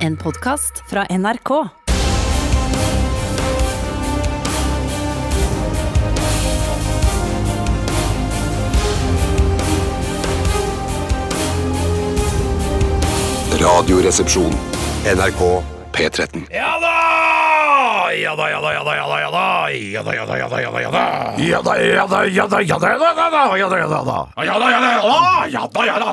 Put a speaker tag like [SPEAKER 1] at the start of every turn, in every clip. [SPEAKER 1] En podkast fra NRK.
[SPEAKER 2] Radioresepsjon. NRK P13.
[SPEAKER 3] Ja da! Ja da, ja da, ja da, ja da, ja da, ja da, ja da, ja da, ja da, ja da.
[SPEAKER 4] Ja da, ja da, ja da, ja da, ja da, ja da, ja da, ja da, da.
[SPEAKER 3] Ja da, ja da, ja da, ja da, ja da, ja da, ja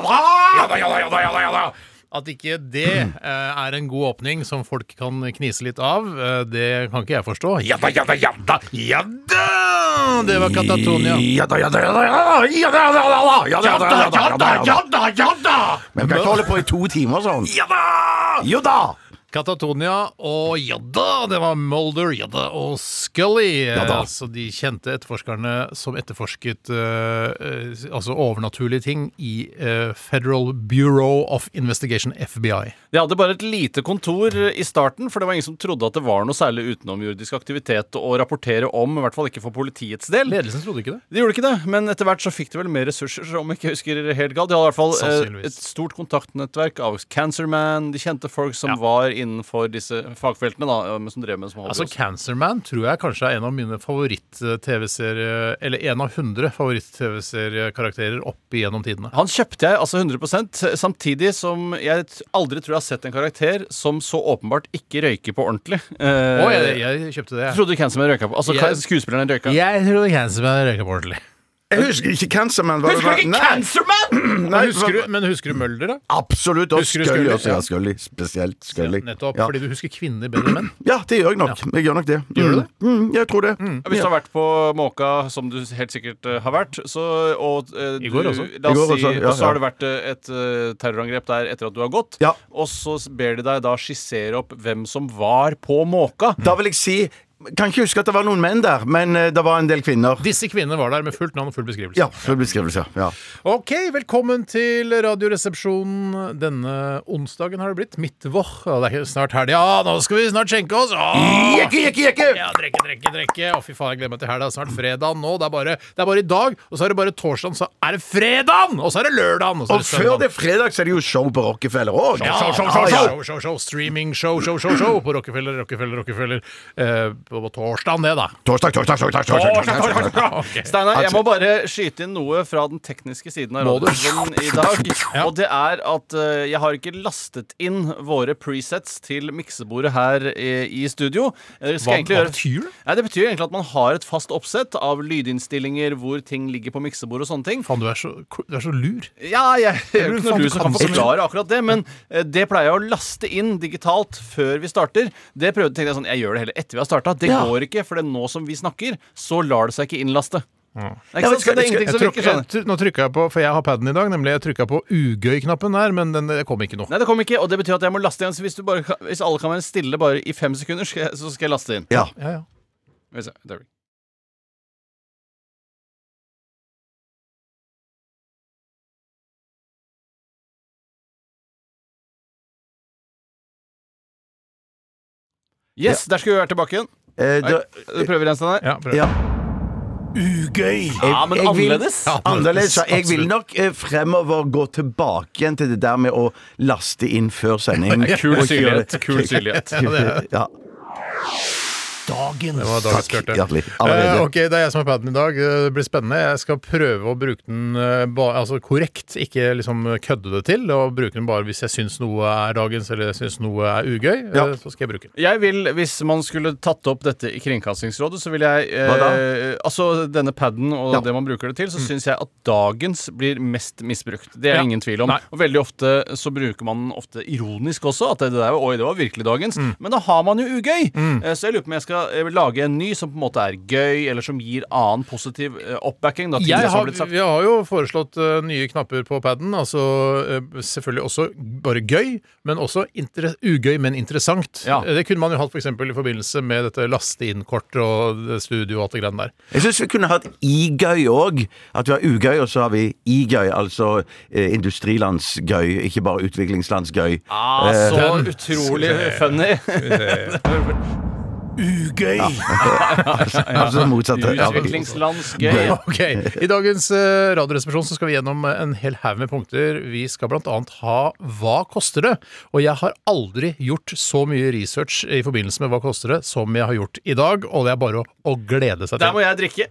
[SPEAKER 3] da, ja da, ja da, ja da. At ikke det eh, er en god åpning som folk kan knise litt av, eh, det kan ikke jeg forstå. Ja da, ja da, ja da, ja da! Det var Katatonia.
[SPEAKER 4] Ja da, ja da, ja da, ja da, ja da, ja da, ja da, ja
[SPEAKER 3] Ja
[SPEAKER 4] da,
[SPEAKER 3] da, ja da,
[SPEAKER 4] ja
[SPEAKER 3] ja da, ja da!
[SPEAKER 4] Men vi kan ikke holde på i to timer sånn.
[SPEAKER 3] Ja da!
[SPEAKER 4] Jo da!
[SPEAKER 3] Katatonia og Jadda, det var Mulder, Jadda og Scully.
[SPEAKER 4] da.
[SPEAKER 3] Eh, Så de kjente etterforskerne som etterforsket eh, eh, altså overnaturlige ting i eh, Federal Bureau of Investigation, FBI.
[SPEAKER 5] De hadde bare et lite kontor i starten, for det var ingen som trodde at det var noe særlig utenomjordisk aktivitet å rapportere om, i hvert fall ikke for politiets del.
[SPEAKER 3] Ledelsen trodde ikke det.
[SPEAKER 5] De gjorde ikke det, men etter hvert så fikk de vel mer ressurser, så om jeg ikke husker helt galt. De hadde i hvert fall eh,
[SPEAKER 3] Sannsynligvis.
[SPEAKER 5] et stort kontaktnettverk av Cancer Man, de kjente folk som var innenfor disse fagfeltene, da, eh, men som drev med som hobby.
[SPEAKER 3] Altså
[SPEAKER 5] også.
[SPEAKER 3] Cancerman tror jeg kanskje er en av mine favoritt-TV-serier, eller en av 100 favoritt-TV-seriekarakterer opp igjennom tidene.
[SPEAKER 5] Han kjøpte jeg altså 100 samtidig som jeg t- aldri tror jeg har sett en karakter som så åpenbart ikke røyker på ordentlig. Eh,
[SPEAKER 3] Å, jeg, jeg kjøpte det.
[SPEAKER 5] Jeg trodde Cancer Man røyka på. Altså,
[SPEAKER 3] Jeg-
[SPEAKER 5] skuespilleren røyka.
[SPEAKER 3] Jeg trodde Cancerman røyka på ordentlig.
[SPEAKER 4] Jeg husker ikke Cancer Man. var det- Nei,
[SPEAKER 5] Cancerman?!
[SPEAKER 4] nei,
[SPEAKER 3] Husker du, men husker du Mølder, da?
[SPEAKER 4] Absolutt. Og
[SPEAKER 3] Husker du
[SPEAKER 4] Scully
[SPEAKER 3] Scully?
[SPEAKER 4] også. Ja, Scully. Spesielt Scully.
[SPEAKER 3] Nettopp,
[SPEAKER 4] Ja.
[SPEAKER 3] fordi du husker kvinner bedre enn menn.
[SPEAKER 4] Ja, det gjør jeg nok. Jeg gjør nok det.
[SPEAKER 3] Gjør du det?
[SPEAKER 4] Mm, mm, jeg tror det.
[SPEAKER 5] Hvis du har vært på Måka, som du helt sikkert eh, har vært, så og, eh,
[SPEAKER 3] I går
[SPEAKER 5] du,
[SPEAKER 3] også.
[SPEAKER 5] La
[SPEAKER 4] I
[SPEAKER 5] oss
[SPEAKER 4] går
[SPEAKER 5] si,
[SPEAKER 4] også, ja,
[SPEAKER 5] og så
[SPEAKER 4] ja.
[SPEAKER 5] har det vært eh, et eh, terrorangrep der etter at du har gått,
[SPEAKER 4] Ja.
[SPEAKER 5] og så ber de deg da skissere opp hvem som var på Måka.
[SPEAKER 4] Da vil jeg si Kan ikke huske at det var noen menn der, men eh, det var en del kvinner.
[SPEAKER 3] Disse kvinnene var der med fullt navn og full beskrivelse.
[SPEAKER 4] Ja, full beskrivelse. Ja.
[SPEAKER 3] Ok, velkommen til Radioresepsjonen. Denne onsdagen har det blitt. Midtvoch. Ja, Det er ikke snart helg. Ja, nå skal vi snart skjenke oss! Åh!
[SPEAKER 4] Jekke, jekke, jekke!
[SPEAKER 3] Ja, drikke, drikke, drikke. Å, fy faen, jeg gleder meg til helga. Snart fredag nå. Det er, bare, det er bare i dag, og så er det bare torsdag, så er det fredag! Og så er det lørdag!
[SPEAKER 4] Og før det er fredag, så er det jo show på Rockefeller òg.
[SPEAKER 3] Ja, show, show, show, show, show, show, streaming, show, show, show, show på Rockefeller, Rockefeller, Rockefeller. Eh, på på torsdagen, det, da.
[SPEAKER 4] Torsdag, torsdag, torsdag, torsdag, torsdag, torsdag.
[SPEAKER 3] Ok.
[SPEAKER 5] Steinar, jeg må bare skyte inn noe fra den tekniske siden av
[SPEAKER 3] Må du?
[SPEAKER 5] radioen i dag.
[SPEAKER 3] Ja.
[SPEAKER 5] Og det er at eh, jeg har ikke lastet inn våre presets til miksebordet her eh, i studio. Eh, skal jeg
[SPEAKER 3] Hva-
[SPEAKER 5] egentlig
[SPEAKER 3] hva
[SPEAKER 5] gjøre-
[SPEAKER 3] betyr det?
[SPEAKER 5] Nei, det betyr egentlig at man har et fast oppsett av lydinnstillinger, hvor ting ligger på miksebordet og sånne ting.
[SPEAKER 3] Faen, du er så, du er så lur.
[SPEAKER 5] Ja, jeg jeg er
[SPEAKER 3] du
[SPEAKER 5] jo ikke
[SPEAKER 3] faen,
[SPEAKER 5] noe
[SPEAKER 3] du
[SPEAKER 5] du som
[SPEAKER 3] kan
[SPEAKER 5] kan
[SPEAKER 3] så mye.
[SPEAKER 5] forklare akkurat det, men eh, det pleier jeg å laste inn digitalt før vi starter. Det prøvde tenkte jeg sånn, jeg gjør det heller etter vi har starta. Det
[SPEAKER 4] Ja.
[SPEAKER 5] går ikke, for det er nå som vi snakker, så lar det seg ikke innlaste. Nei,
[SPEAKER 4] Ja,
[SPEAKER 5] ikke
[SPEAKER 4] men
[SPEAKER 5] sant? Så
[SPEAKER 4] skal-
[SPEAKER 5] det er
[SPEAKER 4] skal-
[SPEAKER 5] ingenting
[SPEAKER 3] Jeg
[SPEAKER 5] som virker
[SPEAKER 3] trykker,
[SPEAKER 5] sånn.
[SPEAKER 3] jeg, nå trykka jeg på, for jeg har paden i dag, nemlig jeg trykka på ugøy-knappen der, men den det kom ikke nå.
[SPEAKER 5] Nei, det kom ikke, og det betyr at jeg må laste igjen. Så hvis, du bare, kan- hvis alle kan være stille bare i fem sekunder, skal jeg, så skal jeg laste inn.
[SPEAKER 4] Ja.
[SPEAKER 3] Ja, ja.
[SPEAKER 5] Skal vi se, der. Yes, der skulle vi være tilbake igjen.
[SPEAKER 4] Eh, da-
[SPEAKER 5] Du prøver igjen, Steinar.
[SPEAKER 3] ja, prøv.
[SPEAKER 4] Ja. Ugøy!
[SPEAKER 5] Ja, men annerledes.
[SPEAKER 3] Ja,
[SPEAKER 4] Annerledes, så Jeg vil
[SPEAKER 3] absolutt.
[SPEAKER 4] nok eh, fremover gå tilbake igjen til det der med å laste inn før sending.
[SPEAKER 5] Kul
[SPEAKER 4] Og ikke gjøre
[SPEAKER 5] syrlighet.
[SPEAKER 4] det-
[SPEAKER 5] Kul syrlighet.
[SPEAKER 4] Ja,
[SPEAKER 3] Det var dagens
[SPEAKER 4] takk,
[SPEAKER 3] Bjarte.
[SPEAKER 4] hjertelig.
[SPEAKER 3] Eh,
[SPEAKER 4] Allerede.
[SPEAKER 3] ok, Det er jeg som har paden i dag. Eh, Det blir spennende. Jeg skal prøve å bruke den eh, ba, altså korrekt, ikke liksom kødde det til. Og bruke den bare hvis jeg syns noe er dagens eller jeg syns noe er ugøy. eh,
[SPEAKER 4] Ja.
[SPEAKER 3] Så skal jeg bruke den.
[SPEAKER 5] Jeg vil, Hvis man skulle tatt opp dette i Kringkastingsrådet, så vil jeg eh,
[SPEAKER 4] Hva da?
[SPEAKER 5] Altså denne paden og
[SPEAKER 4] Ja. Mm.
[SPEAKER 5] det man bruker det til, så syns jeg at dagens blir mest misbrukt. Det er
[SPEAKER 3] Ja.
[SPEAKER 5] ingen tvil om.
[SPEAKER 3] Nei.
[SPEAKER 5] Og veldig ofte så bruker man den ofte ironisk også. At det der, Oi, det var virkelig dagens.
[SPEAKER 4] Mm.
[SPEAKER 5] Men da har man jo ugøy. Eh, Så jeg lurer på om jeg skal eh, lage en ny som på en måte er gøy, eller som gir annen positiv eh, oppbacking. Da, til det
[SPEAKER 3] Jeg
[SPEAKER 5] som har
[SPEAKER 3] har,
[SPEAKER 5] blitt sagt.
[SPEAKER 3] vi har jo foreslått eh, nye knapper på paden. Altså eh, selvfølgelig også bare gøy, men også inter ugøy, men interessant.
[SPEAKER 5] Ja.
[SPEAKER 3] Eh, Det kunne man jo hatt for eksempel i forbindelse med dette laste-inn-kort og det studio og alt det greiene der.
[SPEAKER 4] Jeg syns vi kunne hatt igøy òg. At vi har ugøy, og så har vi igøy. Altså eh, industrilandsgøy, ikke bare utviklingslandsgøy.
[SPEAKER 5] Ah, så
[SPEAKER 3] den-
[SPEAKER 5] utrolig funny.
[SPEAKER 3] ugøy!
[SPEAKER 4] altså det motsatte. Ja.
[SPEAKER 5] Utviklingslandsgøy.
[SPEAKER 3] Ok, I dagens eh, Radioresepsjon så skal vi gjennom en hel haug med punkter. Vi skal bl.a. ha Hva koster det? Og jeg har aldri gjort så mye research i forbindelse med Hva koster det som jeg har gjort i dag, og det er bare å, å glede seg
[SPEAKER 5] Der
[SPEAKER 3] til.
[SPEAKER 5] må jeg drikke.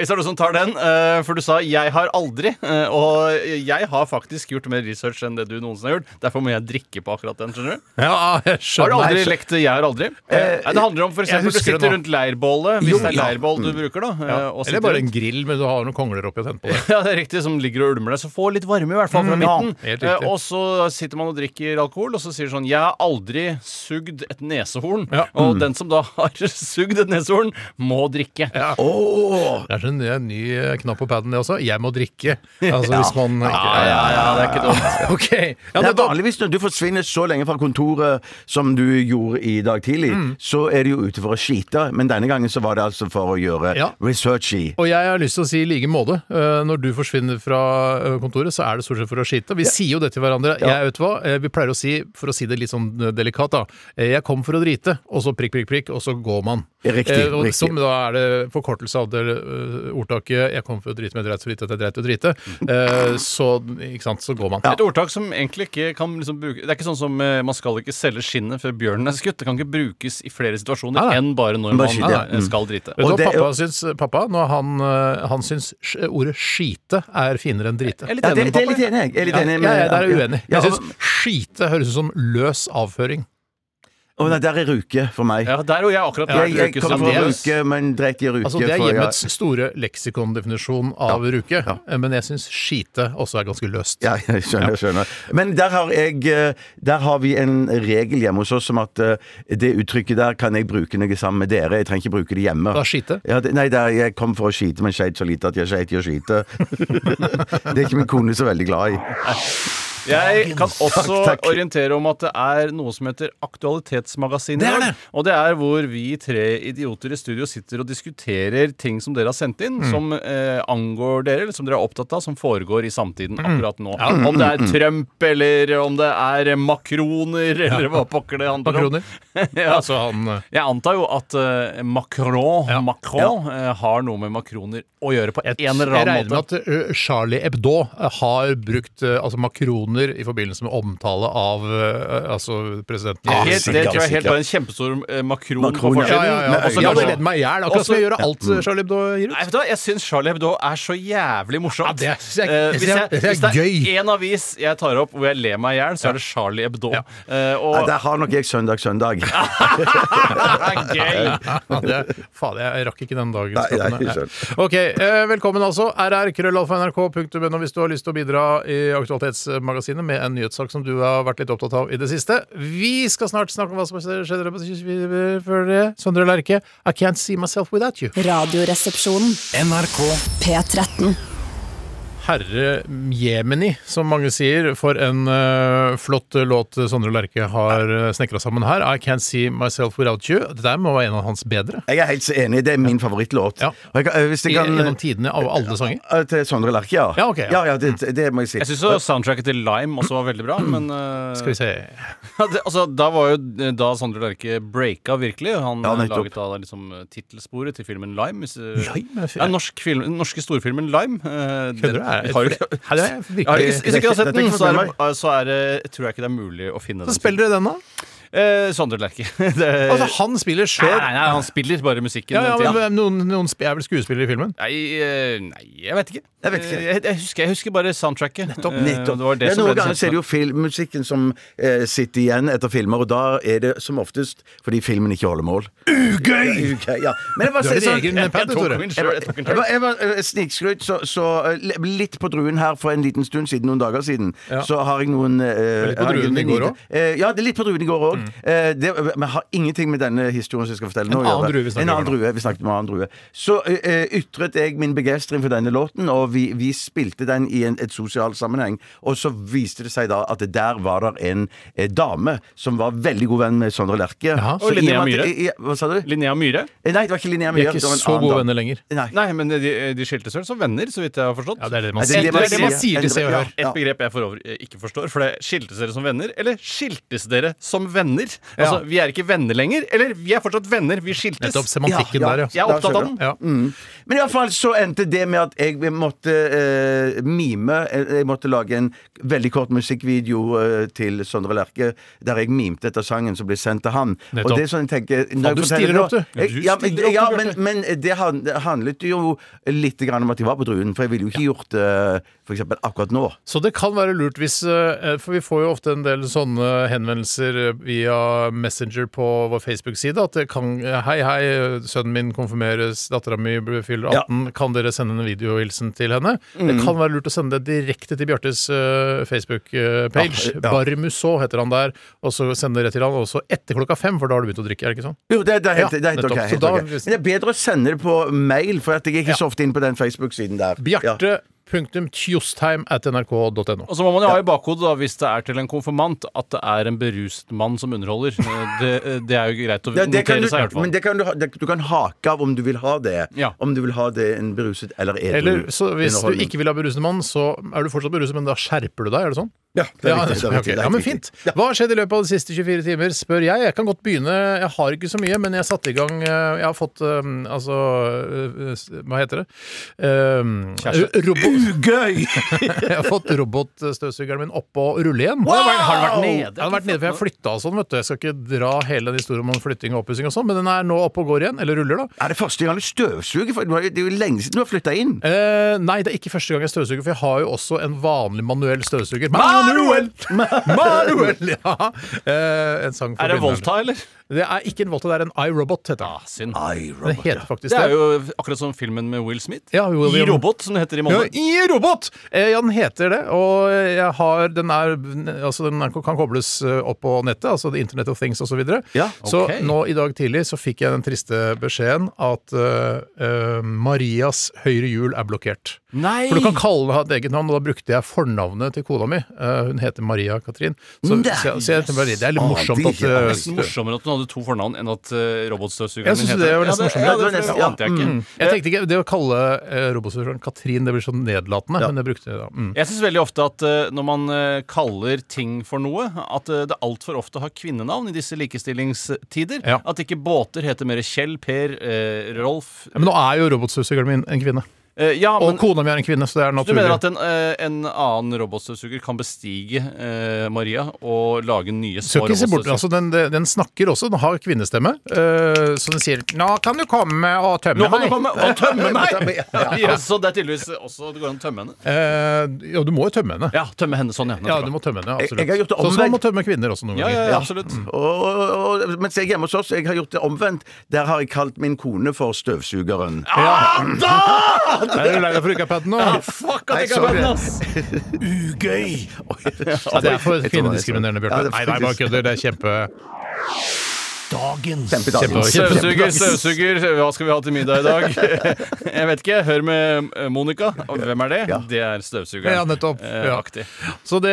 [SPEAKER 5] Hvis det er du som tar den, eh, for du sa 'jeg har aldri', eh, og jeg har faktisk gjort mer research enn det du noensinne har gjort. Derfor må jeg drikke på akkurat den. skjønner du?
[SPEAKER 3] Ja,
[SPEAKER 5] Har
[SPEAKER 3] jeg
[SPEAKER 5] du
[SPEAKER 3] skjønner.
[SPEAKER 5] aldri lekt 'jeg har aldri'? Eh, Nei, det handler om for
[SPEAKER 3] jeg
[SPEAKER 5] eksempel, du
[SPEAKER 3] husker det
[SPEAKER 5] sitter
[SPEAKER 3] nå. Mm.
[SPEAKER 5] rundt leirbålet, hvis
[SPEAKER 4] Jo,
[SPEAKER 5] det er
[SPEAKER 4] ja.
[SPEAKER 5] leirbål du bruker, da. eh, og sitter
[SPEAKER 3] Eller bare
[SPEAKER 5] rundt.
[SPEAKER 3] en grill, men du har noen kongler oppi og tenner på det.
[SPEAKER 5] Ja, det er riktig, som ligger og ulmer deg. Så få litt varme, i hvert fall, fra
[SPEAKER 3] Mm. ja,
[SPEAKER 5] midten.
[SPEAKER 3] helt riktig.
[SPEAKER 5] Eh, og så sitter man og drikker alkohol, og så sier sånn Jeg har aldri sugd et nesehorn.
[SPEAKER 3] Ja. Mm.
[SPEAKER 5] Og den som da har sugd et nesehorn, må drikke.
[SPEAKER 4] Åh,
[SPEAKER 3] Det er sånn en ny eh, knapp på paden, det også. Jeg må drikke. Altså hvis man
[SPEAKER 5] Ja, ja, ja, det er ikke dumt.
[SPEAKER 3] Ok. Ja,
[SPEAKER 4] det er
[SPEAKER 3] nettopp.
[SPEAKER 4] vanligvis når du forsvinner så lenge fra kontoret som du gjorde i dag tidlig,
[SPEAKER 3] Mm.
[SPEAKER 4] så er du jo ute for å skite, men denne gangen så var det altså for å gjøre
[SPEAKER 3] Ja.
[SPEAKER 4] research i.
[SPEAKER 3] Og jeg har lyst til å si i like måte. Eh, Når du forsvinner fra eh, kontoret, så er det stort sett for å skite. Vi sier jo det til hverandre. Jeg vet du hva, eh, Vi pleier å si, for å si det litt sånn eh, delikat, da eh, Jeg kom for å drite, og så prikk, prikk, prikk, og så går man.
[SPEAKER 4] Riktig,
[SPEAKER 3] Eh, og
[SPEAKER 4] riktig.
[SPEAKER 3] Som da er det forkortelse av det eh, ordtaket 'jeg kom for å drite, men jeg dreit så lite at jeg dreit å drite'.
[SPEAKER 5] Mm.
[SPEAKER 3] Eh, Så, ikke sant, så går man.
[SPEAKER 5] Et ordtak som egentlig ikke kan liksom bruke Det er ikke sånn som eh, man skal ikke selge skinnet før bjørnen er skutt. Det kan ikke brukes i flere situasjoner
[SPEAKER 3] Nei, nei.
[SPEAKER 5] enn bare når
[SPEAKER 4] Bare
[SPEAKER 5] man
[SPEAKER 4] skyte, ja.
[SPEAKER 5] eh, skal drite.
[SPEAKER 3] Vet du hva
[SPEAKER 4] Og det-
[SPEAKER 3] pappa syns? Pappa, når han, eh, han syns sk- ordet 'skite' er finere enn 'drite'.
[SPEAKER 5] Jeg er litt
[SPEAKER 4] Ja,
[SPEAKER 5] enig med
[SPEAKER 4] det, det er litt
[SPEAKER 5] pappa.
[SPEAKER 4] enig, jeg. jeg er litt
[SPEAKER 3] Ja,
[SPEAKER 4] enig
[SPEAKER 3] jeg,
[SPEAKER 4] med-
[SPEAKER 3] jeg der er jeg uenig.
[SPEAKER 4] Ja,
[SPEAKER 3] Jeg
[SPEAKER 4] og,
[SPEAKER 3] syns 'skite' høres ut som løs avføring.
[SPEAKER 4] og nei, der er ruke for meg.
[SPEAKER 5] Ja, der og jeg akkurat lærte
[SPEAKER 4] Jeg, jeg
[SPEAKER 5] uke
[SPEAKER 4] kommer
[SPEAKER 5] som
[SPEAKER 4] fra
[SPEAKER 5] løs.
[SPEAKER 4] ruke, men dreit i ruke.
[SPEAKER 3] Altså, Det er
[SPEAKER 4] for jeg-
[SPEAKER 3] hjemmets store leksikondefinisjon av ruke, eh, men jeg syns 'skite' også er ganske løst.
[SPEAKER 4] Ja, jeg skjønner, jeg skjønner. Men der har, jeg, eh, der har vi en regel hjemme hos oss om at eh, det uttrykket der kan jeg bruke når jeg er sammen med dere. Jeg trenger ikke bruke det hjemme.
[SPEAKER 3] Da skite?
[SPEAKER 4] Ja, det, nei, der, jeg kom for å skite, men skeit så lite at jeg skeit i å skite. det er ikke min kone så veldig glad i.
[SPEAKER 5] Jeg kan også
[SPEAKER 4] Takk, takk.
[SPEAKER 5] orientere om at det er noe som heter Aktualitetsmagasinet. i dag, Og det er hvor vi tre idioter i studio sitter og diskuterer ting som dere har sendt inn,
[SPEAKER 3] Mm.
[SPEAKER 5] som eh, angår dere, eller som dere er opptatt av, som foregår i samtiden
[SPEAKER 3] Mm.
[SPEAKER 5] akkurat nå. Om det er Trump, eller om det er makroner, eller hva pokker det handler om.
[SPEAKER 3] Makroner.
[SPEAKER 5] ja.
[SPEAKER 3] Altså han eh,
[SPEAKER 5] Jeg antar jo at eh, Macron,
[SPEAKER 3] Ja.
[SPEAKER 5] Macron eh, har noe med makroner å gjøre på en
[SPEAKER 3] Jeg
[SPEAKER 5] eller
[SPEAKER 3] regner
[SPEAKER 5] annen
[SPEAKER 3] med
[SPEAKER 5] måte.
[SPEAKER 3] at eh, Charlie Hebdo eh, har brukt eh, altså makroner i forbindelse med omtale av eh, altså presidenten. i-
[SPEAKER 5] Helt, det tror jeg helt var en kjempestor eh, makron på
[SPEAKER 4] Makron, ja.
[SPEAKER 5] forsiden.
[SPEAKER 3] Ja, ja, ja.
[SPEAKER 5] og så
[SPEAKER 3] Jeg hadde
[SPEAKER 5] kanskje-
[SPEAKER 3] ledd meg i hjel. Akkurat som jeg gjør av alt eh, Charlie Hebdo gir ut.
[SPEAKER 5] Nei, vet du hva? Jeg syns Charlie Hebdo er så jævlig morsomt.
[SPEAKER 3] Ja, det synes jeg-
[SPEAKER 5] Eh,
[SPEAKER 3] det
[SPEAKER 5] hvis,
[SPEAKER 3] synes jeg-
[SPEAKER 5] jeg,
[SPEAKER 3] det synes jeg
[SPEAKER 5] hvis
[SPEAKER 3] er
[SPEAKER 5] det
[SPEAKER 3] gøy.
[SPEAKER 5] er én avis jeg tar opp hvor jeg ler meg i hjel, så er det Charlie Hebdo.
[SPEAKER 3] Ja.
[SPEAKER 5] Eh,
[SPEAKER 4] Nei,
[SPEAKER 5] og
[SPEAKER 4] der har nok jeg søndag, søndag.
[SPEAKER 5] det er gøy!
[SPEAKER 3] Ja, det, faen, jeg rakk ikke den dagen.
[SPEAKER 4] Nei,
[SPEAKER 3] skatten,
[SPEAKER 4] nei,
[SPEAKER 3] jeg.
[SPEAKER 4] skjønn.
[SPEAKER 3] Ok, eh, Velkommen altså. rr.krøllalfa.nrk.no hvis du har lyst til å bidra i Aktualitetsmagasinet med en nyhetssak som du har vært litt opptatt av i det siste. Vi skal snart snakke om hva som skjedde på før det. Sondre Lerche, I can't see myself without you.
[SPEAKER 1] Radioresepsjonen. NRK P13.
[SPEAKER 3] Herre Jemini, som mange sier. For en eh, flott låt Sondre Lerche har uh, snekra sammen her. I can't see myself without you. Det der må være en av hans bedre.
[SPEAKER 4] Jeg er helt så enig. Det er min favorittlåt.
[SPEAKER 3] Ja.
[SPEAKER 4] Og jeg kan- eh, hvis jeg
[SPEAKER 3] I, gjennom
[SPEAKER 4] kan
[SPEAKER 3] tidene av alle sanger.
[SPEAKER 4] eh, Til Sondre Lerche, ja.
[SPEAKER 3] Ja, ok, ja.
[SPEAKER 4] ja, det, det må jeg si.
[SPEAKER 5] Jeg syns soundtracket til Lime også var veldig bra, men eh,
[SPEAKER 3] Skal vi se
[SPEAKER 5] ja, det, altså, Da var jo da Sondre Lerche breaka virkelig. Han
[SPEAKER 4] Ja,
[SPEAKER 5] eh,
[SPEAKER 4] nettopp.
[SPEAKER 5] laget da liksom eh, tittelsporet til filmen Lime. Hvis, eh,
[SPEAKER 3] Lime?
[SPEAKER 5] Ja, norsk film, den norske storfilmen Lime. eh,
[SPEAKER 3] Kødder du?
[SPEAKER 5] den-
[SPEAKER 3] Er-
[SPEAKER 5] Har du
[SPEAKER 3] for det- Nei, det er virkelig-
[SPEAKER 5] Ja, hvis, hvis ikke du har sett
[SPEAKER 4] Dette er
[SPEAKER 5] den,
[SPEAKER 4] ikke
[SPEAKER 5] så er,
[SPEAKER 4] for
[SPEAKER 5] det, eh, så er det tror jeg ikke det er mulig å finne den.
[SPEAKER 3] Så spiller dere den, da?
[SPEAKER 5] Eh, Sondre Lerche. Det-
[SPEAKER 4] Eh,
[SPEAKER 3] Altså, han spiller sjøl.
[SPEAKER 5] Nei, nei, nei, han spiller bare musikken.
[SPEAKER 3] Ja, ja,
[SPEAKER 5] den tiden.
[SPEAKER 3] men hvem- noen, noen sp- er vel skuespiller i filmen?
[SPEAKER 5] Nei, eh, nei, jeg vet ikke.
[SPEAKER 4] Jeg vet ikke.
[SPEAKER 5] Eh, Jeg, jeg, husker, jeg husker bare soundtracket. Nettopp.
[SPEAKER 4] Nettopp.
[SPEAKER 5] Det var det
[SPEAKER 4] ja,
[SPEAKER 5] som
[SPEAKER 4] noen
[SPEAKER 5] ble det
[SPEAKER 4] ganger så er det jo filmmusikken som eh, sitter igjen etter filmer, og da er det som oftest fordi filmen ikke holder mål. Ugøy! ja. Men jeg var
[SPEAKER 3] Du har
[SPEAKER 4] så,
[SPEAKER 3] din
[SPEAKER 4] sånn,
[SPEAKER 3] egen
[SPEAKER 5] jeg
[SPEAKER 3] pad, du,
[SPEAKER 5] tok
[SPEAKER 3] Tore.
[SPEAKER 5] min
[SPEAKER 4] jeg
[SPEAKER 5] selv,
[SPEAKER 4] var,
[SPEAKER 5] jeg tok min
[SPEAKER 4] jeg
[SPEAKER 5] selv.
[SPEAKER 4] var, jeg var eh, snikskryt, så, så eh, li- litt på druen her for en liten stund siden, noen dager siden, så har jeg noen eh,
[SPEAKER 3] litt på
[SPEAKER 4] har jeg
[SPEAKER 3] druen
[SPEAKER 4] en
[SPEAKER 3] i går
[SPEAKER 4] liten-
[SPEAKER 3] også? Mm.
[SPEAKER 4] Eh, ja, det er litt på druen i går òg. men har ingenting med denne historien som jeg skal fortelle nå å
[SPEAKER 3] En annen
[SPEAKER 4] gjøre.
[SPEAKER 3] drue vi snakker
[SPEAKER 4] en annen
[SPEAKER 3] om nå.
[SPEAKER 4] drue. Vi snakket om en annen drue. Så eh, ytret jeg min begeistring for denne låten, og vi, vi spilte den i en, et sosialt sammenheng. Og så viste det seg da at det der var der en eh, dame som var veldig god venn med Sondre Lerche.
[SPEAKER 3] Jaha.
[SPEAKER 4] Så
[SPEAKER 5] Og Linnea
[SPEAKER 4] i og med at-
[SPEAKER 5] Myhre.
[SPEAKER 4] i- i- Hva sa du?
[SPEAKER 5] Linnea Myhre?
[SPEAKER 4] Eh, Nei, det var ikke Linnea
[SPEAKER 3] Vi
[SPEAKER 4] Myhre.
[SPEAKER 3] er ikke
[SPEAKER 4] det var en
[SPEAKER 3] så
[SPEAKER 4] annen
[SPEAKER 3] gode
[SPEAKER 4] dame.
[SPEAKER 3] venner lenger.
[SPEAKER 4] Nei.
[SPEAKER 5] Nei, men de, de skilte seg som venner, så vidt jeg har forstått.
[SPEAKER 3] Ja, det er det man
[SPEAKER 4] Ja, det er
[SPEAKER 3] sier.
[SPEAKER 4] det man sier.
[SPEAKER 3] til Se og
[SPEAKER 4] Ja.
[SPEAKER 3] Hør.
[SPEAKER 5] Et begrep jeg for øvrig eh, ikke forstår, for det er skiltes dere som venner, eller skiltes dere som venner. Altså, Vi er ikke venner lenger. Eller vi er fortsatt venner, vi skiltes.
[SPEAKER 3] Nettopp semantikken
[SPEAKER 4] Ja, ja.
[SPEAKER 3] der,
[SPEAKER 5] Jeg
[SPEAKER 3] ja.
[SPEAKER 5] er opptatt av den.
[SPEAKER 3] ja.
[SPEAKER 4] Mm. Men i hvert fall så endte det med at jeg måtte eh, mime eh, Jeg måtte lage en veldig kort musikkvideo eh, til Sondre Lerche der jeg mimte etter sangen som ble sendt til han.
[SPEAKER 3] Nettopp.
[SPEAKER 4] Og det er sånn jeg tenker når
[SPEAKER 3] du
[SPEAKER 4] jeg forteller
[SPEAKER 3] stiller
[SPEAKER 4] det
[SPEAKER 3] opp, du.
[SPEAKER 4] nå- Jeg,
[SPEAKER 5] Ja, du
[SPEAKER 4] ja, men,
[SPEAKER 5] stiller opp, du,
[SPEAKER 4] ja, men,
[SPEAKER 5] Bjarte.
[SPEAKER 4] men det han- det handlet jo litt grann om at jeg var på Druen, for jeg ville jo ikke gjort det for eksempel akkurat nå.
[SPEAKER 3] Så det kan være lurt hvis eh, For vi får jo ofte en del sånne henvendelser eh, via Messenger på vår Facebook-side. At det kan eh, Hei, hei, sønnen min konfirmeres, dattera mi fyller 18. Kan dere sende en videohilsen til henne? Det kan være lurt å sende det direkte til Bjartes eh, Facebook-page.
[SPEAKER 4] Ja, ja.
[SPEAKER 3] Barmusso heter han der. Og så sende det rett til han også etter klokka fem, for da har du begynt å drikke, er det ikke sånn?
[SPEAKER 4] Jo, det, det er helt,
[SPEAKER 3] Ja,
[SPEAKER 4] det er helt
[SPEAKER 3] nettopp.
[SPEAKER 4] ok.
[SPEAKER 3] Så
[SPEAKER 4] Helt
[SPEAKER 3] da-
[SPEAKER 4] ok. Men det er bedre å sende det på mail, for at jeg er ikke så ofte inne på den Facebook-siden der. Ja.
[SPEAKER 3] Bjarte.tjostheim at nrk.no.
[SPEAKER 5] Og så må man jo ha i bakhodet, da, hvis det er til en konfirmant, at det er en beruset mann som underholder. Eh, Det, det er jo greit å
[SPEAKER 4] Ja, det
[SPEAKER 5] notere
[SPEAKER 4] kan
[SPEAKER 5] seg,
[SPEAKER 4] du,
[SPEAKER 5] i hvert fall.
[SPEAKER 4] men det kan du, ha- det, du kan hake av om du vil ha det.
[SPEAKER 5] Ja.
[SPEAKER 4] Om du vil ha det en beruset eller edru
[SPEAKER 3] Eller så hvis du
[SPEAKER 4] underholdning.
[SPEAKER 3] ikke vil ha berusende mann, så er du fortsatt beruset, men da skjerper du deg, er det sånn?
[SPEAKER 4] Ja, det er
[SPEAKER 3] Ja,
[SPEAKER 4] riktig, det er
[SPEAKER 3] ok.
[SPEAKER 4] riktig, det er
[SPEAKER 3] ja, men
[SPEAKER 4] riktig.
[SPEAKER 3] fint. Hva har skjedd i løpet av de siste 24 timer, spør jeg. Jeg kan godt begynne. Jeg har ikke så mye, men jeg satte i gang eh, Jeg har fått eh, altså eh, s- Hva heter det? Um,
[SPEAKER 5] Kjæreste.
[SPEAKER 3] robot,
[SPEAKER 4] Gøy!
[SPEAKER 3] jeg har fått robotstøvsugeren min opp og rulle igjen.
[SPEAKER 4] Wow!
[SPEAKER 5] Har den vært nede?
[SPEAKER 3] Jeg hadde vært nede, for jeg flytta og sånn, vet du. Jeg skal ikke dra hele den historien om flytting og oppussing og sånn, men den er nå oppe og går igjen. Eller ruller, da.
[SPEAKER 4] Er det første gang du støvsuger? For det var jo- det er jo lenge siden du har flytta inn.
[SPEAKER 3] Eh, nei, det er ikke første gang jeg støvsuger, for jeg har jo også en vanlig manuell støvsuger.
[SPEAKER 5] Ah,
[SPEAKER 4] Manuel!
[SPEAKER 3] Manuel! Ja. Eh, en sang for
[SPEAKER 5] Er det
[SPEAKER 3] begynnerne.
[SPEAKER 5] Volta, eller?
[SPEAKER 3] Det er ikke en Volta, det er en iRobot, heter
[SPEAKER 5] Ah,
[SPEAKER 3] den.
[SPEAKER 5] synd.
[SPEAKER 4] Nei,
[SPEAKER 3] Den
[SPEAKER 4] Robert.
[SPEAKER 3] heter faktisk
[SPEAKER 5] Det
[SPEAKER 3] det.
[SPEAKER 5] er jo akkurat som filmen med Will Smith.
[SPEAKER 3] Ja, William-
[SPEAKER 5] I robot, som det heter i
[SPEAKER 3] Ja,
[SPEAKER 5] Molde.
[SPEAKER 3] I robot! Eh, Ja, den heter det. Og jeg har, den, er, altså, den er- kan kobles eh, opp på nettet, altså The Internet of Things osv.
[SPEAKER 4] Ja,
[SPEAKER 3] Så
[SPEAKER 5] ok.
[SPEAKER 3] nå i dag tidlig så fikk jeg den triste beskjeden at eh, eh, Marias høyre hjul er blokkert.
[SPEAKER 5] Nei!
[SPEAKER 3] For du kan kalle henne et eget navn, og da brukte jeg fornavnet til kona mi. Eh, hun heter Maria Katrin. Så,
[SPEAKER 4] Nei,
[SPEAKER 3] så, så jeg tenkte bare, det er litt
[SPEAKER 4] Ah,
[SPEAKER 3] morsomt
[SPEAKER 4] det
[SPEAKER 3] at
[SPEAKER 4] er
[SPEAKER 3] eh,
[SPEAKER 5] Nesten morsommere at hun hadde to fornavn enn at eh, robotstøvsugeren
[SPEAKER 3] Jeg synes det var
[SPEAKER 5] Ja,
[SPEAKER 3] nesten
[SPEAKER 5] det,
[SPEAKER 4] morsommere.
[SPEAKER 5] ja, det, Mm.
[SPEAKER 4] Det var nesten-
[SPEAKER 5] det ante jeg ikke.
[SPEAKER 3] Jeg tenkte ikke, Det å kalle eh, robotstøvsugeren Katrin det blir så nedlatende, men jeg brukte det da. Mm.
[SPEAKER 5] Jeg syns veldig ofte at eh, når man eh, kaller ting for noe, at eh, det altfor ofte har kvinnenavn i disse likestillingstider.
[SPEAKER 3] Ja.
[SPEAKER 5] At ikke båter heter mer Kjell, Per, eh, Rolf
[SPEAKER 3] Ja, Men nå er jo robotstøvsugeren min en kvinne.
[SPEAKER 5] Eh, Ja,
[SPEAKER 3] Og
[SPEAKER 5] men
[SPEAKER 3] kona mi er en kvinne, så det er
[SPEAKER 5] du
[SPEAKER 3] naturlig.
[SPEAKER 5] mener at en, eh, en annen robotstøvsuger kan bestige eh, Maria og lage nye små
[SPEAKER 3] Skal ikke se bort,
[SPEAKER 5] robotstøvsugere?
[SPEAKER 3] altså den, den snakker også, den har kvinnestemme. eh, så den sier 'Nå kan du komme og
[SPEAKER 5] Nå
[SPEAKER 3] tømme
[SPEAKER 5] kan du
[SPEAKER 3] meg'.
[SPEAKER 5] komme og tømme meg!
[SPEAKER 4] Ja,
[SPEAKER 5] Ja, Så det er tydeligvis også Det går an å tømme henne.
[SPEAKER 3] Eh, ja, du må jo tømme henne.
[SPEAKER 5] Ja, tømme henne sånn, ja.
[SPEAKER 3] Ja,
[SPEAKER 5] nettopp.
[SPEAKER 3] du må tømme henne, absolutt.
[SPEAKER 4] Jeg- jeg har gjort det
[SPEAKER 3] Sånn som man må
[SPEAKER 4] omvendt.
[SPEAKER 3] tømme kvinner også noen
[SPEAKER 5] ja, ja,
[SPEAKER 3] ganger.
[SPEAKER 5] ja, absolutt.
[SPEAKER 4] Og, og, og, mens jeg er hjemme hos oss, jeg har gjort det omvendt. Der har jeg kalt min kone for støvsugeren.
[SPEAKER 3] Er du lei deg for ukapaden nå?
[SPEAKER 5] Ah, Fuck
[SPEAKER 4] Nei,
[SPEAKER 5] at jeg ikke
[SPEAKER 4] sorry.
[SPEAKER 5] har venn, ass!
[SPEAKER 4] Ugøy!
[SPEAKER 3] Ja, det er for
[SPEAKER 4] Jeg tror det er
[SPEAKER 3] kvinnediskriminerende,
[SPEAKER 4] sånn. Ja,
[SPEAKER 3] Bjarte.
[SPEAKER 4] det er
[SPEAKER 3] Nei, nei, bare
[SPEAKER 4] faktisk-
[SPEAKER 3] kødder. Det er kjempe...
[SPEAKER 4] Kjempedagens.
[SPEAKER 3] Kjempe-
[SPEAKER 5] Støvsuger, støvsuger, hva skal vi ha til middag i dag? Jeg vet ikke. Hør med eh, Monica. Og Hvem er det?
[SPEAKER 4] Ja.
[SPEAKER 5] Det er støvsugeren.
[SPEAKER 3] Ja, nettopp.
[SPEAKER 5] Eh,
[SPEAKER 3] Ja.
[SPEAKER 5] Aktig.
[SPEAKER 3] Så det,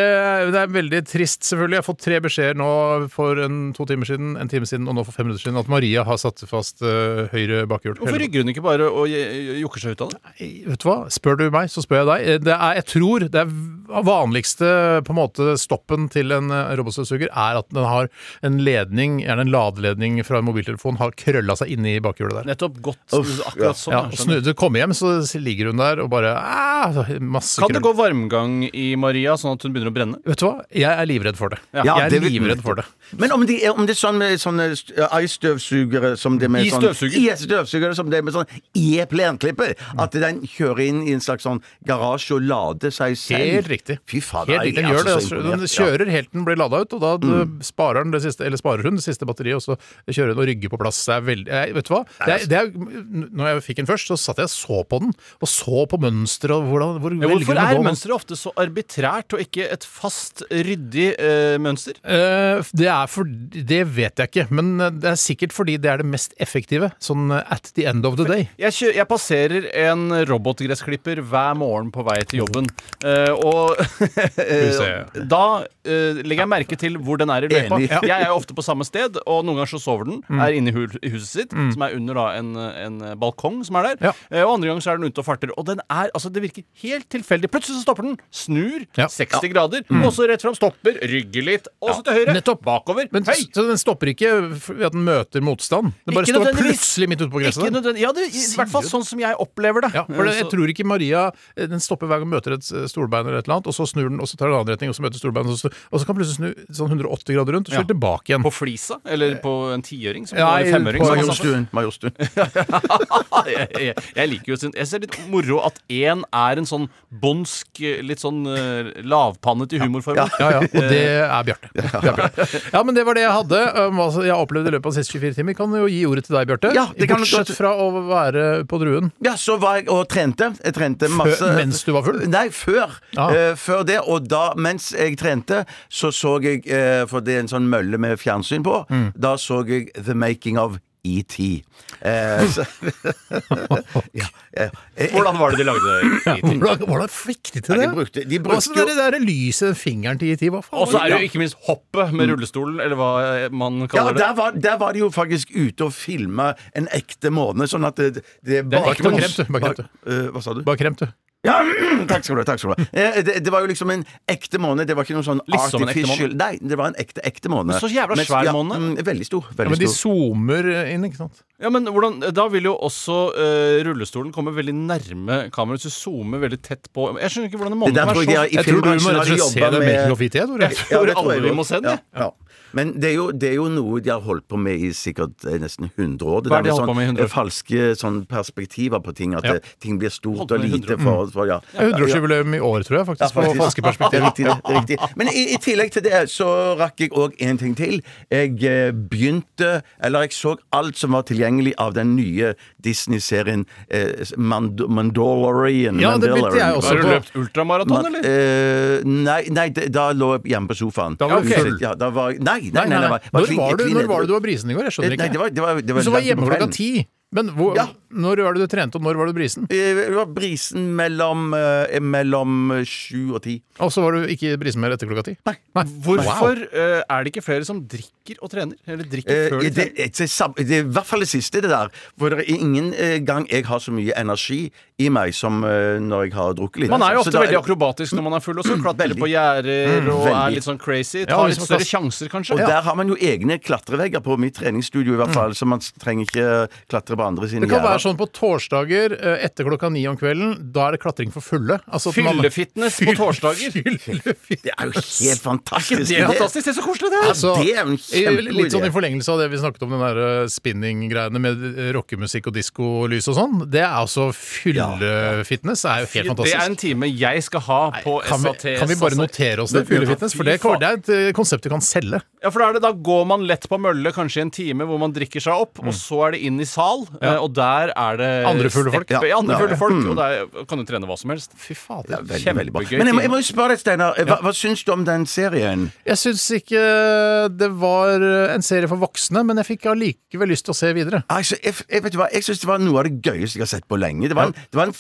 [SPEAKER 3] det er veldig trist, selvfølgelig. Jeg har fått tre beskjeder nå for en, to timer siden, en time siden og nå for fem minutter siden at Maria har satt fast eh, høyre bakhjul.
[SPEAKER 5] Hvorfor rygger hun ikke bare og j- jokker seg ut av det?
[SPEAKER 3] Vet du hva? Spør du meg, så spør jeg deg. Eh, Det er, jeg tror det er v- vanligste på en måte stoppen til en eh, robotstøvsuger er at den har en ledning, gjerne en ladeledning fra en mobiltelefon, har krølla seg inne i bakhjulet der.
[SPEAKER 5] Nettopp godt
[SPEAKER 4] Uff, ja.
[SPEAKER 5] akkurat sånn.
[SPEAKER 3] Ja,
[SPEAKER 5] jeg
[SPEAKER 3] og
[SPEAKER 5] skjønner.
[SPEAKER 3] snu, du kommer hjem, så ligger hun der og bare ah, masse
[SPEAKER 5] Kan det
[SPEAKER 3] krøll.
[SPEAKER 5] gå varmgang i Maria, sånn at hun begynner å brenne?
[SPEAKER 3] Vet du hva? Jeg er livredd for det.
[SPEAKER 5] Ja.
[SPEAKER 3] jeg er
[SPEAKER 4] det vil-
[SPEAKER 3] livredd for det.
[SPEAKER 4] Men om det er, om det er sånn med sånne st- eh, støvsugere som det med
[SPEAKER 5] I
[SPEAKER 4] sånn
[SPEAKER 5] støvsuger?
[SPEAKER 4] I støvsugere som det med sånn i plenklipper. At den kjører inn i en slags sånn garasje og lader seg selv.
[SPEAKER 3] Helt riktig.
[SPEAKER 4] Fy fader,
[SPEAKER 3] Helt
[SPEAKER 4] jeg
[SPEAKER 3] riktig. Den
[SPEAKER 4] er
[SPEAKER 3] gjør det.
[SPEAKER 4] altså så
[SPEAKER 3] Altså,
[SPEAKER 4] imponert. Mm.
[SPEAKER 3] den kjører helt til den blir lada ut, og da eh, sparer, den det siste, eller sparer hun det siste batteriet, og så kjører hun og rygger på plass. Det er veldig, jeg, vet du hva? Det
[SPEAKER 4] altså.
[SPEAKER 3] er, det er, når jeg fikk den først, så satt jeg og så på den, og så på mønsteret og hvordan hvor
[SPEAKER 5] Ja,
[SPEAKER 3] velger
[SPEAKER 5] hvorfor
[SPEAKER 3] den å
[SPEAKER 5] er
[SPEAKER 3] gå.
[SPEAKER 5] mønsteret ofte så arbitrært og ikke et fast, ryddig eh, mønster?
[SPEAKER 3] Eh, det er for Det vet jeg ikke, men eh, det er sikkert fordi det er det mest effektive. Sånn eh, at the end of the day.
[SPEAKER 5] Jeg, kjø jeg passerer en robotgressklipper hver morgen på vei til jobben. Eh, og
[SPEAKER 3] se.
[SPEAKER 5] da eh, legger jeg merke til hvor den er i løypa.
[SPEAKER 4] Enig.
[SPEAKER 5] Jeg er jo ofte på samme sted, og noen ganger ganger så sover den,
[SPEAKER 3] Mm.
[SPEAKER 5] er inne i hu- i huset sitt, som er under da en, en balkong som er der.
[SPEAKER 3] Ja.
[SPEAKER 5] Eh, Og andre ganger så er den ute og farter. Og den er, altså det virker helt tilfeldig. Plutselig så stopper den, snur
[SPEAKER 3] Ja. Mm.
[SPEAKER 5] 60 grader, og så rett fram stopper, rygger litt, og så til høyre,
[SPEAKER 3] Nettopp.
[SPEAKER 5] bakover.
[SPEAKER 3] Men,
[SPEAKER 5] Hei!
[SPEAKER 3] så den stopper ikke ved at den møter motstand? Den bare
[SPEAKER 5] Ikke
[SPEAKER 3] står
[SPEAKER 5] nødvendigvis.
[SPEAKER 3] plutselig midt ute på
[SPEAKER 5] Ikke
[SPEAKER 3] gresset? der?
[SPEAKER 5] nødvendig. Ja, det, i hvert fall sånn som jeg opplever det.
[SPEAKER 3] Ja, for det,
[SPEAKER 5] Eh,
[SPEAKER 3] jeg
[SPEAKER 5] så-
[SPEAKER 3] tror ikke Maria eh, Den stopper hver gang hun møter et eh, stolbein, eller et eller annet, og så snur den, og så tar den en annen retning, og så møter stolbeinet, og, så- og så kan den plutselig snu sånn 180 grader rundt, og så
[SPEAKER 5] Ja.
[SPEAKER 3] er den tilbake igjen.
[SPEAKER 5] På flisa? Eller på en tiøring? Som
[SPEAKER 3] Nei,
[SPEAKER 5] eller femøring?
[SPEAKER 3] på
[SPEAKER 5] som han sa.
[SPEAKER 4] Majorstuen. Majorstuen.
[SPEAKER 5] jeg, jeg, jeg liker jo sin- Jeg ser litt moro at én er en sånn bonsk, litt sånn eh, lavpannete humorform.
[SPEAKER 3] Ja, ja, og det er Bjarte. Det er Bjarte. Ja, men det var det jeg hadde. Um, altså, Jeg har opplevd i løpet av de siste 24 timer. Kan jo gi ordet til deg, Bjarte.
[SPEAKER 4] Ja, det kan du
[SPEAKER 3] Bortsett
[SPEAKER 4] godt-
[SPEAKER 3] fra å være på Druen.
[SPEAKER 4] Ja, så var jeg og trente. Jeg trente masse
[SPEAKER 3] mens du var full?
[SPEAKER 4] Nei, før.
[SPEAKER 3] Ah.
[SPEAKER 4] Eh, før det. Og da, mens jeg trente, så så jeg eh, For det er en sånn mølle med fjernsyn på.
[SPEAKER 3] Mm.
[SPEAKER 4] Da så jeg The Making of ET. Eh, så- ja, ja. Eh,
[SPEAKER 5] Hvordan var det de lagde det? i tid?
[SPEAKER 3] Hvordan hvordan fikk de til
[SPEAKER 4] Ja,
[SPEAKER 3] det?
[SPEAKER 4] de brukte- de brukte
[SPEAKER 3] altså, det der lyset, fingeren til IT, hva faen?
[SPEAKER 5] Og så er det
[SPEAKER 3] Ja.
[SPEAKER 5] jo ikke minst hoppet med rullestolen, eller hva eh, man
[SPEAKER 4] Ja,
[SPEAKER 5] kaller det.
[SPEAKER 4] der var, der var de jo faktisk ute og filma en ekte måne, sånn at det, det
[SPEAKER 3] ekte måne. Kremt, du. Bare kremt,
[SPEAKER 4] Eh, Hva sa du?
[SPEAKER 3] Bare kremt, du.
[SPEAKER 4] Ja, takk skal du ha. takk skal du ha Eh, det, det var jo liksom en ekte måne. Det var ikke noe sånn
[SPEAKER 5] Litt som en ekte
[SPEAKER 4] artificial Nei, det var en ekte ekte måne.
[SPEAKER 5] Men så jævla svær
[SPEAKER 4] ja,
[SPEAKER 5] måne.
[SPEAKER 4] mm, veldig stor.
[SPEAKER 3] Ja,
[SPEAKER 4] veldig
[SPEAKER 3] men de
[SPEAKER 4] stor.
[SPEAKER 3] zoomer inn, ikke sant?
[SPEAKER 5] Ja, men hvordan, Da vil jo også eh, rullestolen komme veldig nærme kameraet. Så zoomer veldig tett på Jeg skjønner ikke hvordan det
[SPEAKER 4] Det der
[SPEAKER 5] måneder
[SPEAKER 4] tror
[SPEAKER 5] er
[SPEAKER 4] jeg de har
[SPEAKER 5] sånn.
[SPEAKER 4] i
[SPEAKER 3] Jeg tror du må
[SPEAKER 4] filmbransjen har
[SPEAKER 3] rett og
[SPEAKER 4] de
[SPEAKER 3] slett se
[SPEAKER 4] jobbet
[SPEAKER 3] det
[SPEAKER 4] med-
[SPEAKER 3] Making of IT, Tore.
[SPEAKER 5] Jeg tror
[SPEAKER 4] det tror
[SPEAKER 5] alle
[SPEAKER 4] jeg
[SPEAKER 5] vi
[SPEAKER 4] også.
[SPEAKER 5] må se den,
[SPEAKER 4] Ja,
[SPEAKER 5] jeg.
[SPEAKER 4] ja. Men det er, jo, det er jo noe de har holdt på med i sikkert eh, nesten 100 år. Det
[SPEAKER 5] Hva er
[SPEAKER 4] der
[SPEAKER 5] det de har holdt på med i 100 år?
[SPEAKER 4] eh, falske sånn, perspektiver på ting. At
[SPEAKER 3] Ja.
[SPEAKER 4] eh, ting blir stort
[SPEAKER 5] Holdt på
[SPEAKER 4] og
[SPEAKER 5] med i Mm.
[SPEAKER 4] lite
[SPEAKER 5] 100
[SPEAKER 4] for, for ja.
[SPEAKER 3] Det er 100-årsjubileum i år, tror jeg, faktisk.
[SPEAKER 4] Ja,
[SPEAKER 3] På
[SPEAKER 4] faktisk.
[SPEAKER 3] falske perspektiv.
[SPEAKER 4] Riktig, det, riktig. Men i, i tillegg til det så rakk jeg òg en ting til. Jeg eh, begynte Eller jeg så alt som var tilgjengelig av den nye Disney-serien eh, Mand Mandalorian.
[SPEAKER 3] Ja, det begynte jeg også
[SPEAKER 5] Har du
[SPEAKER 3] på.
[SPEAKER 5] løpt ultramaraton,
[SPEAKER 4] Man-
[SPEAKER 5] eller?
[SPEAKER 4] eh, nei, nei det, da lå jeg hjemme på sofaen.
[SPEAKER 3] Da var du
[SPEAKER 4] Ja,
[SPEAKER 3] full.
[SPEAKER 4] Ja, da var, nei, nei, nei,
[SPEAKER 3] Nei, nei, nei.
[SPEAKER 4] var-
[SPEAKER 3] Når
[SPEAKER 4] klin-
[SPEAKER 3] var du,
[SPEAKER 4] klin-
[SPEAKER 3] når var det du var brisen i går? Jeg skjønner ikke.
[SPEAKER 4] Nei, det var, det var, det var
[SPEAKER 3] Så du var
[SPEAKER 4] langt på
[SPEAKER 3] hjemme klokka
[SPEAKER 4] kvelden.
[SPEAKER 3] ti. Men hvor,
[SPEAKER 4] Ja.
[SPEAKER 3] når var det du trente, og når var du brisen?
[SPEAKER 4] Eh, Det var brisen mellom, eh, mellom eh, sju og ti.
[SPEAKER 3] Og så var du ikke brisen mer etter klokka ti?
[SPEAKER 4] Nei.
[SPEAKER 5] Hvorfor eh, er det ikke flere som drikker og trener? Eller drikker
[SPEAKER 4] Eh,
[SPEAKER 5] før de
[SPEAKER 4] det,
[SPEAKER 5] trener?
[SPEAKER 4] det, det, sam- det er i hvert fall det siste, det der. For det er ingen eh, gang jeg har så mye energi i meg som eh, når jeg har drukket litt.
[SPEAKER 5] Man er jo
[SPEAKER 4] Så
[SPEAKER 5] ofte
[SPEAKER 4] da-
[SPEAKER 5] veldig akrobatisk når man er full også. Klatrer
[SPEAKER 4] Veldig.
[SPEAKER 5] på gjerder og er
[SPEAKER 4] veldig.
[SPEAKER 5] litt sånn crazy.
[SPEAKER 3] Ja,
[SPEAKER 5] Tar
[SPEAKER 3] hvis
[SPEAKER 5] litt
[SPEAKER 3] man
[SPEAKER 5] større
[SPEAKER 3] skal-
[SPEAKER 5] sjanser,
[SPEAKER 4] Og
[SPEAKER 5] kanskje.
[SPEAKER 4] der har man jo egne klatrevegger på mitt
[SPEAKER 5] Mm.
[SPEAKER 4] treningsstudio, i hvert fall, så man trenger ikke eh, klatre på andre sine
[SPEAKER 3] Det kan være
[SPEAKER 4] gjerder.
[SPEAKER 3] sånn på torsdager eh, etter klokka ni om kvelden. Da er det klatring for fulle. Altså, at man-
[SPEAKER 5] Fyllefitness på torsdager.
[SPEAKER 3] Fyllefitness.
[SPEAKER 4] Det er jo helt fantastisk.
[SPEAKER 5] Det er fantastisk. Se så koselig det er!
[SPEAKER 3] Altså,
[SPEAKER 4] det er jo en kjempegod
[SPEAKER 3] Litt sånn
[SPEAKER 4] idé.
[SPEAKER 3] i forlengelse av det vi snakket om, den der eh, spinning-greiene med eh, rockemusikk og diskolys og sånn. Det er altså fyllefitness. Det er jo
[SPEAKER 5] Det
[SPEAKER 3] helt fantastisk.
[SPEAKER 5] er en time jeg skal ha på
[SPEAKER 3] kan, vi,
[SPEAKER 5] SATS.
[SPEAKER 3] kan vi bare
[SPEAKER 5] altså.
[SPEAKER 3] notere oss det? Fyllefitness, for det,
[SPEAKER 5] Fy faen.
[SPEAKER 3] det er et eh, konsept du kan selge.
[SPEAKER 5] Ja, for da, er det, da går man lett på mølle kanskje i en time hvor man drikker seg opp, og så er det inn i sal, eh, og der er det
[SPEAKER 3] Andre fulle folk.
[SPEAKER 5] steppe- Ja, andre
[SPEAKER 4] Ja.
[SPEAKER 5] fulle folk, og der kan du trene hva som helst.
[SPEAKER 3] Fy fader.
[SPEAKER 4] Veldig, veldig bra.
[SPEAKER 5] Kjempegøy
[SPEAKER 4] Men jeg
[SPEAKER 5] film.
[SPEAKER 4] må, jeg må jo spørre deg, Steinar. eh, Hva, hva syns du om den serien?
[SPEAKER 3] Jeg syns ikke eh, det var eh, en serie for voksne, men jeg fikk allikevel lyst til å se videre.
[SPEAKER 4] Altså, jeg, jeg, vet du hva, jeg syns det var noe av det gøyeste jeg har sett på lenge. Det var en, det var en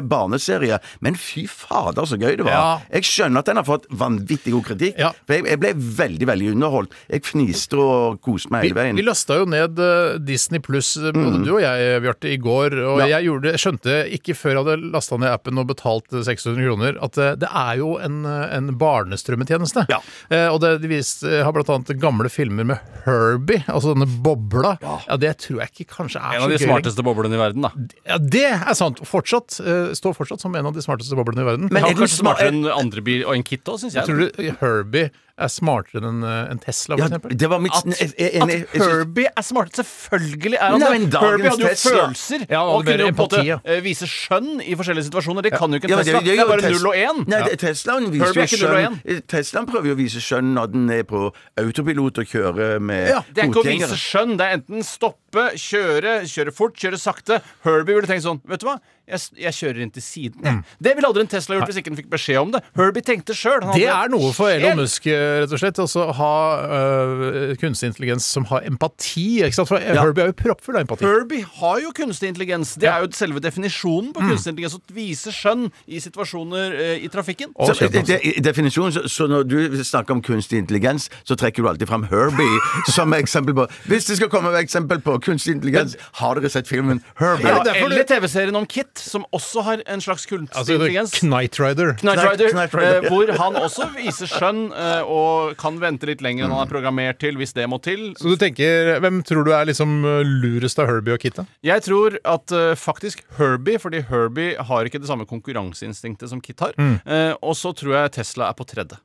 [SPEAKER 4] familie-barneserie, men fy fader, så gøy det var.
[SPEAKER 3] Ja.
[SPEAKER 4] Jeg skjønner at den har fått vanvittig god kritikk,
[SPEAKER 3] Ja.
[SPEAKER 4] for jeg, jeg ble veldig veldig underholdt. Jeg fniste og koste meg
[SPEAKER 3] Vi,
[SPEAKER 4] hele veien.
[SPEAKER 3] vi lasta jo ned eh, Disney pluss, eh, både du og jeg, Bjarte, i går. Og
[SPEAKER 4] Mm. Ja.
[SPEAKER 3] jeg gjorde, det- skjønte ikke før jeg hadde lasta ned appen og betalt eh, 600 kroner, at eh, det er jo en, eh, en barnestrømmetjeneste.
[SPEAKER 4] Ja.
[SPEAKER 3] Eh, og det, de vist, eh, har blant annet gamle filmer med Herbie, altså denne bobla. Ja, det tror jeg ikke kanskje er
[SPEAKER 5] En av de
[SPEAKER 3] så gøy. lenger.
[SPEAKER 5] smarteste boblene i verden, da.
[SPEAKER 3] Ja, det er sant. Fortsatt, eh, står fortsatt som en av de smarteste boblene i verden.
[SPEAKER 4] Men
[SPEAKER 5] Men
[SPEAKER 4] er
[SPEAKER 5] er
[SPEAKER 4] den smart-
[SPEAKER 5] smartere enn andre bil og en kit òg, syns jeg.
[SPEAKER 3] Jeg tror du Herbie er smartere enn eh, en Tesla, for
[SPEAKER 4] ja,
[SPEAKER 3] eksempel?
[SPEAKER 4] det var mitt
[SPEAKER 5] At,
[SPEAKER 4] jeg- jeg- jeg- jeg-
[SPEAKER 5] at Herbie er smart. Selvfølgelig er han
[SPEAKER 4] Nei, men
[SPEAKER 5] det.
[SPEAKER 4] dagens
[SPEAKER 5] Herbie hadde jo
[SPEAKER 4] Tesla-
[SPEAKER 5] følelser.
[SPEAKER 3] Ja, han
[SPEAKER 5] og
[SPEAKER 3] hadde
[SPEAKER 5] kunne jo på
[SPEAKER 3] mer
[SPEAKER 5] en måte
[SPEAKER 3] empati, ja.
[SPEAKER 5] eh, vise skjønn i forskjellige situasjoner. Det kan jo ikke en
[SPEAKER 4] Ja, men
[SPEAKER 5] Tesla. Det
[SPEAKER 4] gjør
[SPEAKER 5] er
[SPEAKER 4] jo
[SPEAKER 5] bare
[SPEAKER 4] Tes-
[SPEAKER 5] null og én.
[SPEAKER 4] Nei, det- Teslaen viser
[SPEAKER 5] Herbie er
[SPEAKER 4] jo
[SPEAKER 5] ikke null og
[SPEAKER 4] skjønn Teslaen prøver jo å vise skjønn når den er på autopilot og kjører med
[SPEAKER 5] Det er ikke å
[SPEAKER 4] fotgjengere.
[SPEAKER 5] vise skjønn. Det er enten stoppe hoppe, kjøre, kjøre fort, kjøre sakte. Herbie ville tenkt sånn Vet du hva? Jeg, s- jeg kjører inn til siden. jeg.» Det ville aldri en Tesla gjort hvis ikke den fikk beskjed om det. Herbie tenkte sjøl.
[SPEAKER 3] Det er noe for Elon Musk, eh, rett og slett. Altså ha øh, kunstig intelligens som har empati. Ikke sant? For Herbie er jo proppfull av empati.
[SPEAKER 5] Herbie har jo kunstig intelligens. Det
[SPEAKER 3] Ja.
[SPEAKER 5] er jo selve definisjonen på kunstig intelligens. Å vise skjønn i situasjoner eh, i trafikken.
[SPEAKER 3] Og
[SPEAKER 4] Så,
[SPEAKER 3] kjøp,
[SPEAKER 4] det,
[SPEAKER 3] altså.
[SPEAKER 4] det, i definisjonen, så, så når du snakker om kunstig intelligens, så trekker du alltid fram Herbie som eksempel på Hvis det skal komme et eksempel på kunstig intelligens, har dere sett filmen Herbie?
[SPEAKER 5] Ja,
[SPEAKER 3] det derfor du-
[SPEAKER 5] eller TV-serien om Kit, som også har en slags kunstig
[SPEAKER 3] Altså,
[SPEAKER 5] intelligens.
[SPEAKER 3] Knight Rider.
[SPEAKER 5] Knight Rider,
[SPEAKER 4] Knight Rider,
[SPEAKER 5] eh, hvor han også viser skjønn eh, og kan vente litt lenger enn han er programmert til, hvis det må til.
[SPEAKER 3] Så du tenker, Hvem tror du er liksom øh, lurest av Herbie og Kitta?
[SPEAKER 5] Jeg tror at eh, faktisk Herbie, fordi Herbie har ikke det samme konkurranseinstinktet som Kit har. Eh, og så tror jeg Tesla er på tredje.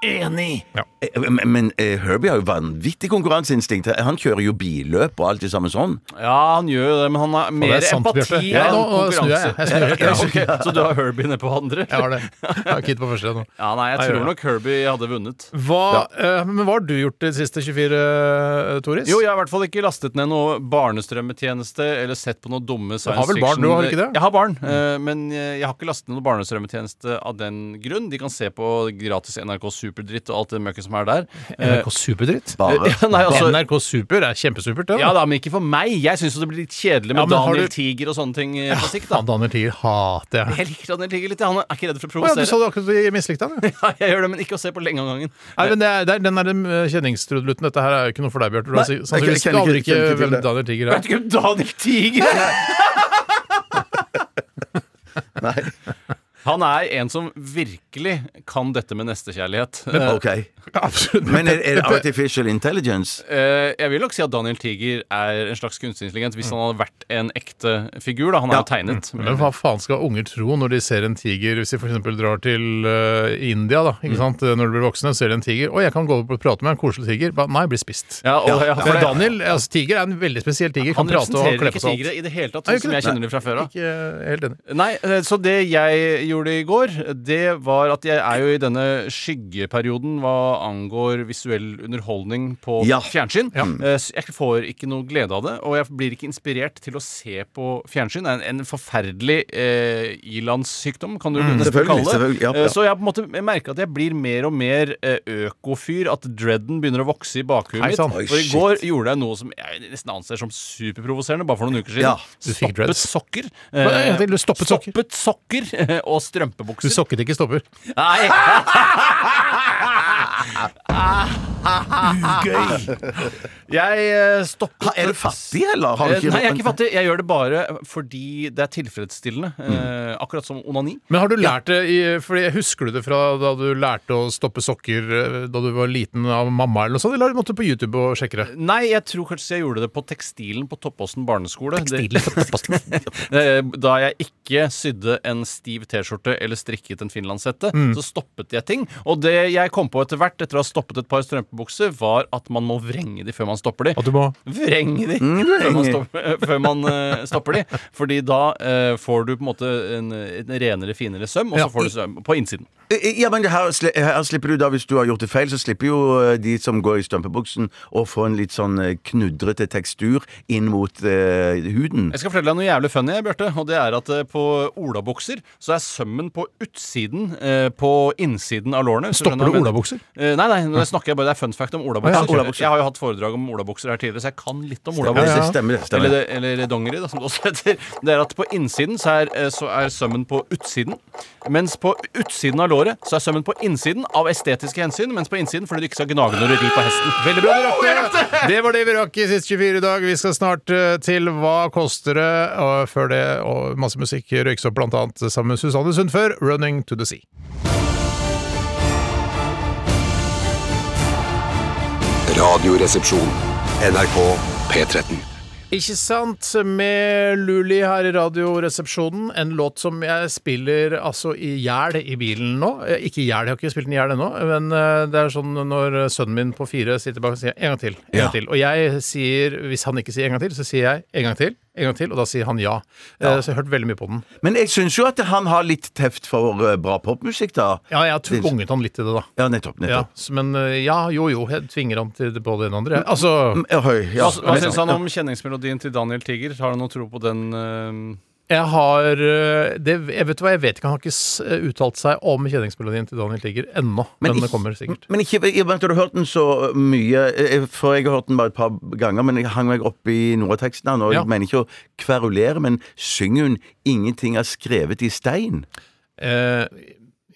[SPEAKER 4] Enig!
[SPEAKER 3] Ja.
[SPEAKER 4] Men, men eh, Herbie har jo vanvittig konkurranseinstinkt. Han kjører jo billøp og alt det samme sånn.
[SPEAKER 5] Ja, han gjør jo det, men han har mer
[SPEAKER 3] det er sant,
[SPEAKER 5] empati
[SPEAKER 3] Bjarte.
[SPEAKER 5] enn
[SPEAKER 3] Ja, nå- nå snur jeg.
[SPEAKER 5] konkurranse.
[SPEAKER 3] Jeg snur helt.
[SPEAKER 5] Ja, ok, Så du har Herbie nede på andre?
[SPEAKER 3] Jeg har det. Jeg har Kit på første nå.
[SPEAKER 5] Ja, nei, jeg
[SPEAKER 3] Nei, ja,
[SPEAKER 5] tror
[SPEAKER 3] ja.
[SPEAKER 5] nok Herbie hadde vunnet.
[SPEAKER 3] Hva, øh, men hva har du gjort de siste 24, Toris?
[SPEAKER 5] Jo, jeg har i hvert fall ikke lastet ned noe barnestrømmetjeneste eller sett på noe dumme science
[SPEAKER 3] har vel barn,
[SPEAKER 5] fiction.
[SPEAKER 3] du har ikke det?
[SPEAKER 5] Jeg har barn, eh, men eh, jeg har ikke lastet ned noe barnestrømmetjeneste av den grunn. De kan se på gratis NRK Superdritt og alt det møkket som er der. Eh,
[SPEAKER 3] NRK Superdritt?
[SPEAKER 4] Bare.
[SPEAKER 5] ja, nei, altså,
[SPEAKER 3] NRK Super er kjempesupert, det.
[SPEAKER 5] ja da, men ikke for meg. Jeg syns det blir litt kjedelig med
[SPEAKER 3] Ja, men har
[SPEAKER 5] Daniel
[SPEAKER 3] du-
[SPEAKER 5] Tiger og sånne ting eh, på sikt.
[SPEAKER 3] Ja,
[SPEAKER 5] da
[SPEAKER 3] Daniel Tier hater jeg.
[SPEAKER 5] Jeg liker Daniel Tiger litt. jeg. Han er ikke redd for å
[SPEAKER 3] Å ja, du
[SPEAKER 5] provosere.
[SPEAKER 3] sa det akkurat du mislikte han, jo.
[SPEAKER 5] Ja, jeg gjør det, men ikke å se på lenge av gangen.
[SPEAKER 3] Nei, men det er, det er, den der eh, kjenningstrudelutten, dette her er jo ikke noe for deg, Bjarte. Du har
[SPEAKER 4] Nei,
[SPEAKER 3] si-
[SPEAKER 4] jeg kjenner
[SPEAKER 3] sannsynligvis
[SPEAKER 4] ikke-
[SPEAKER 3] aldri ikke
[SPEAKER 4] kjenner ikke til
[SPEAKER 3] hvem
[SPEAKER 4] det.
[SPEAKER 3] Daniel Tiger er.
[SPEAKER 5] ikke hvem Daniel Tiger er!
[SPEAKER 4] Nei.
[SPEAKER 5] Han er en som virkelig kan dette med nestekjærlighet.
[SPEAKER 4] OK.
[SPEAKER 3] Absolutt.
[SPEAKER 4] Men er, er det artificial intelligence?
[SPEAKER 5] Eh, jeg vil nok si at Daniel Tiger er en slags kunstig intelligens
[SPEAKER 3] Mm.
[SPEAKER 5] hvis han hadde vært en ekte figur. da, Han er jo tegnet.
[SPEAKER 3] Men hva faen skal unger tro når de ser en tiger, hvis de f.eks. drar til eh, India, da, ikke sant? når de blir voksne, ser de en tiger. 'Å, jeg kan gå opp og prate med en koselig tiger.' Ba, nei, blir spist.
[SPEAKER 5] Ja, og, ja,
[SPEAKER 3] For
[SPEAKER 5] for Dan
[SPEAKER 3] Daniel, altså Tiger er en veldig spesiell tiger. Kan
[SPEAKER 5] han
[SPEAKER 3] prate og
[SPEAKER 5] representerer
[SPEAKER 3] kle på
[SPEAKER 5] ikke
[SPEAKER 3] seg alt.
[SPEAKER 5] tigre i det hele tatt,
[SPEAKER 3] Nei,
[SPEAKER 5] sånn
[SPEAKER 3] ikke
[SPEAKER 5] som
[SPEAKER 3] det.
[SPEAKER 5] jeg kjenner dem fra før av.
[SPEAKER 3] Ikke eh, helt enig.
[SPEAKER 5] Nei, eh, så det jeg gjorde i går, det var at jeg er jo i denne skyggeperioden hva angår visuell underholdning på
[SPEAKER 4] Ja.
[SPEAKER 5] fjernsyn. Eh, så Jeg får ikke noe glede av det, og jeg blir ikke inspirert til å se på fjernsyn. Det er en, en forferdelig eh, ilandssykdom, kan du nesten
[SPEAKER 4] Mm, selvfølgelig,
[SPEAKER 5] kalle det.
[SPEAKER 4] selvfølgelig, ja,
[SPEAKER 5] Eh,
[SPEAKER 4] ja.
[SPEAKER 5] Så jeg på en måte jeg merker at jeg blir mer og mer eh, økofyr, at dreaden begynner å vokse i bakhuet
[SPEAKER 3] Hei,
[SPEAKER 5] mitt.
[SPEAKER 3] sann.
[SPEAKER 5] Og
[SPEAKER 3] Oi,
[SPEAKER 5] i går gjorde jeg noe som jeg nesten anser som superprovoserende, bare for noen uker siden.
[SPEAKER 4] Ja,
[SPEAKER 3] du fikk dreads.
[SPEAKER 5] Stoppet sokker.
[SPEAKER 3] Hva, jeg tenkte du stoppet sokker?
[SPEAKER 5] Eh, Stoppet sokker eh, og
[SPEAKER 3] Du
[SPEAKER 5] strømpebukser.
[SPEAKER 3] sokket ikke stopper.
[SPEAKER 5] Nei! Jeg eh, stoppet
[SPEAKER 4] Ha, er du fattig, eller? Har du
[SPEAKER 5] Eh,
[SPEAKER 4] ikke-
[SPEAKER 5] Nei, jeg er ikke fattig. Jeg gjør det bare fordi det er tilfredsstillende. eh, Akkurat som onani.
[SPEAKER 3] Men har du lært det i Fordi jeg Husker du det fra da du lærte å stoppe sokker eh, da du var liten av mamma, eller noe sånt? Eller måtte du på YouTube og sjekke det?
[SPEAKER 5] Nei, jeg tror kanskje jeg gjorde det på Tekstilen på Toppåsen barneskole. Det- Eh, da jeg ikke sydde en stiv T-skjorte eller strikket en finlandshette,
[SPEAKER 3] Mm.
[SPEAKER 5] så stoppet jeg ting. Og det jeg kom på etter hvert, etter å ha stoppet et par strømpebukser, var at man må vrenge de før man stopper de.
[SPEAKER 3] At du må
[SPEAKER 5] Vrenge de før man, stopper, før man eh, stopper de. Fordi da eh, får du på en måte en, en renere, finere søm, og
[SPEAKER 3] Ja.
[SPEAKER 5] så får du søm på innsiden.
[SPEAKER 4] Ja, men her, sli- her slipper du da, hvis du har gjort det feil, så slipper jo eh, de som går i strømpebuksen å få en litt sånn eh, knudrete tekstur inn mot eh, huden.
[SPEAKER 5] Jeg skal fortelle deg noe jævlig funny, Bjarte. Og det er at eh, på olabukser så er sømmen på utsiden eh, på innsiden av lårene. hvis du skjønner
[SPEAKER 3] Stopper du
[SPEAKER 5] hva jeg mener.
[SPEAKER 3] olabukser?
[SPEAKER 5] Eh, nei, nei, nå snakker jeg bare, det er fun fact om olabukser.
[SPEAKER 3] Ja,
[SPEAKER 4] olabukser.
[SPEAKER 5] Jeg har jo hatt foredrag om olabukser her tidligere, så jeg kan litt om
[SPEAKER 4] Ja,
[SPEAKER 5] olabukser.
[SPEAKER 4] ja. Stemmer, det,
[SPEAKER 5] Eller,
[SPEAKER 4] stemmer.
[SPEAKER 5] det- eller dongeri, da, som det også heter. Det er at på innsiden så er, eh, så er sømmen på utsiden. Mens på utsiden av låret så er sømmen på innsiden av estetiske hensyn. Mens på innsiden fordi du ikke skal gnage når du rir på hesten.
[SPEAKER 3] Veldig bra, vi rakk det! Det var det vi rakk i siste 24 i dag. Vi skal snart eh, til Hva koster det? Og før det og masse musikk røykes opp, blant annet sammen med Susanne Sundfør, 'Running to the Sea'.
[SPEAKER 2] Radioresepsjon. NRK P13.
[SPEAKER 3] Ikke sant? Med Luli her i Radioresepsjonen. En låt som jeg spiller altså i hjel i bilen nå. Eh, Ikke i hjel, jeg har ikke spilt den i hjel ennå, men eh, det er sånn når sønnen min på fire sitter bak og sier 'en gang til', en gang til. Og jeg sier, hvis han ikke sier 'en gang til', så sier jeg 'en gang til', en gang til, og da sier han ja. Eh, Så jeg har hørt veldig mye på den.
[SPEAKER 4] Men jeg syns jo at han har litt teft for eh, bra popmusikk, da.
[SPEAKER 3] Ja, jeg har tvunget han litt til det, da.
[SPEAKER 4] Ja, nettopp.
[SPEAKER 3] Ja,
[SPEAKER 4] nettopp.
[SPEAKER 3] s- men eh, ja, jo jo, jeg tvinger han til det på det ene og andre. jeg. Altså
[SPEAKER 4] Ja. Mm, eh, Høy, ja.
[SPEAKER 5] Hva, hva syns han om kjenningsmelodien til Daniel Tiger? Har du noe tro på den? eh,
[SPEAKER 3] Jeg har eh, det, jeg Vet du hva, jeg vet ikke, han har ikke s- eh, uttalt seg om kjenningsmelodien til Daniel Tiger ennå. Men,
[SPEAKER 4] ikke-
[SPEAKER 3] det kommer sikkert.
[SPEAKER 4] Men ikke, i og med at du har hørt den så mye eh, For jeg har hørt den bare et par ganger, men jeg hang meg opp i noe av teksten. her nå,
[SPEAKER 3] Ja.
[SPEAKER 4] Jeg mener ikke å kverulere, men synger hun 'Ingenting er skrevet i stein'?
[SPEAKER 3] Eh,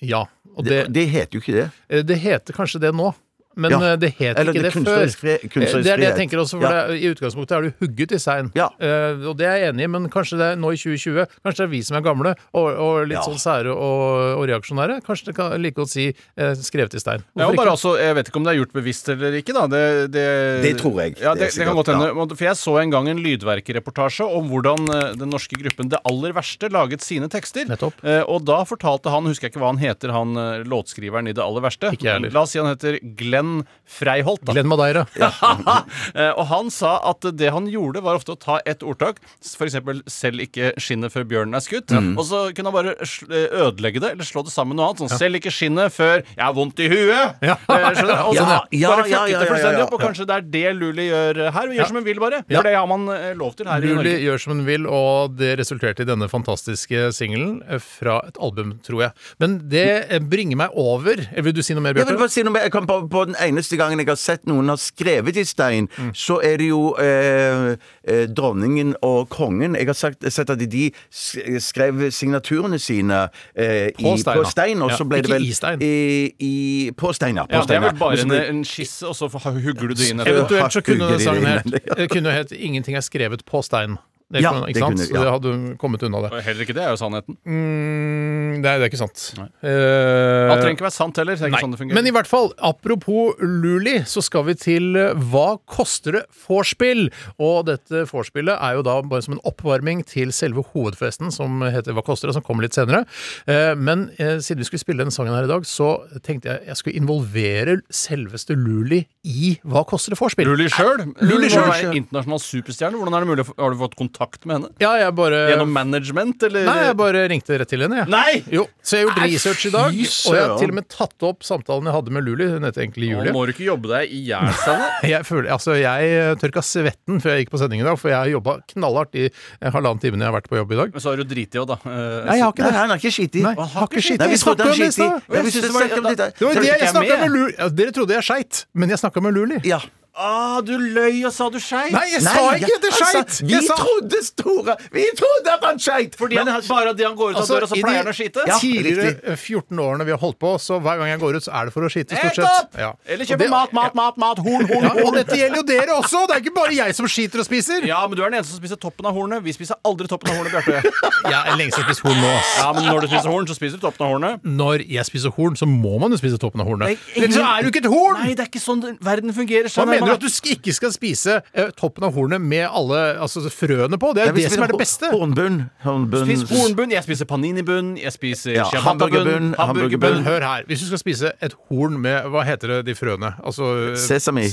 [SPEAKER 3] ja. Og det,
[SPEAKER 4] Mm. Det, det heter jo ikke det.
[SPEAKER 3] eh, det heter kanskje det nå. Men
[SPEAKER 4] Ja.
[SPEAKER 3] eh, det het
[SPEAKER 4] Eller
[SPEAKER 3] ikke det,
[SPEAKER 4] det
[SPEAKER 3] før.
[SPEAKER 4] kunstnerisk fri-
[SPEAKER 3] Eh,
[SPEAKER 4] kunstnerisk
[SPEAKER 3] det er det jeg
[SPEAKER 4] frihet.
[SPEAKER 3] tenker også, for
[SPEAKER 4] Ja.
[SPEAKER 3] det, er- i utgangspunktet er du hugget i stein.
[SPEAKER 4] Ja.
[SPEAKER 3] Eh, og det er jeg enig i, men kanskje det er nå i 2020, kanskje det er vi som er gamle og, og litt
[SPEAKER 4] Ja.
[SPEAKER 3] sånn sære og, og reaksjonære. Kanskje det kan like godt si eh, skrevet i stein.
[SPEAKER 5] Ja,
[SPEAKER 3] Hvorfor
[SPEAKER 5] og bare
[SPEAKER 3] ikke?
[SPEAKER 5] også, jeg vet ikke om det er gjort bevisst eller ikke. da Det, det,
[SPEAKER 4] Det tror jeg.
[SPEAKER 5] Ja,
[SPEAKER 4] Det er
[SPEAKER 5] det, det kan
[SPEAKER 4] sikkert,
[SPEAKER 5] godt hende. For jeg så en gang en lydverkereportasje om hvordan eh, den norske gruppen Det aller verste laget sine tekster.
[SPEAKER 3] Nettopp.
[SPEAKER 5] Eh, Og da fortalte han, husker jeg ikke hva han heter, han eh, låtskriveren i Det aller verste.
[SPEAKER 3] Ikke jeg heller.
[SPEAKER 5] La oss si han heter Glenn Freiholt. da.
[SPEAKER 3] Glenn Madeira.
[SPEAKER 5] Eh, og han sa at det han gjorde, var ofte å ta ett ordtak, f.eks. 'selv ikke skinnet før bjørnen er skutt', og så kunne han bare sl- eh, ødelegge det eller slå det sammen med noe annet. Sånn 'selv ikke skinnet før jeg har vondt i huet'.
[SPEAKER 3] Ja.
[SPEAKER 5] Eh, skjønner du? Og
[SPEAKER 4] Ja,
[SPEAKER 5] sånn,
[SPEAKER 4] ja,
[SPEAKER 5] bare
[SPEAKER 4] ja,
[SPEAKER 5] fucket
[SPEAKER 4] ja,
[SPEAKER 5] det
[SPEAKER 4] ja,
[SPEAKER 5] fullstendig
[SPEAKER 4] ja,
[SPEAKER 5] opp, og
[SPEAKER 4] ja.
[SPEAKER 5] kanskje det er det Luli gjør eh, her. Gjør som hun vil, bare.
[SPEAKER 3] Ja.
[SPEAKER 5] For det har man eh, lov til her i
[SPEAKER 3] Luli
[SPEAKER 5] Norge.
[SPEAKER 3] gjør som hun vil, og det resulterte i denne fantastiske singelen eh, fra et album, tror jeg. Men det eh, bringer meg over Eh, Vil du si noe mer,
[SPEAKER 4] Jeg vil
[SPEAKER 3] Bjarte?
[SPEAKER 4] bare si noe mer. Jeg kom på, på den eneste gangen jeg har sett noen har skrevet i stein, så er det jo eh, eh, dronningen og kongen. Jeg har sagt, sett at de s- skrev signaturene sine eh,
[SPEAKER 3] På
[SPEAKER 4] i,
[SPEAKER 3] stein,
[SPEAKER 4] på
[SPEAKER 3] da.
[SPEAKER 4] stein, og
[SPEAKER 3] Ja,
[SPEAKER 4] så ble
[SPEAKER 3] ikke
[SPEAKER 4] det vel
[SPEAKER 3] i stein.
[SPEAKER 4] I, i, på stein, ja. På
[SPEAKER 5] Ja, det
[SPEAKER 4] stein,
[SPEAKER 5] er vel
[SPEAKER 4] Og
[SPEAKER 5] bare
[SPEAKER 4] så
[SPEAKER 5] en,
[SPEAKER 4] ble-
[SPEAKER 5] en skisse, og så hugger du det inn etterpå.
[SPEAKER 3] Eventuelt så kunne
[SPEAKER 4] Hardt
[SPEAKER 3] denne sangen
[SPEAKER 4] hugger i
[SPEAKER 3] het eh, kunne het 'Ingenting er skrevet på stein'. Det
[SPEAKER 4] Ja,
[SPEAKER 3] kunne,
[SPEAKER 4] det
[SPEAKER 3] ikke sant? Så
[SPEAKER 4] kunne-
[SPEAKER 3] det
[SPEAKER 4] ja.
[SPEAKER 3] hadde hun kommet unna det.
[SPEAKER 5] Heller ikke det er jo sannheten.
[SPEAKER 3] Mm, nei, det er ikke sant.
[SPEAKER 5] Alt
[SPEAKER 3] Eh,
[SPEAKER 5] trenger ikke være sant heller. Det er ikke sånn det fungerer.
[SPEAKER 3] Men i hvert fall, apropos Luli, så skal vi til eh, Hva koster det vorspiel? Og dette vorspielet er jo da bare som en oppvarming til selve hovedfesten, som heter Hva koster det?, som kommer litt senere. Eh, Men eh, siden vi skulle spille denne sangen her i dag, så tenkte jeg jeg skulle involvere selveste Luli i Hva koster det vorspiel?
[SPEAKER 5] Luli sjøl? Hun
[SPEAKER 3] Luli
[SPEAKER 5] må
[SPEAKER 3] selv.
[SPEAKER 5] være internasjonal superstjerne. Hvordan er det mulig? å få- Har du fått kontakt med henne?
[SPEAKER 3] Ja, jeg bare
[SPEAKER 5] Gjennom management, eller?
[SPEAKER 3] Nei, jeg bare ringte rett til henne, jeg.
[SPEAKER 5] Nei!
[SPEAKER 3] Jo, så jeg har gjort research i dag,
[SPEAKER 4] fy
[SPEAKER 3] og jeg har
[SPEAKER 4] søren.
[SPEAKER 3] til og med tatt opp samtalen jeg hadde med Luli. Hun heter egentlig
[SPEAKER 5] Nå
[SPEAKER 3] Julie.
[SPEAKER 5] må du ikke jobbe deg i hjel, Steinar.
[SPEAKER 3] Jeg, føler, altså, jeg tørka svetten før jeg gikk på sending i dag, for jeg har jobba knallhardt i eh, halvannen timen jeg har vært på jobb i dag.
[SPEAKER 5] Men så har du driti òg, da. Eh,
[SPEAKER 3] Nei, jeg har ikke
[SPEAKER 4] Nei,
[SPEAKER 3] det.
[SPEAKER 4] han har ikke skitt i.
[SPEAKER 3] Nei, han har ikke skitt i.
[SPEAKER 4] Nei, vi
[SPEAKER 3] Jeg
[SPEAKER 4] trodde
[SPEAKER 3] snakket
[SPEAKER 4] han
[SPEAKER 3] om det i
[SPEAKER 4] skitt i.
[SPEAKER 3] stad.
[SPEAKER 4] Ja, vi
[SPEAKER 5] synes det
[SPEAKER 4] snakket
[SPEAKER 5] var-
[SPEAKER 4] om det i-
[SPEAKER 3] Det var jo
[SPEAKER 5] Tror
[SPEAKER 3] det
[SPEAKER 5] ikke
[SPEAKER 3] jeg
[SPEAKER 5] jeg er
[SPEAKER 3] snakka
[SPEAKER 5] med.
[SPEAKER 3] med Luli. Ja, dere trodde jeg skeit, men jeg snakka med Luli.
[SPEAKER 4] Ja.
[SPEAKER 5] Ah, du løy og sa du skeit!
[SPEAKER 3] Nei, jeg sa ikke det!
[SPEAKER 4] altså,
[SPEAKER 3] Skeit!
[SPEAKER 4] Vi
[SPEAKER 3] Jeg sa
[SPEAKER 4] trodde, Store! Vi trodde at han skeit!
[SPEAKER 5] Fordi han, bare det han går ut av
[SPEAKER 3] Altså,
[SPEAKER 5] døra, så
[SPEAKER 3] i de-
[SPEAKER 5] pleier han å skite?
[SPEAKER 4] Ja.
[SPEAKER 3] tidligere
[SPEAKER 4] riktig.
[SPEAKER 3] eh, 14 årene vi har holdt på, så hver gang jeg går ut, så er det for å skite, stort
[SPEAKER 5] Nettopp!
[SPEAKER 3] sett. Ja.
[SPEAKER 5] Eller
[SPEAKER 3] Og
[SPEAKER 5] kjøpe
[SPEAKER 3] det-
[SPEAKER 5] mat, mat, mat, mat, horn, horn,
[SPEAKER 3] Ja, og
[SPEAKER 5] horn.
[SPEAKER 3] dette gjelder jo dere også! Det er ikke bare jeg som skiter og spiser.
[SPEAKER 5] Ja, men du er den eneste som spiser toppen av hornet. Vi spiser aldri toppen av hornet, Bjarte.
[SPEAKER 3] Jeg er lengst å spise horn nå, ass.
[SPEAKER 5] Ja, men når du spiser horn, så spiser du toppen av hornet.
[SPEAKER 3] Når jeg spiser horn, så må man jo spise toppen av hornet.
[SPEAKER 5] Nei,
[SPEAKER 3] Ellers så er det jo ikke et horn!
[SPEAKER 5] Nei, det er ikke sånn verden fungerer.
[SPEAKER 3] Hva
[SPEAKER 5] Steinar.
[SPEAKER 3] mener du
[SPEAKER 5] Man-
[SPEAKER 3] at du sk- ikke skal spise eh, toppen av hornet med alle altså, frøene på? Det er jo det som er det beste.
[SPEAKER 4] Hornbunn. Hornbunn.
[SPEAKER 5] Spis hornbunn, jeg spiser paninibunn, jeg spiser
[SPEAKER 4] Ja,
[SPEAKER 5] ciabattabunn,
[SPEAKER 4] hamburgerbunn,
[SPEAKER 5] hamburgerbunn
[SPEAKER 3] Men hør her, hvis du skal spise et horn med Hva heter det, de frøene? Altså, eh,
[SPEAKER 4] Sesame.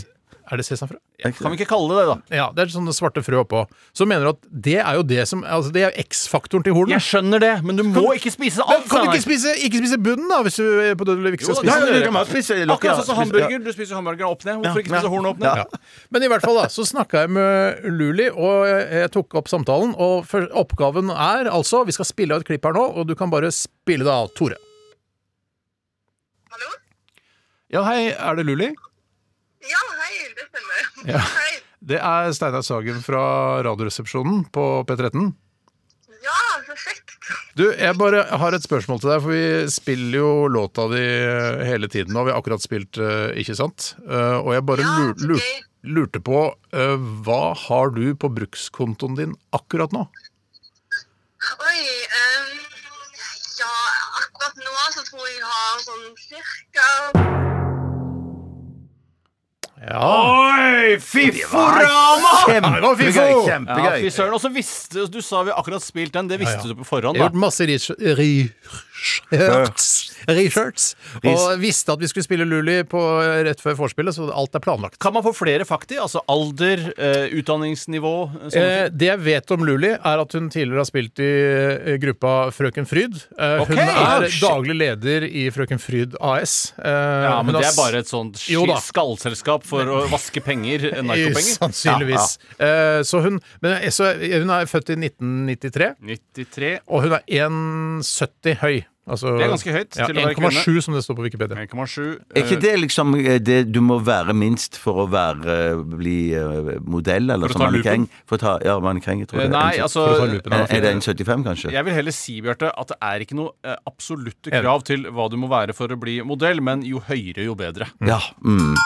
[SPEAKER 3] er det sesamfrø?
[SPEAKER 5] Kan vi ikke kalle det det, da?
[SPEAKER 3] Ja, det er sånne svarte frø oppå. Så mener du at det er jo det som altså, Det er jo X-faktoren til hornet.
[SPEAKER 5] Jeg skjønner det, men du må ikke spise
[SPEAKER 3] Men
[SPEAKER 5] alt.
[SPEAKER 3] kan du
[SPEAKER 5] Steinar.
[SPEAKER 3] ikke spise, ikke spise bunnen, da, hvis du eh, på Dødelig ikke skal
[SPEAKER 5] Jo, det
[SPEAKER 3] spise
[SPEAKER 5] er jo
[SPEAKER 3] den?
[SPEAKER 5] det du kan bare Akkurat sånn som
[SPEAKER 4] Ja.
[SPEAKER 5] hamburger. Du spiser hamburgeren opp ned. Hvorfor ikke spise hornet opp ned?
[SPEAKER 3] Ja. Men i hvert fall da, så snakka jeg med Luli, og jeg tok opp samtalen. Og før- oppgaven er altså Vi skal spille av et klipp her nå, og du kan bare spille det av, Tore.
[SPEAKER 6] Hallo?
[SPEAKER 3] Ja, hei, er det Luli?
[SPEAKER 6] Ja, hei, det stemmer.
[SPEAKER 3] Ja.
[SPEAKER 6] Hei.
[SPEAKER 3] Det er Steinar Sagen fra Radioresepsjonen på P13.
[SPEAKER 6] Ja, så kjekt.
[SPEAKER 3] Du, jeg bare har et spørsmål til deg, for vi spiller jo låta di eh, hele tiden nå. Vi har akkurat spilt eh, Ikke sant? Eh, Og jeg bare
[SPEAKER 6] Ja,
[SPEAKER 3] lur-
[SPEAKER 6] så
[SPEAKER 3] lur-
[SPEAKER 6] gøy.
[SPEAKER 3] lurte på eh, Hva har du på brukskontoen din akkurat nå?
[SPEAKER 6] Oi, ehm, ja, akkurat nå så tror jeg jeg har sånn cirka
[SPEAKER 3] Ja.
[SPEAKER 5] Oi, fifforama!
[SPEAKER 4] Kjempegøy!
[SPEAKER 5] Ja,
[SPEAKER 4] kjempegøy.
[SPEAKER 5] fy søren. Og så visste du sa vi akkurat spilt den. Det visste
[SPEAKER 3] Ja, ja.
[SPEAKER 5] du på forhånd,
[SPEAKER 3] Jeg
[SPEAKER 5] da.
[SPEAKER 3] har gjort masse research. Reshirts. Og visste at vi skulle spille Luli på, eh, rett før vorspielet, så alt er planlagt.
[SPEAKER 5] Kan man få flere fakti? Altså alder, eh, utdanningsnivå eh, sånne
[SPEAKER 3] Eh, det jeg vet om Luli, er at hun tidligere har spilt i eh, gruppa Frøken Fryd. Eh,
[SPEAKER 5] Ok.
[SPEAKER 3] Hun er
[SPEAKER 5] Ah, shit.
[SPEAKER 3] daglig leder i Frøken Fryd AS. Eh,
[SPEAKER 5] Ja,
[SPEAKER 3] hun
[SPEAKER 5] men det
[SPEAKER 3] har
[SPEAKER 5] er bare et sånt
[SPEAKER 3] Jo da.
[SPEAKER 5] sk- skallselskap for å vaske penger, eh, narkopenger.
[SPEAKER 3] Sannsynligvis. Eh, så hun, men, jeg- så hun er født i 1993,
[SPEAKER 5] Ja, ja. 93
[SPEAKER 3] og hun er 1,70 høy. Altså,
[SPEAKER 5] Det er ganske høyt
[SPEAKER 3] Ja,
[SPEAKER 5] til å være
[SPEAKER 3] 1,7 som det står på Wikipedia.
[SPEAKER 5] 1,7.
[SPEAKER 4] Er ikke
[SPEAKER 5] eh,
[SPEAKER 4] det liksom eh, det du må være minst for å være, bli eh, modell
[SPEAKER 5] å
[SPEAKER 4] eller som
[SPEAKER 5] ta
[SPEAKER 4] mannekeng? For å ta ja, mannekeng, jeg tror det. er
[SPEAKER 5] Nei,
[SPEAKER 4] en-
[SPEAKER 5] altså
[SPEAKER 3] For å ta lupen av.
[SPEAKER 4] Er er det en 75, kanskje?
[SPEAKER 5] Jeg vil heller si, Bjarte, at det er ikke noe eh, absolutte krav til hva du må være for å bli modell, men jo høyere, jo bedre.
[SPEAKER 4] Ja. Mm.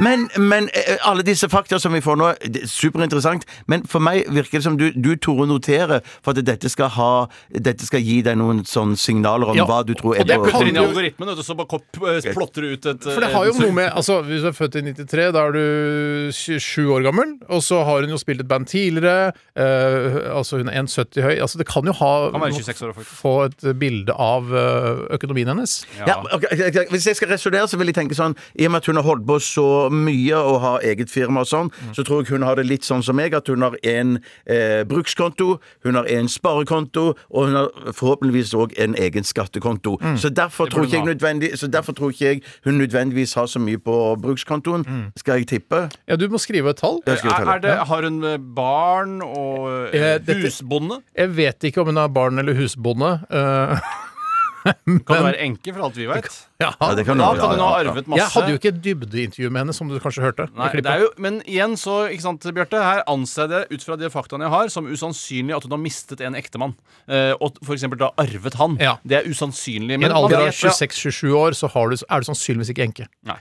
[SPEAKER 4] Men, men eh, alle disse fakta som vi får nå, det er superinteressant. Men for meg virker det som du, du Tore, noterer for at dette skal, ha, dette skal gi deg noen sånne signaler om
[SPEAKER 3] Ja,
[SPEAKER 4] hva du tror
[SPEAKER 3] og
[SPEAKER 4] er
[SPEAKER 3] det
[SPEAKER 4] på-
[SPEAKER 3] kan
[SPEAKER 5] Putter inn i
[SPEAKER 3] du-
[SPEAKER 5] algoritmen, vet du, så bare kop- eh, plotter du ut et
[SPEAKER 3] For det har jo noe med altså, Hvis du er født i 93, da er du 27 år gammel. Og så har hun jo spilt et band tidligere. eh, altså Hun er 1,70 høy. Altså Det kan jo ha
[SPEAKER 5] Kan være 26 år, faktisk.
[SPEAKER 3] få et bilde av eh, økonomien hennes.
[SPEAKER 4] Ja, ok, ok, ok. Hvis jeg skal resonnere, så vil jeg tenke sånn I og med at hun har holdt på så mye og har eget firma og sånn, så tror jeg hun har det litt sånn som meg, at hun har en eh, brukskonto, hun har en sparekonto, og hun har forhåpentligvis òg en egen skattekonto. Så, derfor tror ikke jeg nødvendig, så derfor tror ikke jeg hun nødvendigvis har så mye på brukskontoen. Skal jeg tippe?
[SPEAKER 3] Ja, du må skrive et tall.
[SPEAKER 4] Jeg skal
[SPEAKER 5] er,
[SPEAKER 4] telle.
[SPEAKER 5] er det, Har hun eh, barn og eh,
[SPEAKER 3] Eh, dette-
[SPEAKER 5] husbonde?
[SPEAKER 3] Jeg vet ikke om hun er barn eller husbonde. eh,
[SPEAKER 5] Kan hun være enke, for alt vi veit?
[SPEAKER 3] ja.
[SPEAKER 4] Ja, det kan
[SPEAKER 5] Da
[SPEAKER 4] hun-
[SPEAKER 5] kan hun
[SPEAKER 4] ja,
[SPEAKER 5] ha
[SPEAKER 4] ja, ja.
[SPEAKER 5] arvet masse.
[SPEAKER 3] Jeg hadde jo ikke et dybdeintervju med henne, som du kanskje hørte. i
[SPEAKER 5] Nei, det
[SPEAKER 3] klippet.
[SPEAKER 5] er jo, men igjen, så ikke sant, Bjarte, her anser jeg det ut fra de faktaene jeg har, som usannsynlig at hun har mistet en ektemann. Eh, og f.eks. da arvet han.
[SPEAKER 3] Ja.
[SPEAKER 5] Det er usannsynlig.
[SPEAKER 3] I en
[SPEAKER 5] Men man
[SPEAKER 3] alder av
[SPEAKER 5] vet fra-
[SPEAKER 3] 26-27 år så har du, er du sannsynligvis ikke enke.
[SPEAKER 5] Nei.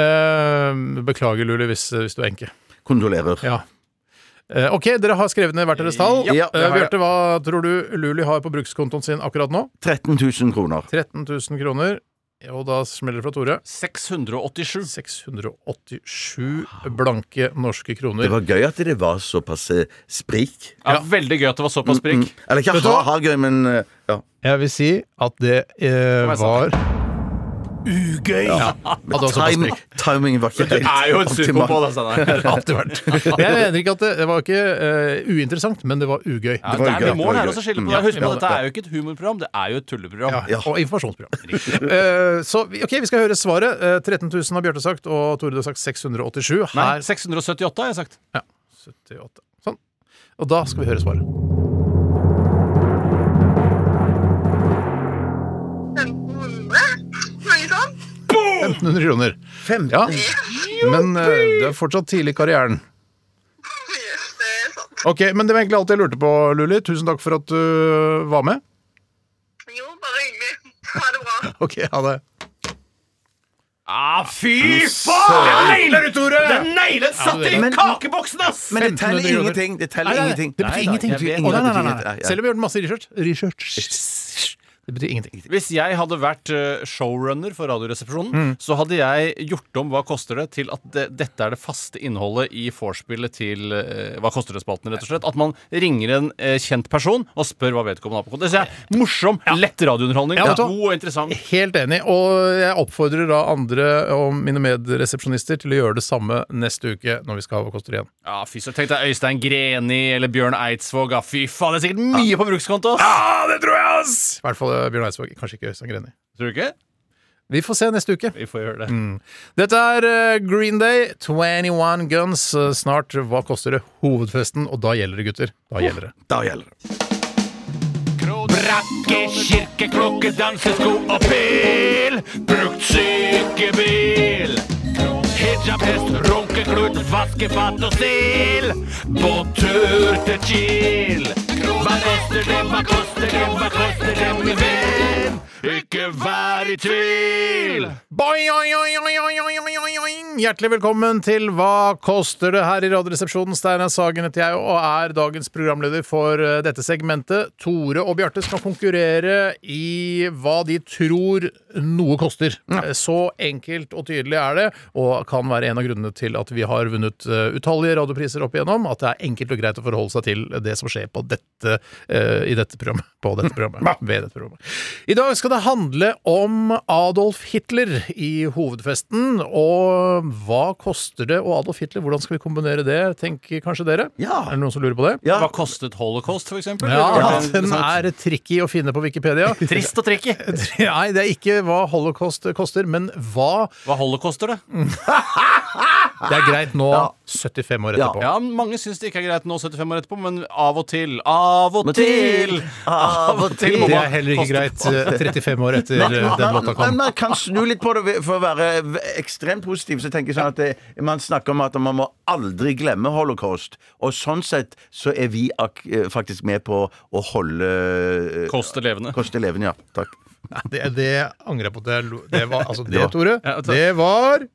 [SPEAKER 3] Eh, beklager, Luli, hvis, hvis du er enke.
[SPEAKER 4] Kondolerer.
[SPEAKER 3] Ja. Eh, OK, dere har skrevet ned hvert deres tall.
[SPEAKER 4] Ja, det
[SPEAKER 3] Eh,
[SPEAKER 4] har jeg.
[SPEAKER 3] Bjarte, hva tror du Luli har på brukskontoen sin akkurat nå?
[SPEAKER 4] 13 000 kroner.
[SPEAKER 3] 13 000 kroner. Og da smeller det fra Tore.
[SPEAKER 5] 687.
[SPEAKER 3] 687 blanke norske kroner.
[SPEAKER 4] Det var gøy at det var såpass eh, sprik.
[SPEAKER 5] Ja, Veldig gøy at det var såpass
[SPEAKER 4] Mm.
[SPEAKER 5] sprik.
[SPEAKER 4] Eller ikke
[SPEAKER 3] Vet du hva?
[SPEAKER 4] ha-ha-gøy, men eh, ja.
[SPEAKER 3] Jeg vil si at det eh,
[SPEAKER 5] meg
[SPEAKER 3] var Ugøy! Ja. At det var såpass
[SPEAKER 4] Timing,
[SPEAKER 3] sprik.
[SPEAKER 4] timingen var ikke helt optimal.
[SPEAKER 5] det, Steinar.
[SPEAKER 3] Alltid vært. Jeg mener ikke at det, det var ikke eh, uinteressant, men det var ugøy.
[SPEAKER 5] Ja,
[SPEAKER 4] var
[SPEAKER 5] det er
[SPEAKER 4] gøy,
[SPEAKER 5] vi
[SPEAKER 4] det
[SPEAKER 5] må
[SPEAKER 4] var
[SPEAKER 5] lære
[SPEAKER 4] gøy.
[SPEAKER 5] oss å skille på
[SPEAKER 4] Mm.
[SPEAKER 5] det. Husk
[SPEAKER 4] Ja,
[SPEAKER 5] på, dette er jo ikke et humorprogram, det er jo et tulleprogram.
[SPEAKER 3] Ja, og informasjonsprogram. Eh, så vi- ok, vi skal høre svaret. Eh, 13 000 har Bjarte sagt, og Tore du har sagt 687.
[SPEAKER 5] Nei,
[SPEAKER 3] Her
[SPEAKER 5] 678 har jeg sagt.
[SPEAKER 3] 78. Sånn. Og da skal vi høre svaret.
[SPEAKER 6] 1500? Noe sånt?
[SPEAKER 3] 1500 kroner. Ja. Men eh, det er fortsatt tidlig i karrieren.
[SPEAKER 6] Yes, det er sant.
[SPEAKER 3] Ok, Men det var egentlig alt jeg lurte på, Lulli. Tusen takk for at du eh, var med.
[SPEAKER 6] Jo, bare hyggelig. Ha det bra.
[SPEAKER 3] Ok, ha det.
[SPEAKER 5] Ah, fy faen! Den nailer du, Tore! Den nailer satt
[SPEAKER 3] i
[SPEAKER 4] Men-
[SPEAKER 5] kakeboksen, ass!
[SPEAKER 4] Men det
[SPEAKER 3] 1500
[SPEAKER 4] teller
[SPEAKER 3] kroner.
[SPEAKER 4] ingenting. Det teller
[SPEAKER 3] Nei, nei, nei,
[SPEAKER 4] ingenting.
[SPEAKER 3] det betyr
[SPEAKER 4] Nei,
[SPEAKER 3] ingenting.
[SPEAKER 4] det betyr
[SPEAKER 5] Jeg vet.
[SPEAKER 4] ingenting.
[SPEAKER 3] Å, nei, nei, nei,
[SPEAKER 4] Det
[SPEAKER 3] nei. Selv
[SPEAKER 4] betyr ingenting.
[SPEAKER 3] om vi har gjort masse research. research. Det betyr ingenting.
[SPEAKER 5] Hvis jeg hadde vært eh, showrunner for Radioresepsjonen, så hadde jeg gjort om Hva koster det? til at det, dette er det faste innholdet i vorspielet til eh, Hva koster det-spalten, rett og slett. At man ringer en eh, kjent person og spør hva vedkommende har på konto. Det synes jeg er morsom, lett radiounderholdning.
[SPEAKER 3] Ja, vet du hva?
[SPEAKER 5] God og interessant.
[SPEAKER 3] Helt enig, og jeg oppfordrer da andre og mine medresepsjonister til å gjøre det samme neste uke når vi skal ha Hva koster det igjen.
[SPEAKER 5] Ja, fy søren. Tenk deg Øystein Greni eller Bjørn Eidsvåg. Ja, fy faen, det er sikkert mye på brukskonto! ass.
[SPEAKER 3] I hvert fall eh, Bjørn Eidsvåg, kanskje ikke Øystein Greni.
[SPEAKER 5] Tror du ikke?
[SPEAKER 3] Vi får se neste uke.
[SPEAKER 5] Vi får gjøre det.
[SPEAKER 3] Mm. Dette er eh, Green Day, 21 Guns. Eh, Snart Hva koster det? Hovedfesten. Og da gjelder det, gutter. Da gjelder det.
[SPEAKER 4] Da gjelder det.
[SPEAKER 7] Brakke, kirke, klokke, dansesko og pil. Brukt sykebil. Hijab, hest, runkeklut, vaskefat og stil. På tur til Kiel. Hva koster det, hva koster det, hva koster det, min venn? Ikke vær i tvil.
[SPEAKER 3] Boing, oing, oing, oing, oing, oing, oing, oing, oing. Hjertelig velkommen til Hva koster det her i Radioresepsjonen. Steinar Sagen heter jeg og er dagens programleder for eh, dette segmentet. Tore og Bjarte skal konkurrere i hva de tror noe koster. Eh, Så enkelt og tydelig er det, og kan være en av grunnene til at vi har vunnet eh, utallige radiopriser opp igjennom, at det er enkelt og greit å forholde seg til det som skjer på dette, eh, i dette programmet. På dette programmet. Ved dette programmet. I dag skal det handle om Adolf Hitler i hovedfesten, og hva koster det og Adolf Hitler? Hvordan skal vi kombinere det, tenker kanskje dere?
[SPEAKER 4] Ja.
[SPEAKER 3] Er det noen som lurer på det?
[SPEAKER 4] Ja.
[SPEAKER 5] Hva kostet holocaust, for eksempel?
[SPEAKER 3] Ja,
[SPEAKER 5] Det
[SPEAKER 3] den
[SPEAKER 5] interessant.
[SPEAKER 3] er tricky å finne på Wikipedia.
[SPEAKER 5] Trist og tricky.
[SPEAKER 3] Nei, det er ikke hva holocaust koster, men hva
[SPEAKER 5] Hva holocaster
[SPEAKER 3] Mm.
[SPEAKER 5] det?
[SPEAKER 3] Det er greit nå, 75 år etterpå.
[SPEAKER 5] Ja, Mange syns det ikke er greit nå 75 år etterpå, men av og til. Av og
[SPEAKER 4] Men
[SPEAKER 5] til!
[SPEAKER 4] Av og til!
[SPEAKER 5] må
[SPEAKER 3] Det
[SPEAKER 5] man-
[SPEAKER 3] er heller ikke greit eh, 35 år etter eh, den låta
[SPEAKER 4] Men
[SPEAKER 3] kom.
[SPEAKER 4] man kan snu litt på det for å være v- ekstremt positiv. Så tenker jeg sånn at det, Man snakker om at man må aldri glemme holocaust. Og sånn sett så er vi ak eh, faktisk med på å holde
[SPEAKER 5] Koster levende.
[SPEAKER 4] Koste levende, ja. Takk.
[SPEAKER 3] Nei, Det, det angrer jeg på. Det, er lo- det var altså det,
[SPEAKER 4] var-
[SPEAKER 3] Tore.
[SPEAKER 5] Ja, takk.
[SPEAKER 3] Det var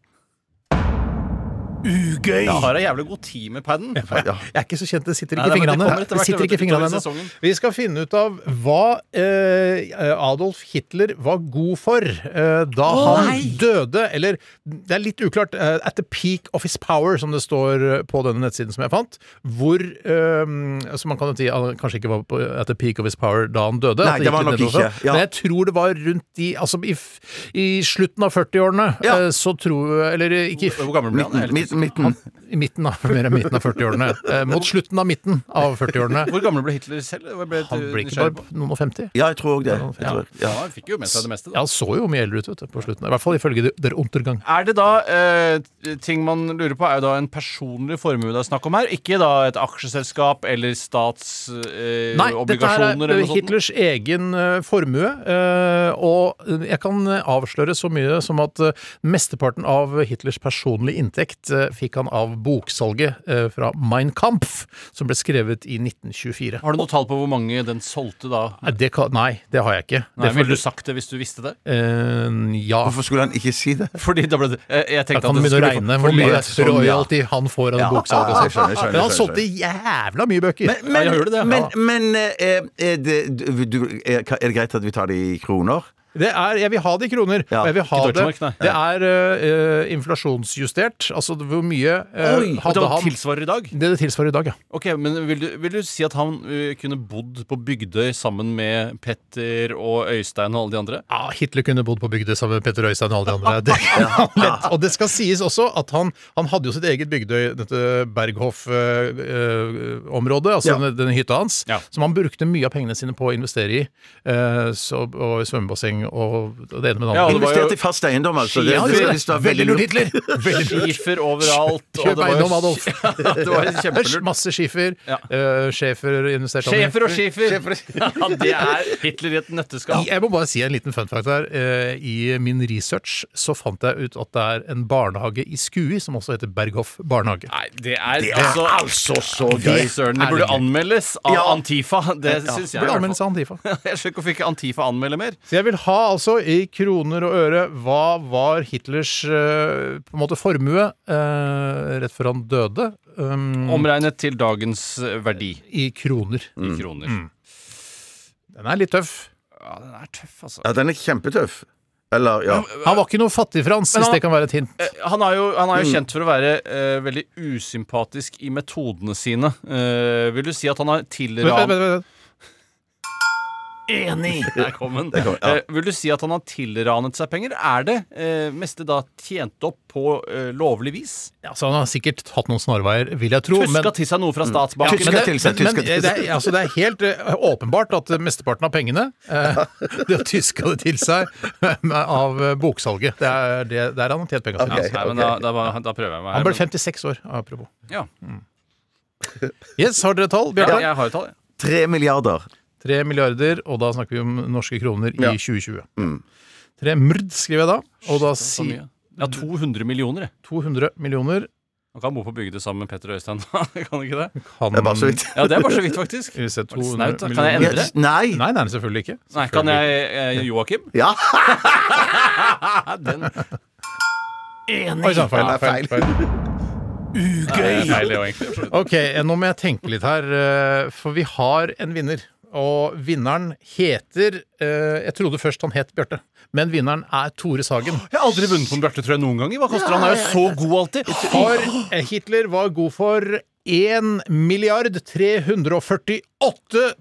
[SPEAKER 5] Jeg har ei jævlig god tid med paden.
[SPEAKER 4] Ja.
[SPEAKER 3] Jeg er ikke så kjent, det sitter
[SPEAKER 5] Nei, nei, men det
[SPEAKER 3] ikke i fingrene.
[SPEAKER 5] kommer etter
[SPEAKER 3] Det
[SPEAKER 5] hvert,
[SPEAKER 3] sitter
[SPEAKER 5] vet
[SPEAKER 3] ikke i
[SPEAKER 5] du, utover
[SPEAKER 3] fingrene
[SPEAKER 5] i
[SPEAKER 3] ennå.
[SPEAKER 5] sesongen.
[SPEAKER 3] Vi skal finne ut av hva eh, Adolf Hitler var god for eh, da han døde, eller det er litt uklart, eh, at the peak of his power, som det står eh, på denne nettsiden som jeg fant, hvor eh, Så man kan jo si han kanskje ikke var på, at the peak of his power da han døde.
[SPEAKER 4] Nei,
[SPEAKER 3] at
[SPEAKER 4] det var
[SPEAKER 3] gikk litt
[SPEAKER 4] nok
[SPEAKER 3] nedover.
[SPEAKER 4] ikke, ja.
[SPEAKER 3] Men jeg tror det var rundt de Altså i, f- i slutten av 40-årene,
[SPEAKER 4] Ja.
[SPEAKER 3] eh, så tror Eller eh, ikke i
[SPEAKER 5] Hvor gammel ble han?
[SPEAKER 4] Midten.
[SPEAKER 5] Jeg er litt-
[SPEAKER 4] Midten. midten.
[SPEAKER 3] i midten av, mer enn midten av 40-årene. Eh, mot slutten av midten av 40-årene.
[SPEAKER 5] Hvor gammel ble Hitler selv? Jeg ble litt
[SPEAKER 3] Han ble ikke
[SPEAKER 5] nysgjerrig
[SPEAKER 3] bare
[SPEAKER 5] på.
[SPEAKER 3] noen og 50.
[SPEAKER 4] Ja, jeg tror òg det. Jeg tror,
[SPEAKER 5] Ja,
[SPEAKER 4] ja.
[SPEAKER 5] han fikk jo med seg det meste.
[SPEAKER 3] Ja,
[SPEAKER 5] Da.
[SPEAKER 3] han så jo mye eldre ut vet du, på slutten. I hvert fall ifølge de- Der Untergang.
[SPEAKER 5] Er det da eh, ting man lurer på, er jo da en personlig formue det er snakk om her? Ikke da et aksjeselskap eller statsobligasjoner eh,
[SPEAKER 3] Nei, dette
[SPEAKER 5] obligasjoner
[SPEAKER 3] her er
[SPEAKER 5] eller
[SPEAKER 3] eh,
[SPEAKER 5] noe sånt?
[SPEAKER 3] Hitlers egen eh, formue. eh, Og jeg kan eh, avsløre så mye som at eh, mesteparten av Hitlers personlige inntekt eh, fikk han av boksalget eh, fra Mein Kampf, som ble skrevet i 1924.
[SPEAKER 5] Har du noe tall på hvor mange den solgte da?
[SPEAKER 3] Nei, det, kan, nei, det har jeg ikke.
[SPEAKER 5] Nei,
[SPEAKER 3] det
[SPEAKER 5] Ville du sagt det hvis du visste det?
[SPEAKER 3] Eh, ja.
[SPEAKER 4] Hvorfor skulle han ikke si det?
[SPEAKER 5] Fordi da ble det eh, Jeg
[SPEAKER 3] Da
[SPEAKER 5] tenkte
[SPEAKER 3] kan
[SPEAKER 5] at
[SPEAKER 3] det
[SPEAKER 5] det
[SPEAKER 3] begynne å
[SPEAKER 5] skulle
[SPEAKER 3] regne
[SPEAKER 5] få-
[SPEAKER 3] hvor
[SPEAKER 5] for
[SPEAKER 3] mye
[SPEAKER 5] mye.
[SPEAKER 4] sånn, ja.
[SPEAKER 3] royalty han får av
[SPEAKER 4] Ja,
[SPEAKER 3] boksalget
[SPEAKER 4] ja,
[SPEAKER 3] sitt.
[SPEAKER 4] jeg skjønner, jeg skjønner,
[SPEAKER 3] Men han
[SPEAKER 4] jeg
[SPEAKER 3] solgte
[SPEAKER 4] skjønner.
[SPEAKER 3] jævla mye bøker.
[SPEAKER 4] Men, men,
[SPEAKER 5] Ja, jeg gjør det, det.
[SPEAKER 4] men, men, eh, er, det, du- du, er, er det greit at vi tar det i kroner?
[SPEAKER 3] Det er, jeg vil ha det i kroner.
[SPEAKER 4] Ja,
[SPEAKER 3] og jeg vil ha
[SPEAKER 5] ikke
[SPEAKER 3] det,
[SPEAKER 5] Deutsche Mark,
[SPEAKER 3] det er eh, inflasjonsjustert. Altså hvor mye eh,
[SPEAKER 5] Oi, vet du
[SPEAKER 3] hadde
[SPEAKER 5] hva
[SPEAKER 3] han
[SPEAKER 5] tilsvarer i dag?
[SPEAKER 3] Det det tilsvarer i dag, ja.
[SPEAKER 5] Ok, men vil du, vil du si at han ø, kunne bodd på Bygdøy sammen med Petter og Øystein og alle de andre?
[SPEAKER 3] Ja, Hitler kunne bodd på bygda sammen med Petter Øystein og alle de andre. Det kan han lett. Og det skal sies også at han, han hadde jo sitt eget Bygdøy, dette Berghoff-området, altså
[SPEAKER 4] Ja.
[SPEAKER 3] denne, denne hytta hans,
[SPEAKER 5] Ja.
[SPEAKER 3] som han brukte mye av pengene sine på å investere i. eh, så, og i svømmebasseng og det ene med det
[SPEAKER 5] Ja,
[SPEAKER 3] andre.
[SPEAKER 5] det var jo-
[SPEAKER 4] Investert i fast eiendom, altså. Det,
[SPEAKER 3] Ja,
[SPEAKER 4] det,
[SPEAKER 3] det var-
[SPEAKER 4] det, det,
[SPEAKER 3] veldig lurt, Hitler! Veldig lurt.
[SPEAKER 5] Skifer overalt. og
[SPEAKER 3] Kjøp
[SPEAKER 5] det var jo-
[SPEAKER 3] eiendom, Adolf.
[SPEAKER 5] Ja, det var jo
[SPEAKER 3] Æsj,
[SPEAKER 5] kjempelurt.
[SPEAKER 3] Masse skifer.
[SPEAKER 5] Ja.
[SPEAKER 3] eh, Schæfer investerte han i.
[SPEAKER 5] Sjefer og skifer! Ja, det er Hitler i et nøtteskall.
[SPEAKER 3] Jeg må bare si en liten fun fact her. Eh, I min research så fant jeg ut at det er en barnehage i Skui som også heter Berghoff barnehage.
[SPEAKER 5] Nei, det er altså
[SPEAKER 4] altså så
[SPEAKER 5] Fy søren, det burde anmeldes av
[SPEAKER 4] Ja.
[SPEAKER 5] Antifa. Det syns jeg. i
[SPEAKER 3] Burde
[SPEAKER 5] hvert
[SPEAKER 3] anmeldes
[SPEAKER 5] fall.
[SPEAKER 3] av Antifa.
[SPEAKER 5] Jeg skjønner ikke hvorfor ikke Antifa anmelder mer.
[SPEAKER 3] Så jeg vil ha altså i kroner og øre hva var Hitlers eh, på en måte formue eh, rett før han døde?
[SPEAKER 5] Mm.
[SPEAKER 3] Um,
[SPEAKER 5] Omregnet til dagens ø, verdi
[SPEAKER 3] I kroner.
[SPEAKER 5] i kroner.
[SPEAKER 3] Den er litt tøff.
[SPEAKER 5] Ja, den er tøff, altså.
[SPEAKER 4] Ja, den er kjempetøff. Eller, ja.
[SPEAKER 3] Han var ikke noe fattig-Frans,
[SPEAKER 5] Men
[SPEAKER 3] hvis
[SPEAKER 5] han- Eh,
[SPEAKER 3] det kan være et hint.
[SPEAKER 5] Han er jo, han er jo kjent for å være eh, veldig usympatisk i metodene sine. Eh, vil du si at han har
[SPEAKER 3] Vent,
[SPEAKER 5] tilranet
[SPEAKER 3] vent, vent.
[SPEAKER 5] Enig! Der kom den.
[SPEAKER 4] kom den, ja.
[SPEAKER 5] Eh, vil du si at han har tilranet seg penger? Er det eh, meste da tjent opp på eh, lovlig vis?
[SPEAKER 3] Altså, han har sikkert tatt noen snarveier, vil jeg tro.
[SPEAKER 5] Tuska til seg noe fra
[SPEAKER 3] Ja,
[SPEAKER 5] statsbanken?
[SPEAKER 4] Tyska
[SPEAKER 3] men det-
[SPEAKER 4] til seg,
[SPEAKER 3] men-
[SPEAKER 4] tyska
[SPEAKER 3] men det,
[SPEAKER 4] til seg.
[SPEAKER 3] er- altså, det er helt eh, åpenbart at eh, mesteparten av pengene eh, Det har tyska det til seg med- av eh, boksalget. Det er det, der han har tjent penger
[SPEAKER 5] Ja,
[SPEAKER 3] sine.
[SPEAKER 5] Nei, men da, da, var- da prøver jeg meg. her,
[SPEAKER 3] Han ble
[SPEAKER 5] men-
[SPEAKER 3] 56 år, apropos. Mm.
[SPEAKER 5] ja.
[SPEAKER 3] Yes, har dere tall,
[SPEAKER 5] ja,
[SPEAKER 3] Bjarte?
[SPEAKER 5] jeg har jo tall, jeg.
[SPEAKER 4] Tre milliarder.
[SPEAKER 3] Tre milliarder, og da snakker vi om norske kroner i
[SPEAKER 4] Ja. Mm.
[SPEAKER 3] 2020. Tre mrd, skriver jeg da. Og da
[SPEAKER 5] Så
[SPEAKER 3] si
[SPEAKER 5] mye. Ja, 200 millioner, jeg.
[SPEAKER 3] 200 millioner
[SPEAKER 5] Han kan bo på bygda sammen med Petter Øystein. kan han ikke det?
[SPEAKER 3] kan
[SPEAKER 4] Det er bare så vidt.
[SPEAKER 5] Ja, det er bare så vidt, faktisk.
[SPEAKER 3] Skal vi se,
[SPEAKER 5] Var det snaut,
[SPEAKER 3] 200
[SPEAKER 5] da? Kan jeg
[SPEAKER 4] Ja,
[SPEAKER 5] endre det?
[SPEAKER 4] Nei.
[SPEAKER 3] Nei, nei, selvfølgelig ikke.
[SPEAKER 5] Nei, kan jeg eh, Joakim?
[SPEAKER 4] Ja.
[SPEAKER 5] Ja, den
[SPEAKER 3] Oi sann, feil.
[SPEAKER 4] Ja,
[SPEAKER 3] feil,
[SPEAKER 4] feil.
[SPEAKER 3] feil.
[SPEAKER 5] er feil, det er jo egentlig.
[SPEAKER 3] Ok, nå må jeg tenke litt her, eh, for vi eh, har en vinner. og vinneren heter eh, Jeg trodde først han het Bjarte, men vinneren er Tore Sagen.
[SPEAKER 5] Jeg har aldri vunnet på en Bjarte Trøe noen gang. Hva koster han? Han er jo så god alltid.
[SPEAKER 3] For eh, Hitler var god for 1 milliard 348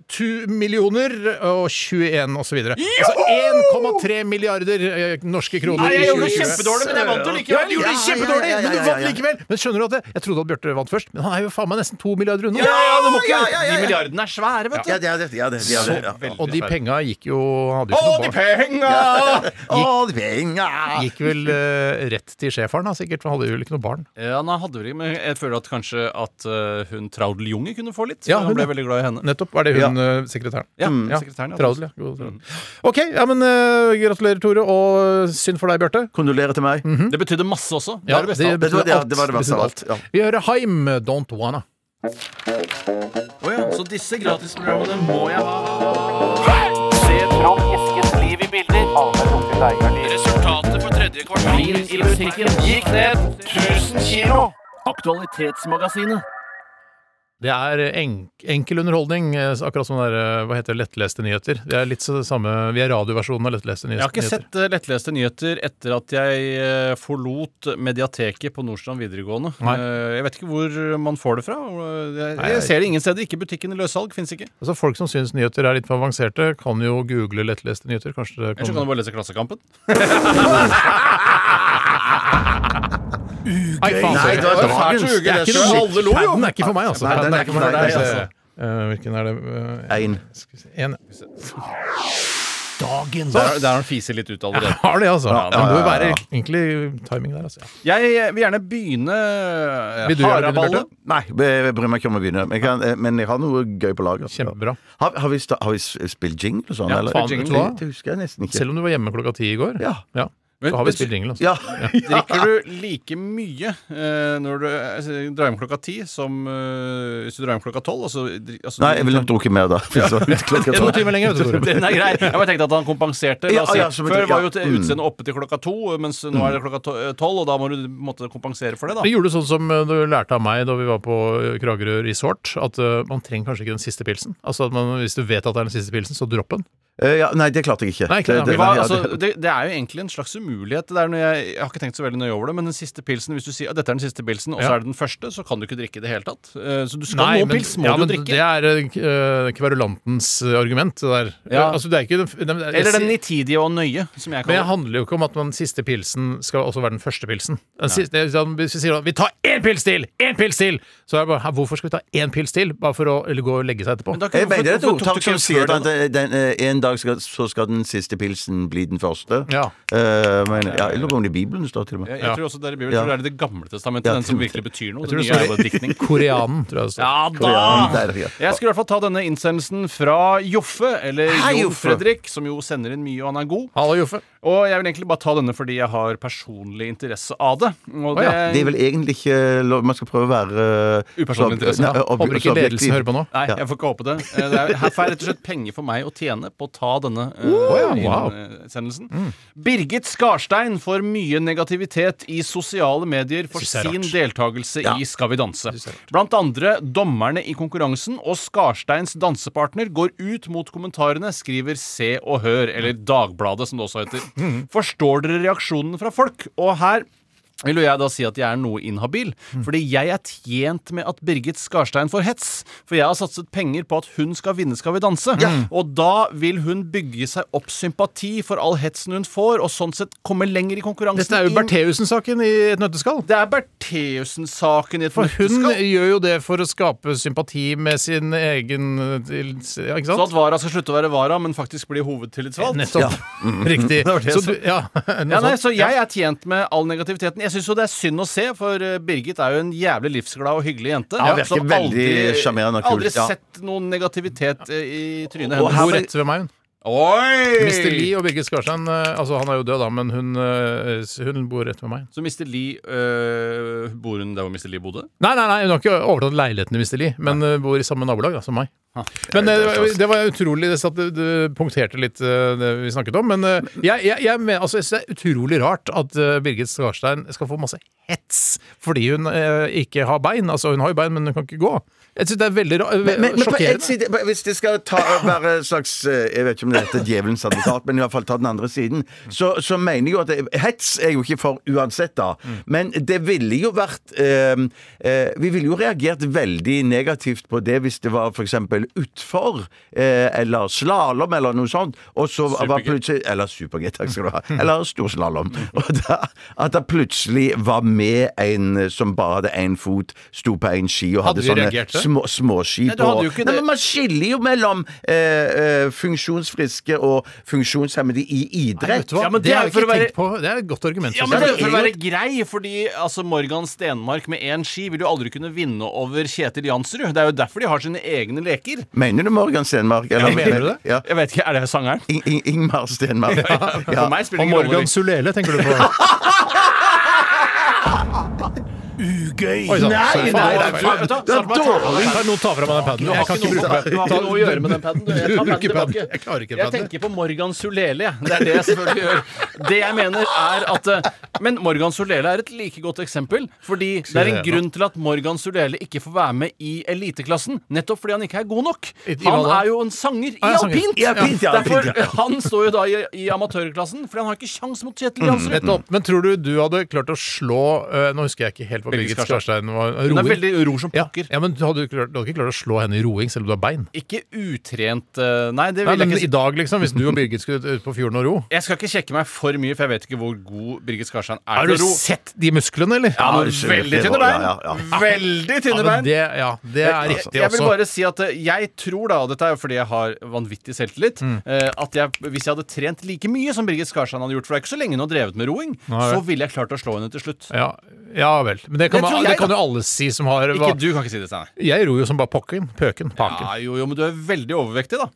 [SPEAKER 3] tu- millioner og 21 og så videre. Altså 1,3 milliarder eh, norske
[SPEAKER 5] Nei,
[SPEAKER 3] kroner.
[SPEAKER 5] jeg
[SPEAKER 3] i
[SPEAKER 5] gjorde det
[SPEAKER 3] 2020.
[SPEAKER 5] kjempedårlig, men jeg vant det
[SPEAKER 3] Ja, du
[SPEAKER 5] likevel.
[SPEAKER 3] gjorde det kjempedårlig,
[SPEAKER 4] Ja, ja, ja, ja,
[SPEAKER 3] men du
[SPEAKER 4] ja,
[SPEAKER 3] vant
[SPEAKER 4] ja.
[SPEAKER 3] likevel! Men skjønner du at det, Jeg trodde at Bjarte vant først, men han er jo faen meg nesten to milliarder unna.
[SPEAKER 5] Ja, ja, du må ikke
[SPEAKER 4] Ja, ja, ja, ja.
[SPEAKER 5] De milliardene er svære, vet du.
[SPEAKER 4] Ja, det er det. Ja, det, ja, det, ja.
[SPEAKER 3] Og de penga gikk jo hadde jo
[SPEAKER 5] Å,
[SPEAKER 3] ikke noe
[SPEAKER 5] de
[SPEAKER 3] barn.
[SPEAKER 5] penga!
[SPEAKER 4] Å, det er penger!
[SPEAKER 3] Gikk vel eh, rett til schæferen, da, sikkert, for han hadde jo ikke noe barn.
[SPEAKER 5] Ja, nei, hadde vel ikke, men jeg føler at kanskje at eh, hun Traudel Junge kunne få litt.
[SPEAKER 3] Ja,
[SPEAKER 5] for
[SPEAKER 3] hun,
[SPEAKER 5] han ble
[SPEAKER 3] ja.
[SPEAKER 5] veldig glad i henne.
[SPEAKER 3] Nettopp. Er det hun eh, sekretæren?
[SPEAKER 5] Ja,
[SPEAKER 3] Ja,
[SPEAKER 5] sekretæren. Ja. Mm.
[SPEAKER 3] Traudel, ja. God, traudel. OK, ja, men eh, gratulerer, Tore, og eh, synd for deg, Bjarte.
[SPEAKER 4] Kondolerer til meg.
[SPEAKER 5] Det betydde masse også. Det
[SPEAKER 3] Ja,
[SPEAKER 5] er det beste. av alt.
[SPEAKER 4] Det var det-
[SPEAKER 3] alt.
[SPEAKER 4] det var det verste av
[SPEAKER 3] betydde
[SPEAKER 4] alt, ja.
[SPEAKER 3] Vi hører Haim, eh, Don't Wanna.
[SPEAKER 5] Å ja, så disse gratisprogrammene må jeg ha.
[SPEAKER 7] Resultatet for tredje kvartal i musikken gikk ned 1000 kilo. Aktualitetsmagasinet.
[SPEAKER 3] Det er eh, enk enkel underholdning, eh, akkurat som det der, eh, hva heter det, lettleste nyheter. Det er litt så det samme, Vi er radioversjonen av lettleste nyheter.
[SPEAKER 5] Jeg har ikke sett eh, lettleste nyheter etter at jeg eh, forlot Mediateket på Nordstrand videregående.
[SPEAKER 3] Nei.
[SPEAKER 5] Eh, Jeg vet ikke hvor man får det fra. og Jeg,
[SPEAKER 3] Nei, jeg-
[SPEAKER 5] jeg ser det ingen steder. Ikke butikken i løssalg. Fins ikke.
[SPEAKER 3] Altså, folk som syns nyheter er litt for avanserte, kan jo google lettleste nyheter. Kanskje det
[SPEAKER 5] Ellers så
[SPEAKER 3] kommer
[SPEAKER 5] kan du bare lese Klassekampen.
[SPEAKER 3] Nei, faen,
[SPEAKER 4] Nei,
[SPEAKER 3] sorry.
[SPEAKER 4] det var
[SPEAKER 3] Oi,
[SPEAKER 4] dagens.
[SPEAKER 3] fælt, det er ikke noe-
[SPEAKER 5] Alle lo, jo.
[SPEAKER 3] Padden er ikke for meg, altså.
[SPEAKER 4] Nei, den er ikke for deg,
[SPEAKER 3] altså. Eh, hvilken er det? Eh,
[SPEAKER 4] Én.
[SPEAKER 3] skal vi se. En.
[SPEAKER 5] Der har der har han fiset litt ut allerede.
[SPEAKER 3] Har det, altså.
[SPEAKER 4] ja,
[SPEAKER 3] Det må jo
[SPEAKER 4] ja,
[SPEAKER 3] være
[SPEAKER 4] ja.
[SPEAKER 3] egentlig timing der, altså. Ja.
[SPEAKER 5] Jeg vil gjerne begynne eh,
[SPEAKER 3] Vil du gjerne begynne,
[SPEAKER 5] Haraballet.
[SPEAKER 3] Bjarte?
[SPEAKER 4] Nei, jeg bryr meg ikke om å begynne. Men jeg, kan, eh, men jeg har noe gøy på lager.
[SPEAKER 3] Kjempebra.
[SPEAKER 4] Har, har, vi sta, har vi s- spilt jingle og sånn?
[SPEAKER 3] Ja,
[SPEAKER 4] eller?
[SPEAKER 3] faen,
[SPEAKER 4] det,
[SPEAKER 3] vet du hva?
[SPEAKER 4] det husker jeg nesten ikke.
[SPEAKER 3] Selv om du var hjemme klokka ti i går,
[SPEAKER 4] Ja.
[SPEAKER 3] så har vi spilt jingle. Altså.
[SPEAKER 4] Ja.
[SPEAKER 5] Drikker du like mye eh, når du altså, drar hjem klokka ti, som eh, hvis du drar hjem klokka tolv? Altså, dri- altså,
[SPEAKER 4] Nei, jeg ville nok drukket mer da. hvis det var ute
[SPEAKER 3] Det
[SPEAKER 4] klokka
[SPEAKER 3] er
[SPEAKER 4] tolv.
[SPEAKER 3] noen timer lenger, vet du. Tore.
[SPEAKER 5] Den er grei. Jeg bare tenkte at han kompenserte. La
[SPEAKER 4] Ja,
[SPEAKER 5] oss si.
[SPEAKER 4] ja, som et-
[SPEAKER 5] Før var jo
[SPEAKER 4] ja. mm.
[SPEAKER 5] til- utseendet oppe til klokka to, mens nå er det klokka to- eh, tolv, og da må du på en måte kompensere for det,
[SPEAKER 3] Det
[SPEAKER 5] da.
[SPEAKER 3] gjorde du sånn som eh, du lærte av meg da vi var på eh, Kragerø resort, at eh, man trenger kanskje ikke den siste pilsen. Altså at man, Hvis du vet at det er den siste pilsen, så dropp den.
[SPEAKER 4] Eh, ja, nei, det klarte jeg ikke.
[SPEAKER 3] Nei, ikke det.
[SPEAKER 5] Det,
[SPEAKER 3] Det
[SPEAKER 4] nei,
[SPEAKER 5] var,
[SPEAKER 4] ja,
[SPEAKER 5] altså, det, det er jo egentlig en slags umulighet. Det er når jeg, jeg har ikke tenkt så veldig nøye over det, men den siste pilsen, hvis du sier at dette er den siste pilsen, og så
[SPEAKER 3] Ja.
[SPEAKER 5] er det den første, så kan du ikke drikke i det hele tatt. Eh, Så du skal nå
[SPEAKER 3] men-
[SPEAKER 5] pils, må
[SPEAKER 3] ja,
[SPEAKER 5] du
[SPEAKER 3] men
[SPEAKER 5] drikke.
[SPEAKER 3] Det er eh, kverulantens eh, argument. Det der.
[SPEAKER 5] Ja.
[SPEAKER 3] Altså, det er ikke den, f- den, jeg
[SPEAKER 5] Eller
[SPEAKER 3] sier-
[SPEAKER 5] den nitidige og nøye, som jeg
[SPEAKER 3] men det
[SPEAKER 5] kaller det.
[SPEAKER 3] handler jo ikke om at den siste pilsen skal også være den første pilsen. Den siste, sånn, hvis vi sier at vi tar én pils til! Én pils til! Så er det bare "Hæ, hvorfor skal vi ta én pils til? Bare for å eller, gå og legge seg etterpå.
[SPEAKER 5] Men da kan-
[SPEAKER 4] Jeg mener det er et
[SPEAKER 5] hvorfor- hvorfor tok
[SPEAKER 4] ordtak
[SPEAKER 5] du
[SPEAKER 4] som
[SPEAKER 5] ikke
[SPEAKER 4] sier
[SPEAKER 5] før
[SPEAKER 4] at
[SPEAKER 5] da?
[SPEAKER 4] den, den, eh, en dag skal, så skal den siste pilsen bli den første.
[SPEAKER 3] Ja.
[SPEAKER 4] Eh, men, ja, jeg lurer på om det er Bibelen det står til og med.
[SPEAKER 5] Jeg, jeg tror også det er i Bibelen. Jeg
[SPEAKER 4] Ja.
[SPEAKER 5] tror det er i Det gamle testamentet,
[SPEAKER 4] Ja,
[SPEAKER 5] den som
[SPEAKER 4] Timothy.
[SPEAKER 5] virkelig betyr noe. Den
[SPEAKER 3] Jeg tror
[SPEAKER 5] nye
[SPEAKER 3] det
[SPEAKER 5] er jo
[SPEAKER 3] står-
[SPEAKER 5] bare diktning.
[SPEAKER 3] Koreanen, tror jeg det står.
[SPEAKER 5] Ja
[SPEAKER 4] Koreanen,
[SPEAKER 5] da!
[SPEAKER 4] der, ja.
[SPEAKER 5] Jeg skulle i hvert fall ta denne innsendelsen fra Joffe, eller
[SPEAKER 4] Hei,
[SPEAKER 5] Jon
[SPEAKER 4] Joffe.
[SPEAKER 5] Fredrik, som jo sender inn mye, og han er god.
[SPEAKER 3] Hallo, Joffe.
[SPEAKER 5] Og jeg vil egentlig bare ta denne fordi jeg har personlig interesse av det. Og
[SPEAKER 3] Å
[SPEAKER 5] det,
[SPEAKER 3] ja,
[SPEAKER 4] Det er vel egentlig ikke lov Man skal prøve å være eh,
[SPEAKER 5] Upersonlig
[SPEAKER 4] så-
[SPEAKER 5] interesse,
[SPEAKER 4] nei,
[SPEAKER 5] ja.
[SPEAKER 4] ob-
[SPEAKER 3] Håper ikke
[SPEAKER 4] så objektiv.
[SPEAKER 3] ledelsen hører på nå.
[SPEAKER 5] Nei,
[SPEAKER 4] Ja.
[SPEAKER 5] jeg får ikke håpe det. Eh, det er, her får jeg rett og slett penger for meg å tjene på å ta denne eh,
[SPEAKER 3] Å ja, wow.
[SPEAKER 5] innsendelsen. Birgit Skarstein får mye negativitet i sosiale medier for
[SPEAKER 3] Synes jeg
[SPEAKER 5] sin
[SPEAKER 3] er rart.
[SPEAKER 5] deltakelse i Skal vi danse.
[SPEAKER 3] Synes jeg er rart.
[SPEAKER 5] Blant andre dommerne i konkurransen og Skarsteins dansepartner går ut mot kommentarene, skriver Se og Hør, eller Dagbladet som det også heter.
[SPEAKER 3] Mm.
[SPEAKER 5] Forstår dere reaksjonen fra folk? Og her vil jo jeg da si at jeg er noe inhabil.
[SPEAKER 3] Mm.
[SPEAKER 5] Fordi jeg er tjent med at Birgit Skarstein får hets. For jeg har satset penger på at hun skal vinne Skal vi danse. Og da vil hun bygge seg opp sympati for all hetsen hun får, og sånn sett komme lenger i konkurransen.
[SPEAKER 3] Dette er jo
[SPEAKER 5] i-
[SPEAKER 3] Bertheussen-saken i et nøtteskall.
[SPEAKER 5] Det er Bertheussen-saken i et
[SPEAKER 3] For hun
[SPEAKER 5] nøtteskall.
[SPEAKER 3] gjør jo det for å skape sympati med sin egen eh, til- ja, Ikke
[SPEAKER 5] Så at
[SPEAKER 3] sant?
[SPEAKER 5] Vara skal slutte å være Vara, men faktisk bli hovedtillitsvalgt.
[SPEAKER 3] Nettopp. Mm. Riktig.
[SPEAKER 5] var det jeg
[SPEAKER 3] Så
[SPEAKER 5] sa.
[SPEAKER 3] du, ja, noe
[SPEAKER 5] Ja, nei,
[SPEAKER 3] sånt.
[SPEAKER 5] så Jeg er tjent med all negativiteten. Jeg syns jo det er synd å se, for eh, Birgit er jo en jævlig livsglad og hyggelig jente.
[SPEAKER 4] Ja, virker
[SPEAKER 5] som
[SPEAKER 4] veldig sjarmerende og kul,
[SPEAKER 5] Aldri
[SPEAKER 4] ja.
[SPEAKER 5] sett noen negativitet eh, i trynet
[SPEAKER 4] Og
[SPEAKER 5] hennes.
[SPEAKER 4] her
[SPEAKER 3] Hun
[SPEAKER 4] var-
[SPEAKER 3] rett ved meg, hun.
[SPEAKER 5] Oi!
[SPEAKER 3] Mr. Lee og Birgit Skarstein eh, Altså, han er jo død, da, men hun, eh, hun bor rett ved meg.
[SPEAKER 5] Så Mr. Lee øh, Bor hun der hvor Mr. Lee bodde?
[SPEAKER 3] Nei, nei, nei, hun har ikke overtatt leiligheten til Mr. Lee, men eh, bor i eh, samme nabolag da, som meg. Men det, det var utrolig det satt, Du punkterte litt eh, det vi snakket om. Men eh, jeg, jeg, jeg, mener, altså, jeg synes det er utrolig rart at eh, Birgit Skarstein skal få masse hets fordi hun eh, ikke har bein. Altså, hun har jo bein, men hun kan ikke gå. Jeg synes det er veldig ra-
[SPEAKER 4] Men, men, men på en
[SPEAKER 3] sjokkerende.
[SPEAKER 4] side, hvis det skal ta, være en slags eh, Jeg vet ikke om det heter djevelens advokat, men i hvert fall ta den andre siden. Så, så mener jeg jo at det, hets er jo ikke for uansett, da. Men det ville jo vært eh, eh, Vi ville jo reagert veldig negativt på det hvis det var f.eks. utfor eh, eller slalåm eller noe sånt, og så var
[SPEAKER 5] Super-G.
[SPEAKER 4] plutselig Eller super-G, takk skal du ha. Eller storslalåm. At det plutselig var med en som bare hadde én fot, sto på én ski og
[SPEAKER 3] Hadde
[SPEAKER 4] hadde,
[SPEAKER 3] vi reagert det?
[SPEAKER 4] sånne små, småski
[SPEAKER 5] Nei, du hadde jo ikke
[SPEAKER 4] Nei,
[SPEAKER 5] det.
[SPEAKER 4] men Man skiller jo mellom eh, eh, funksjonsfriske og funksjonshemmede i
[SPEAKER 3] Nei,
[SPEAKER 4] idrett.
[SPEAKER 3] vet du hva?
[SPEAKER 5] Ja, men
[SPEAKER 3] det,
[SPEAKER 5] det er
[SPEAKER 3] har jeg
[SPEAKER 5] jo for å
[SPEAKER 3] ikke
[SPEAKER 5] være-
[SPEAKER 3] tenkt på. Det er et godt argument.
[SPEAKER 5] Ja,
[SPEAKER 3] synes
[SPEAKER 5] men det
[SPEAKER 3] jeg.
[SPEAKER 5] er jo for å være grei, fordi altså, Morgan Stenmark med én ski vil jo aldri kunne vinne over Kjetil Jansrud. Det er jo derfor de har sine egne leker.
[SPEAKER 4] Mener du Morgan Stenmark? eller-
[SPEAKER 3] Ja, mener du det?
[SPEAKER 4] Ja.
[SPEAKER 5] Jeg vet ikke, Er det sangeren?
[SPEAKER 4] Ing Ing Ingmar Stenmark.
[SPEAKER 5] For meg spiller det
[SPEAKER 3] Og
[SPEAKER 5] ingen rolle.
[SPEAKER 3] Morgan Sulele, tenker du på?
[SPEAKER 7] Ugøy!
[SPEAKER 3] Oi, da.
[SPEAKER 4] Nei, nei, nei,
[SPEAKER 5] Vet du hva?
[SPEAKER 4] Det er
[SPEAKER 5] Snart må jeg ta av meg den.
[SPEAKER 4] dårlig!
[SPEAKER 3] Kan noen ta fra meg den paden?
[SPEAKER 5] Du har
[SPEAKER 3] Jeg kan
[SPEAKER 5] ikke
[SPEAKER 3] ikke bruke
[SPEAKER 5] noe, du har ikke noe å gjøre med den paden. Du, jeg
[SPEAKER 3] Du
[SPEAKER 5] tar
[SPEAKER 3] bruker
[SPEAKER 5] paden
[SPEAKER 3] paden.
[SPEAKER 5] tilbake.
[SPEAKER 3] Jeg klarer ikke
[SPEAKER 5] Jeg
[SPEAKER 3] paden.
[SPEAKER 5] tenker på Morgan Solele. jeg. Det er det jeg selvfølgelig gjør. Det jeg mener er at eh, Men Morgan Solele er et like godt eksempel. Fordi det er en
[SPEAKER 3] Solele.
[SPEAKER 5] grunn til at Morgan Solele ikke får være med i eliteklassen. Nettopp fordi han ikke er god nok.
[SPEAKER 3] I- i hva
[SPEAKER 5] Han
[SPEAKER 3] da?
[SPEAKER 5] er jo en sanger
[SPEAKER 3] Ah,
[SPEAKER 5] i
[SPEAKER 3] ja, sanger.
[SPEAKER 5] alpint.
[SPEAKER 4] I alpint, ja,
[SPEAKER 5] Derfor,
[SPEAKER 4] alpint, ja.
[SPEAKER 5] han står jo da i, i amatørklassen, fordi han har ikke kjangs mot Kjetil Jansrud.
[SPEAKER 3] Nettopp. Men tror du du hadde klart å slå eh, Nå husker jeg ikke helt hva
[SPEAKER 5] Birgit
[SPEAKER 3] Birgit Skarstein var.
[SPEAKER 5] Hun er
[SPEAKER 3] roer.
[SPEAKER 5] veldig ror som
[SPEAKER 3] Ja,
[SPEAKER 5] pokker.
[SPEAKER 3] ja, men du hadde, jo klart, du hadde ikke klart å slå henne i roing selv om du har bein.
[SPEAKER 5] Ikke utrent eh, Nei, det
[SPEAKER 3] Nei,
[SPEAKER 5] vil jeg
[SPEAKER 3] men
[SPEAKER 5] ikke si.
[SPEAKER 3] I dag, liksom, hvis du og Birgit skulle ut- ut på fjorden og ro
[SPEAKER 5] Jeg skal ikke sjekke meg for mye, for jeg vet ikke hvor god Birgit Skarstein er.
[SPEAKER 3] Har
[SPEAKER 5] til å
[SPEAKER 3] du
[SPEAKER 5] ro.
[SPEAKER 3] sett de musklene, eller?
[SPEAKER 5] Ja, men
[SPEAKER 4] absolutt.
[SPEAKER 5] veldig
[SPEAKER 4] Det
[SPEAKER 5] tynne
[SPEAKER 4] var-
[SPEAKER 5] bein.
[SPEAKER 4] ja, ja, ja.
[SPEAKER 5] Veldig tynne
[SPEAKER 3] men
[SPEAKER 5] bein.
[SPEAKER 3] det, ja, det er riktig
[SPEAKER 5] Jeg vil
[SPEAKER 3] også.
[SPEAKER 5] bare si at eh, jeg tror da, og dette er jo fordi jeg har vanvittig selvtillit,
[SPEAKER 3] Mm.
[SPEAKER 5] eh, at jeg, hvis jeg hadde trent like mye som Birgit Skarstein hadde gjort, for det er ikke så lenge hun har drevet med roing,
[SPEAKER 3] Nei.
[SPEAKER 5] så ville jeg klart å slå henne til slutt.
[SPEAKER 3] Ja, ja vel. Men det kan,
[SPEAKER 5] Det tror
[SPEAKER 3] man-
[SPEAKER 5] jeg,
[SPEAKER 3] det kan
[SPEAKER 5] da.
[SPEAKER 3] jo alle si som har hva,
[SPEAKER 5] Ikke du kan ikke si det, Steinar.
[SPEAKER 3] Jeg ror jo som bare pokken. Pøken. Paken.
[SPEAKER 5] Ja, jo, jo, men du er veldig overvektig, da.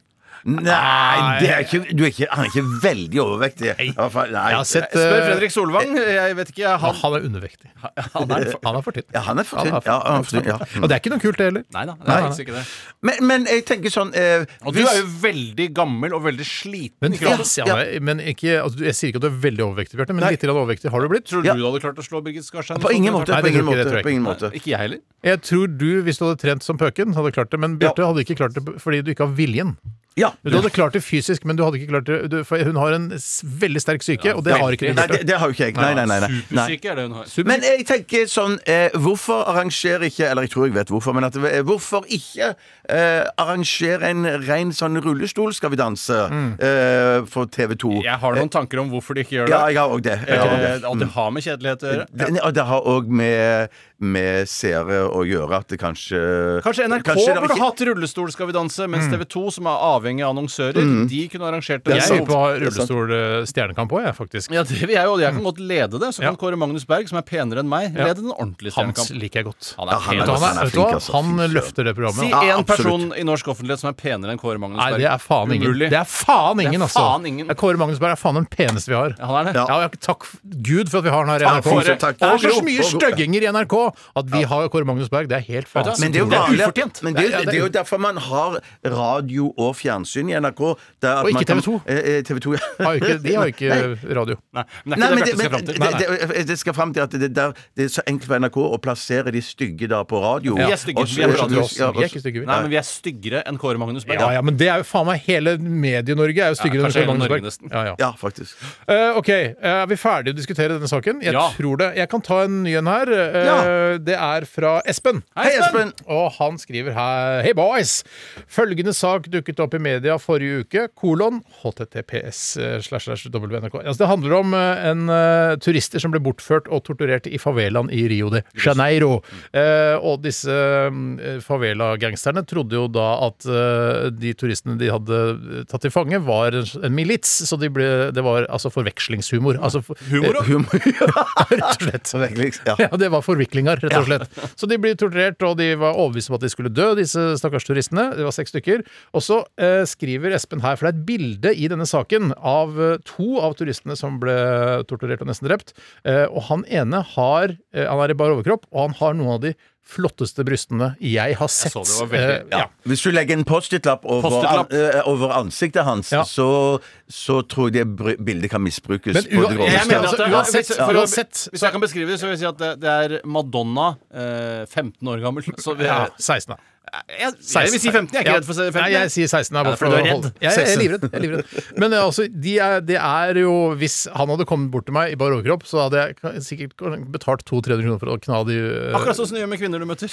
[SPEAKER 4] Nei, det er ikke, du er ikke, han er ikke veldig overvektig. I hvert fall, Nei.
[SPEAKER 3] Jeg har sett
[SPEAKER 5] Spør
[SPEAKER 3] eh,
[SPEAKER 5] Fredrik Solvang. Jeg vet ikke,
[SPEAKER 3] han,
[SPEAKER 5] han
[SPEAKER 3] han er undervektig. Han er, for tynn.
[SPEAKER 4] Ja, han er for tynn.
[SPEAKER 3] Han
[SPEAKER 4] Ja, han er for tynn, ja.
[SPEAKER 3] Og det er ikke noe kult, det heller.
[SPEAKER 5] Nei da, det er
[SPEAKER 3] Nei.
[SPEAKER 5] faktisk ikke det.
[SPEAKER 4] Men, men jeg tenker sånn eh,
[SPEAKER 5] Og du
[SPEAKER 4] hvis-
[SPEAKER 5] er jo veldig gammel og veldig sliten Altså,
[SPEAKER 3] Men,
[SPEAKER 5] i kroppen.
[SPEAKER 3] ja, men ikke, altså, jeg sier ikke at du er veldig overvektig, Bjarte, men litt grann overvektig har du blitt.
[SPEAKER 5] Tror du
[SPEAKER 4] Ja.
[SPEAKER 5] du hadde klart å slå Birgit Skarstein?
[SPEAKER 4] På ingen måte.
[SPEAKER 3] Nei,
[SPEAKER 4] På
[SPEAKER 3] det
[SPEAKER 4] ingen
[SPEAKER 3] tror jeg ikke, det tror
[SPEAKER 4] måte.
[SPEAKER 3] jeg
[SPEAKER 4] På ingen
[SPEAKER 5] Nei,
[SPEAKER 4] måte.
[SPEAKER 5] Ikke jeg heller.
[SPEAKER 3] Jeg tror du, hvis du hadde trent som pøken, hadde klart det. Men Bjarte hadde ikke klart det fordi du ikke har viljen.
[SPEAKER 4] Ja.
[SPEAKER 3] Du hadde klart det fysisk, men du hadde ikke klart det du, for Hun har en s- veldig sterk psyke, og det har ikke
[SPEAKER 4] Nei,
[SPEAKER 3] Bjarte.
[SPEAKER 4] det, det har jo ikke jeg. Nei, nei, nei. nei. nei.
[SPEAKER 5] Supersyke er det hun har.
[SPEAKER 4] Men jeg tenker sånn eh, Hvorfor arrangerer ikke Eller jeg tror jeg vet hvorfor, men at, eh, hvorfor ikke eh, arrangere en ren sånn rullestol Skal vi danse
[SPEAKER 3] Mm.
[SPEAKER 4] eh, for TV 2? Ja,
[SPEAKER 5] Jeg har noen tanker om hvorfor de ikke gjør det.
[SPEAKER 4] jeg har òg det. Jeg har
[SPEAKER 5] Eh,
[SPEAKER 4] også det.
[SPEAKER 5] At det har med kjedelighet å gjøre.
[SPEAKER 4] Det, og det har òg med, med seere å gjøre at det kanskje
[SPEAKER 5] Kanskje NRK
[SPEAKER 4] Kanskje det
[SPEAKER 5] burde
[SPEAKER 4] ikke-
[SPEAKER 5] hatt Rullestol skal vi danse, mens TV 2, som er avhengig av annonsører, de kunne arrangert det.
[SPEAKER 3] Jeg
[SPEAKER 5] Jeg-
[SPEAKER 3] lurer på å ha rullestol-stjernekamp òg, jeg, faktisk.
[SPEAKER 5] ja, det vil jeg jo. Jeg kan godt lede det. Så kan
[SPEAKER 3] Ja.
[SPEAKER 5] Kåre Magnus Berg, som er penere enn meg, lede den ordentlige
[SPEAKER 3] Hans
[SPEAKER 5] stjernekampen.
[SPEAKER 3] liker jeg godt.
[SPEAKER 5] Han
[SPEAKER 4] Ja,
[SPEAKER 5] er
[SPEAKER 4] han
[SPEAKER 5] helt
[SPEAKER 3] Vet du,
[SPEAKER 5] altså.
[SPEAKER 3] han, er,
[SPEAKER 4] Han er
[SPEAKER 3] vet du
[SPEAKER 4] flink,
[SPEAKER 3] hva?
[SPEAKER 4] altså.
[SPEAKER 3] han
[SPEAKER 4] Fy søren.
[SPEAKER 3] løfter det
[SPEAKER 5] Si
[SPEAKER 3] programmet.
[SPEAKER 4] Ja,
[SPEAKER 5] én
[SPEAKER 4] absolutt.
[SPEAKER 5] person i norsk offentlighet som er penere enn Kåre Magnus
[SPEAKER 3] Nei,
[SPEAKER 5] Berg.
[SPEAKER 3] det er faen ingen.
[SPEAKER 5] Umulig.
[SPEAKER 3] Det er faen
[SPEAKER 5] er
[SPEAKER 3] ingen, altså.
[SPEAKER 5] faen ingen.
[SPEAKER 3] Ja, Kåre Magnusberg er faen den peneste vi har.
[SPEAKER 5] Ja, han er det.
[SPEAKER 3] Ja, og jeg- takk f- Gud for at vi har han her i NRK.
[SPEAKER 4] Kåre. Takk.
[SPEAKER 3] Det er
[SPEAKER 4] Og
[SPEAKER 3] så
[SPEAKER 4] Gro.
[SPEAKER 3] mye
[SPEAKER 4] Og Gro.
[SPEAKER 3] stygginger i NRK at vi har Kåre Magnusberg. Det er helt faen.
[SPEAKER 5] hva?
[SPEAKER 4] Men det er jo
[SPEAKER 5] Det er
[SPEAKER 4] vanlig.
[SPEAKER 5] ufortjent.
[SPEAKER 4] Men det, er,
[SPEAKER 3] Ja,
[SPEAKER 4] jo-
[SPEAKER 3] ja, det-
[SPEAKER 4] det er jo derfor man har radio og fjernsyn i NRK. der at
[SPEAKER 3] Og ikke
[SPEAKER 4] man kan-
[SPEAKER 3] TV2.
[SPEAKER 4] Eh, eh, TV 2 ja.
[SPEAKER 3] Har jo ikke, de har jo ikke radio.
[SPEAKER 5] Nei, men det er
[SPEAKER 4] Nei, men
[SPEAKER 5] ikke
[SPEAKER 4] det,
[SPEAKER 5] det Bjarte skal
[SPEAKER 4] men,
[SPEAKER 5] fram til.
[SPEAKER 4] det,
[SPEAKER 5] Nei, nei.
[SPEAKER 4] det, det skal fram til at det, der, det er så enkelt for NRK å plassere de stygge da på radio.
[SPEAKER 5] Vi er stygge,
[SPEAKER 4] Og så-
[SPEAKER 5] vi er på radio.
[SPEAKER 3] Vi er ikke stygge, vi.
[SPEAKER 5] Nei, men vi er styggere enn Kåre Magnus Berg.
[SPEAKER 3] Ja, ja, men det er jo faen meg hele Medie-Norge er jo styggere
[SPEAKER 5] Ja,
[SPEAKER 3] enn
[SPEAKER 5] kanskje
[SPEAKER 3] Kjell
[SPEAKER 5] hele Norge
[SPEAKER 3] Magnusberg.
[SPEAKER 5] nesten.
[SPEAKER 3] Ja, ja.
[SPEAKER 4] Ja, faktisk.
[SPEAKER 3] Eh, ok, eh, er vi ferdige å diskutere denne saken? Jeg
[SPEAKER 5] Ja.
[SPEAKER 3] tror det. Jeg kan ta en ny en her. Eh,
[SPEAKER 4] Ja.
[SPEAKER 3] Det er fra Espen.
[SPEAKER 4] Hei, Espen!
[SPEAKER 3] Og han skriver her Hei, boys! Følgende sak dukket opp i media forrige uke. Kolon https eh, slash slash wnrk. Altså, det handler om eh, en eh, turister som ble bortført og torturert i favelaen i Rio de Janeiro. Eh, og disse eh, favela-gangsterne trodde jo da at eh, de turistene de hadde eh, tatt til fange, var en en milits, så de ble, det var altså forvekslingshumor. Altså,
[SPEAKER 4] Eh,
[SPEAKER 3] humor, Rett og slett.
[SPEAKER 4] Forvekslings- ja.
[SPEAKER 3] Ja, det var forviklinger, rett og slett. Så de ble torturert, og de var overbevist om at de skulle dø, disse stakkars turistene. Det var seks stykker. Og så eh, skriver Espen her, for det er et bilde i denne saken av eh, to av turistene som ble torturert og nesten drept. Eh, og han ene har eh, Han er i bar overkropp, og han har noen av de flotteste brystene jeg har sett.
[SPEAKER 5] så det var veldig-
[SPEAKER 3] Eh,
[SPEAKER 5] ja.
[SPEAKER 3] ja.
[SPEAKER 4] Hvis du legger en Post-It-lapp over,
[SPEAKER 5] Post-it-lapp.
[SPEAKER 4] an- eh, over ansiktet hans,
[SPEAKER 3] Ja.
[SPEAKER 4] så, så tror jeg det br- bildet kan misbrukes.
[SPEAKER 3] Men
[SPEAKER 4] på det
[SPEAKER 3] ua-
[SPEAKER 4] groveste.
[SPEAKER 3] jeg mener at det-
[SPEAKER 5] Ja,
[SPEAKER 3] uansett-
[SPEAKER 5] hvis- for å-
[SPEAKER 3] uansett-
[SPEAKER 5] Hvis jeg kan beskrive det, så vil jeg si at det, det er Madonna eh, 15 år gammel. Så vi,
[SPEAKER 3] Ja, 16, eh, da.
[SPEAKER 5] jeg, jeg vil si 15. Jeg er ikke redd for å si 15.
[SPEAKER 3] Nei, jeg sier 16. Jeg,
[SPEAKER 5] Ja,
[SPEAKER 3] bare
[SPEAKER 5] for du er redd.
[SPEAKER 3] Jeg, jeg er
[SPEAKER 5] 16.
[SPEAKER 3] livredd. Jeg er livredd. Men det er, altså, de er, det er jo Hvis han hadde kommet bort til meg i bar overkropp, så hadde jeg ka- sikkert betalt 200-300 kroner for å kna de øh,
[SPEAKER 5] Akkurat sånn som du gjør med kvinner du møter.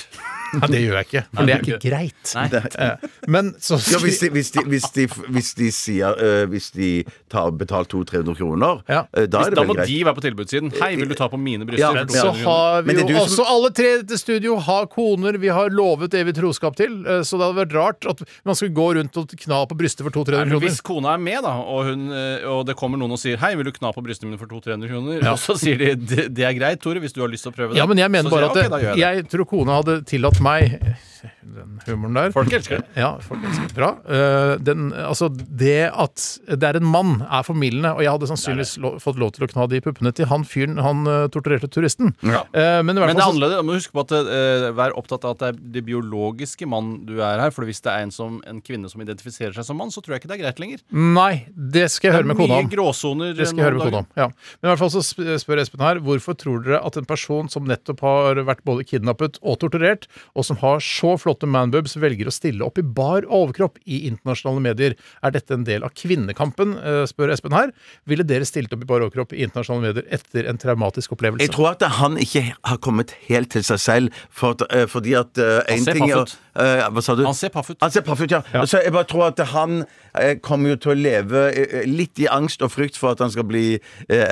[SPEAKER 3] Nei, det gjør jeg ikke. For det er ikke greit. Eh, Men så
[SPEAKER 4] Ja, hvis de, hvis de, hvis de, hvis de sier eh, Hvis de tar betalt 200-300 kroner,
[SPEAKER 3] Ja.
[SPEAKER 4] eh, da
[SPEAKER 5] Hvis,
[SPEAKER 4] er det
[SPEAKER 5] da
[SPEAKER 4] vel
[SPEAKER 5] må
[SPEAKER 4] greit.
[SPEAKER 5] de være på tilbudssiden. Hei, vil du ta på mine bryster?
[SPEAKER 4] Ja, men
[SPEAKER 5] for
[SPEAKER 3] så
[SPEAKER 5] 200 kroner?
[SPEAKER 3] har vi
[SPEAKER 4] Men det
[SPEAKER 3] jo
[SPEAKER 4] er du som-
[SPEAKER 3] også alle tre i dette studio har koner vi har lovet evig troskap til, eh, så det hadde vært rart at man skulle gå rundt og kna på brystet for
[SPEAKER 5] Nei,
[SPEAKER 3] 200-300
[SPEAKER 5] men
[SPEAKER 3] kroner.
[SPEAKER 5] Hvis kona er med, da, og, hun, eh, og det kommer noen og sier 'Hei, vil du kna på brystene mine for 200-300 kroner?' Og så sier de det, 'Det er greit, Tore, hvis du har lyst til å prøve det'.
[SPEAKER 3] Ja, men jeg mener
[SPEAKER 5] så
[SPEAKER 3] bare at
[SPEAKER 5] sier jeg, «Ok, da
[SPEAKER 3] jeg,
[SPEAKER 5] gjør jeg det.
[SPEAKER 3] tror kona hadde tillatt meg Den humoren der.
[SPEAKER 5] Folk elsker det.
[SPEAKER 3] Ja, folk elsker det. bra. Eh, den, altså, det at det er en mann, er formildende. Og jeg hadde sannsynligvis lo fått lov til å kna de puppene til han fyren han eh, torturerte turisten. Eh, men i hvert
[SPEAKER 5] Men det er
[SPEAKER 3] fall så-
[SPEAKER 5] annerledes. Du må huske på at eh, Vær opptatt av at det er det biologiske mann du er her. For hvis det er en, som, en kvinne som identifiserer seg som mann, så tror jeg ikke det er greit lenger.
[SPEAKER 3] Nei, det skal jeg høre med kona
[SPEAKER 5] Mye
[SPEAKER 3] om.
[SPEAKER 5] gråsoner.
[SPEAKER 3] Det skal jeg høre
[SPEAKER 5] noen
[SPEAKER 3] med kona om. Ja. Men i hvert fall så sp- spør Espen her hvorfor tror dere at en person som nettopp har vært både kidnappet og torturert, og som har så flotte manboobs, velger å stille opp i bar overkropp i internasjonale medier? Er dette en del av kvinnekampen, eh, spør Espen her. Ville dere stilt opp i bar overkropp i internasjonale medier etter en traumatisk opplevelse?
[SPEAKER 4] Jeg tror at han ikke har kommet helt til seg selv, for, at- eh, fordi at Han
[SPEAKER 5] ser
[SPEAKER 4] ting, er-
[SPEAKER 5] paff ut.
[SPEAKER 4] eh, Hva sa du?
[SPEAKER 5] Han ser paff ut.
[SPEAKER 4] Han ser paff ut, ja. Så jeg bare tror at han eh, kommer jo til å leve eh, litt i angst og frykt for at han skal bli eh,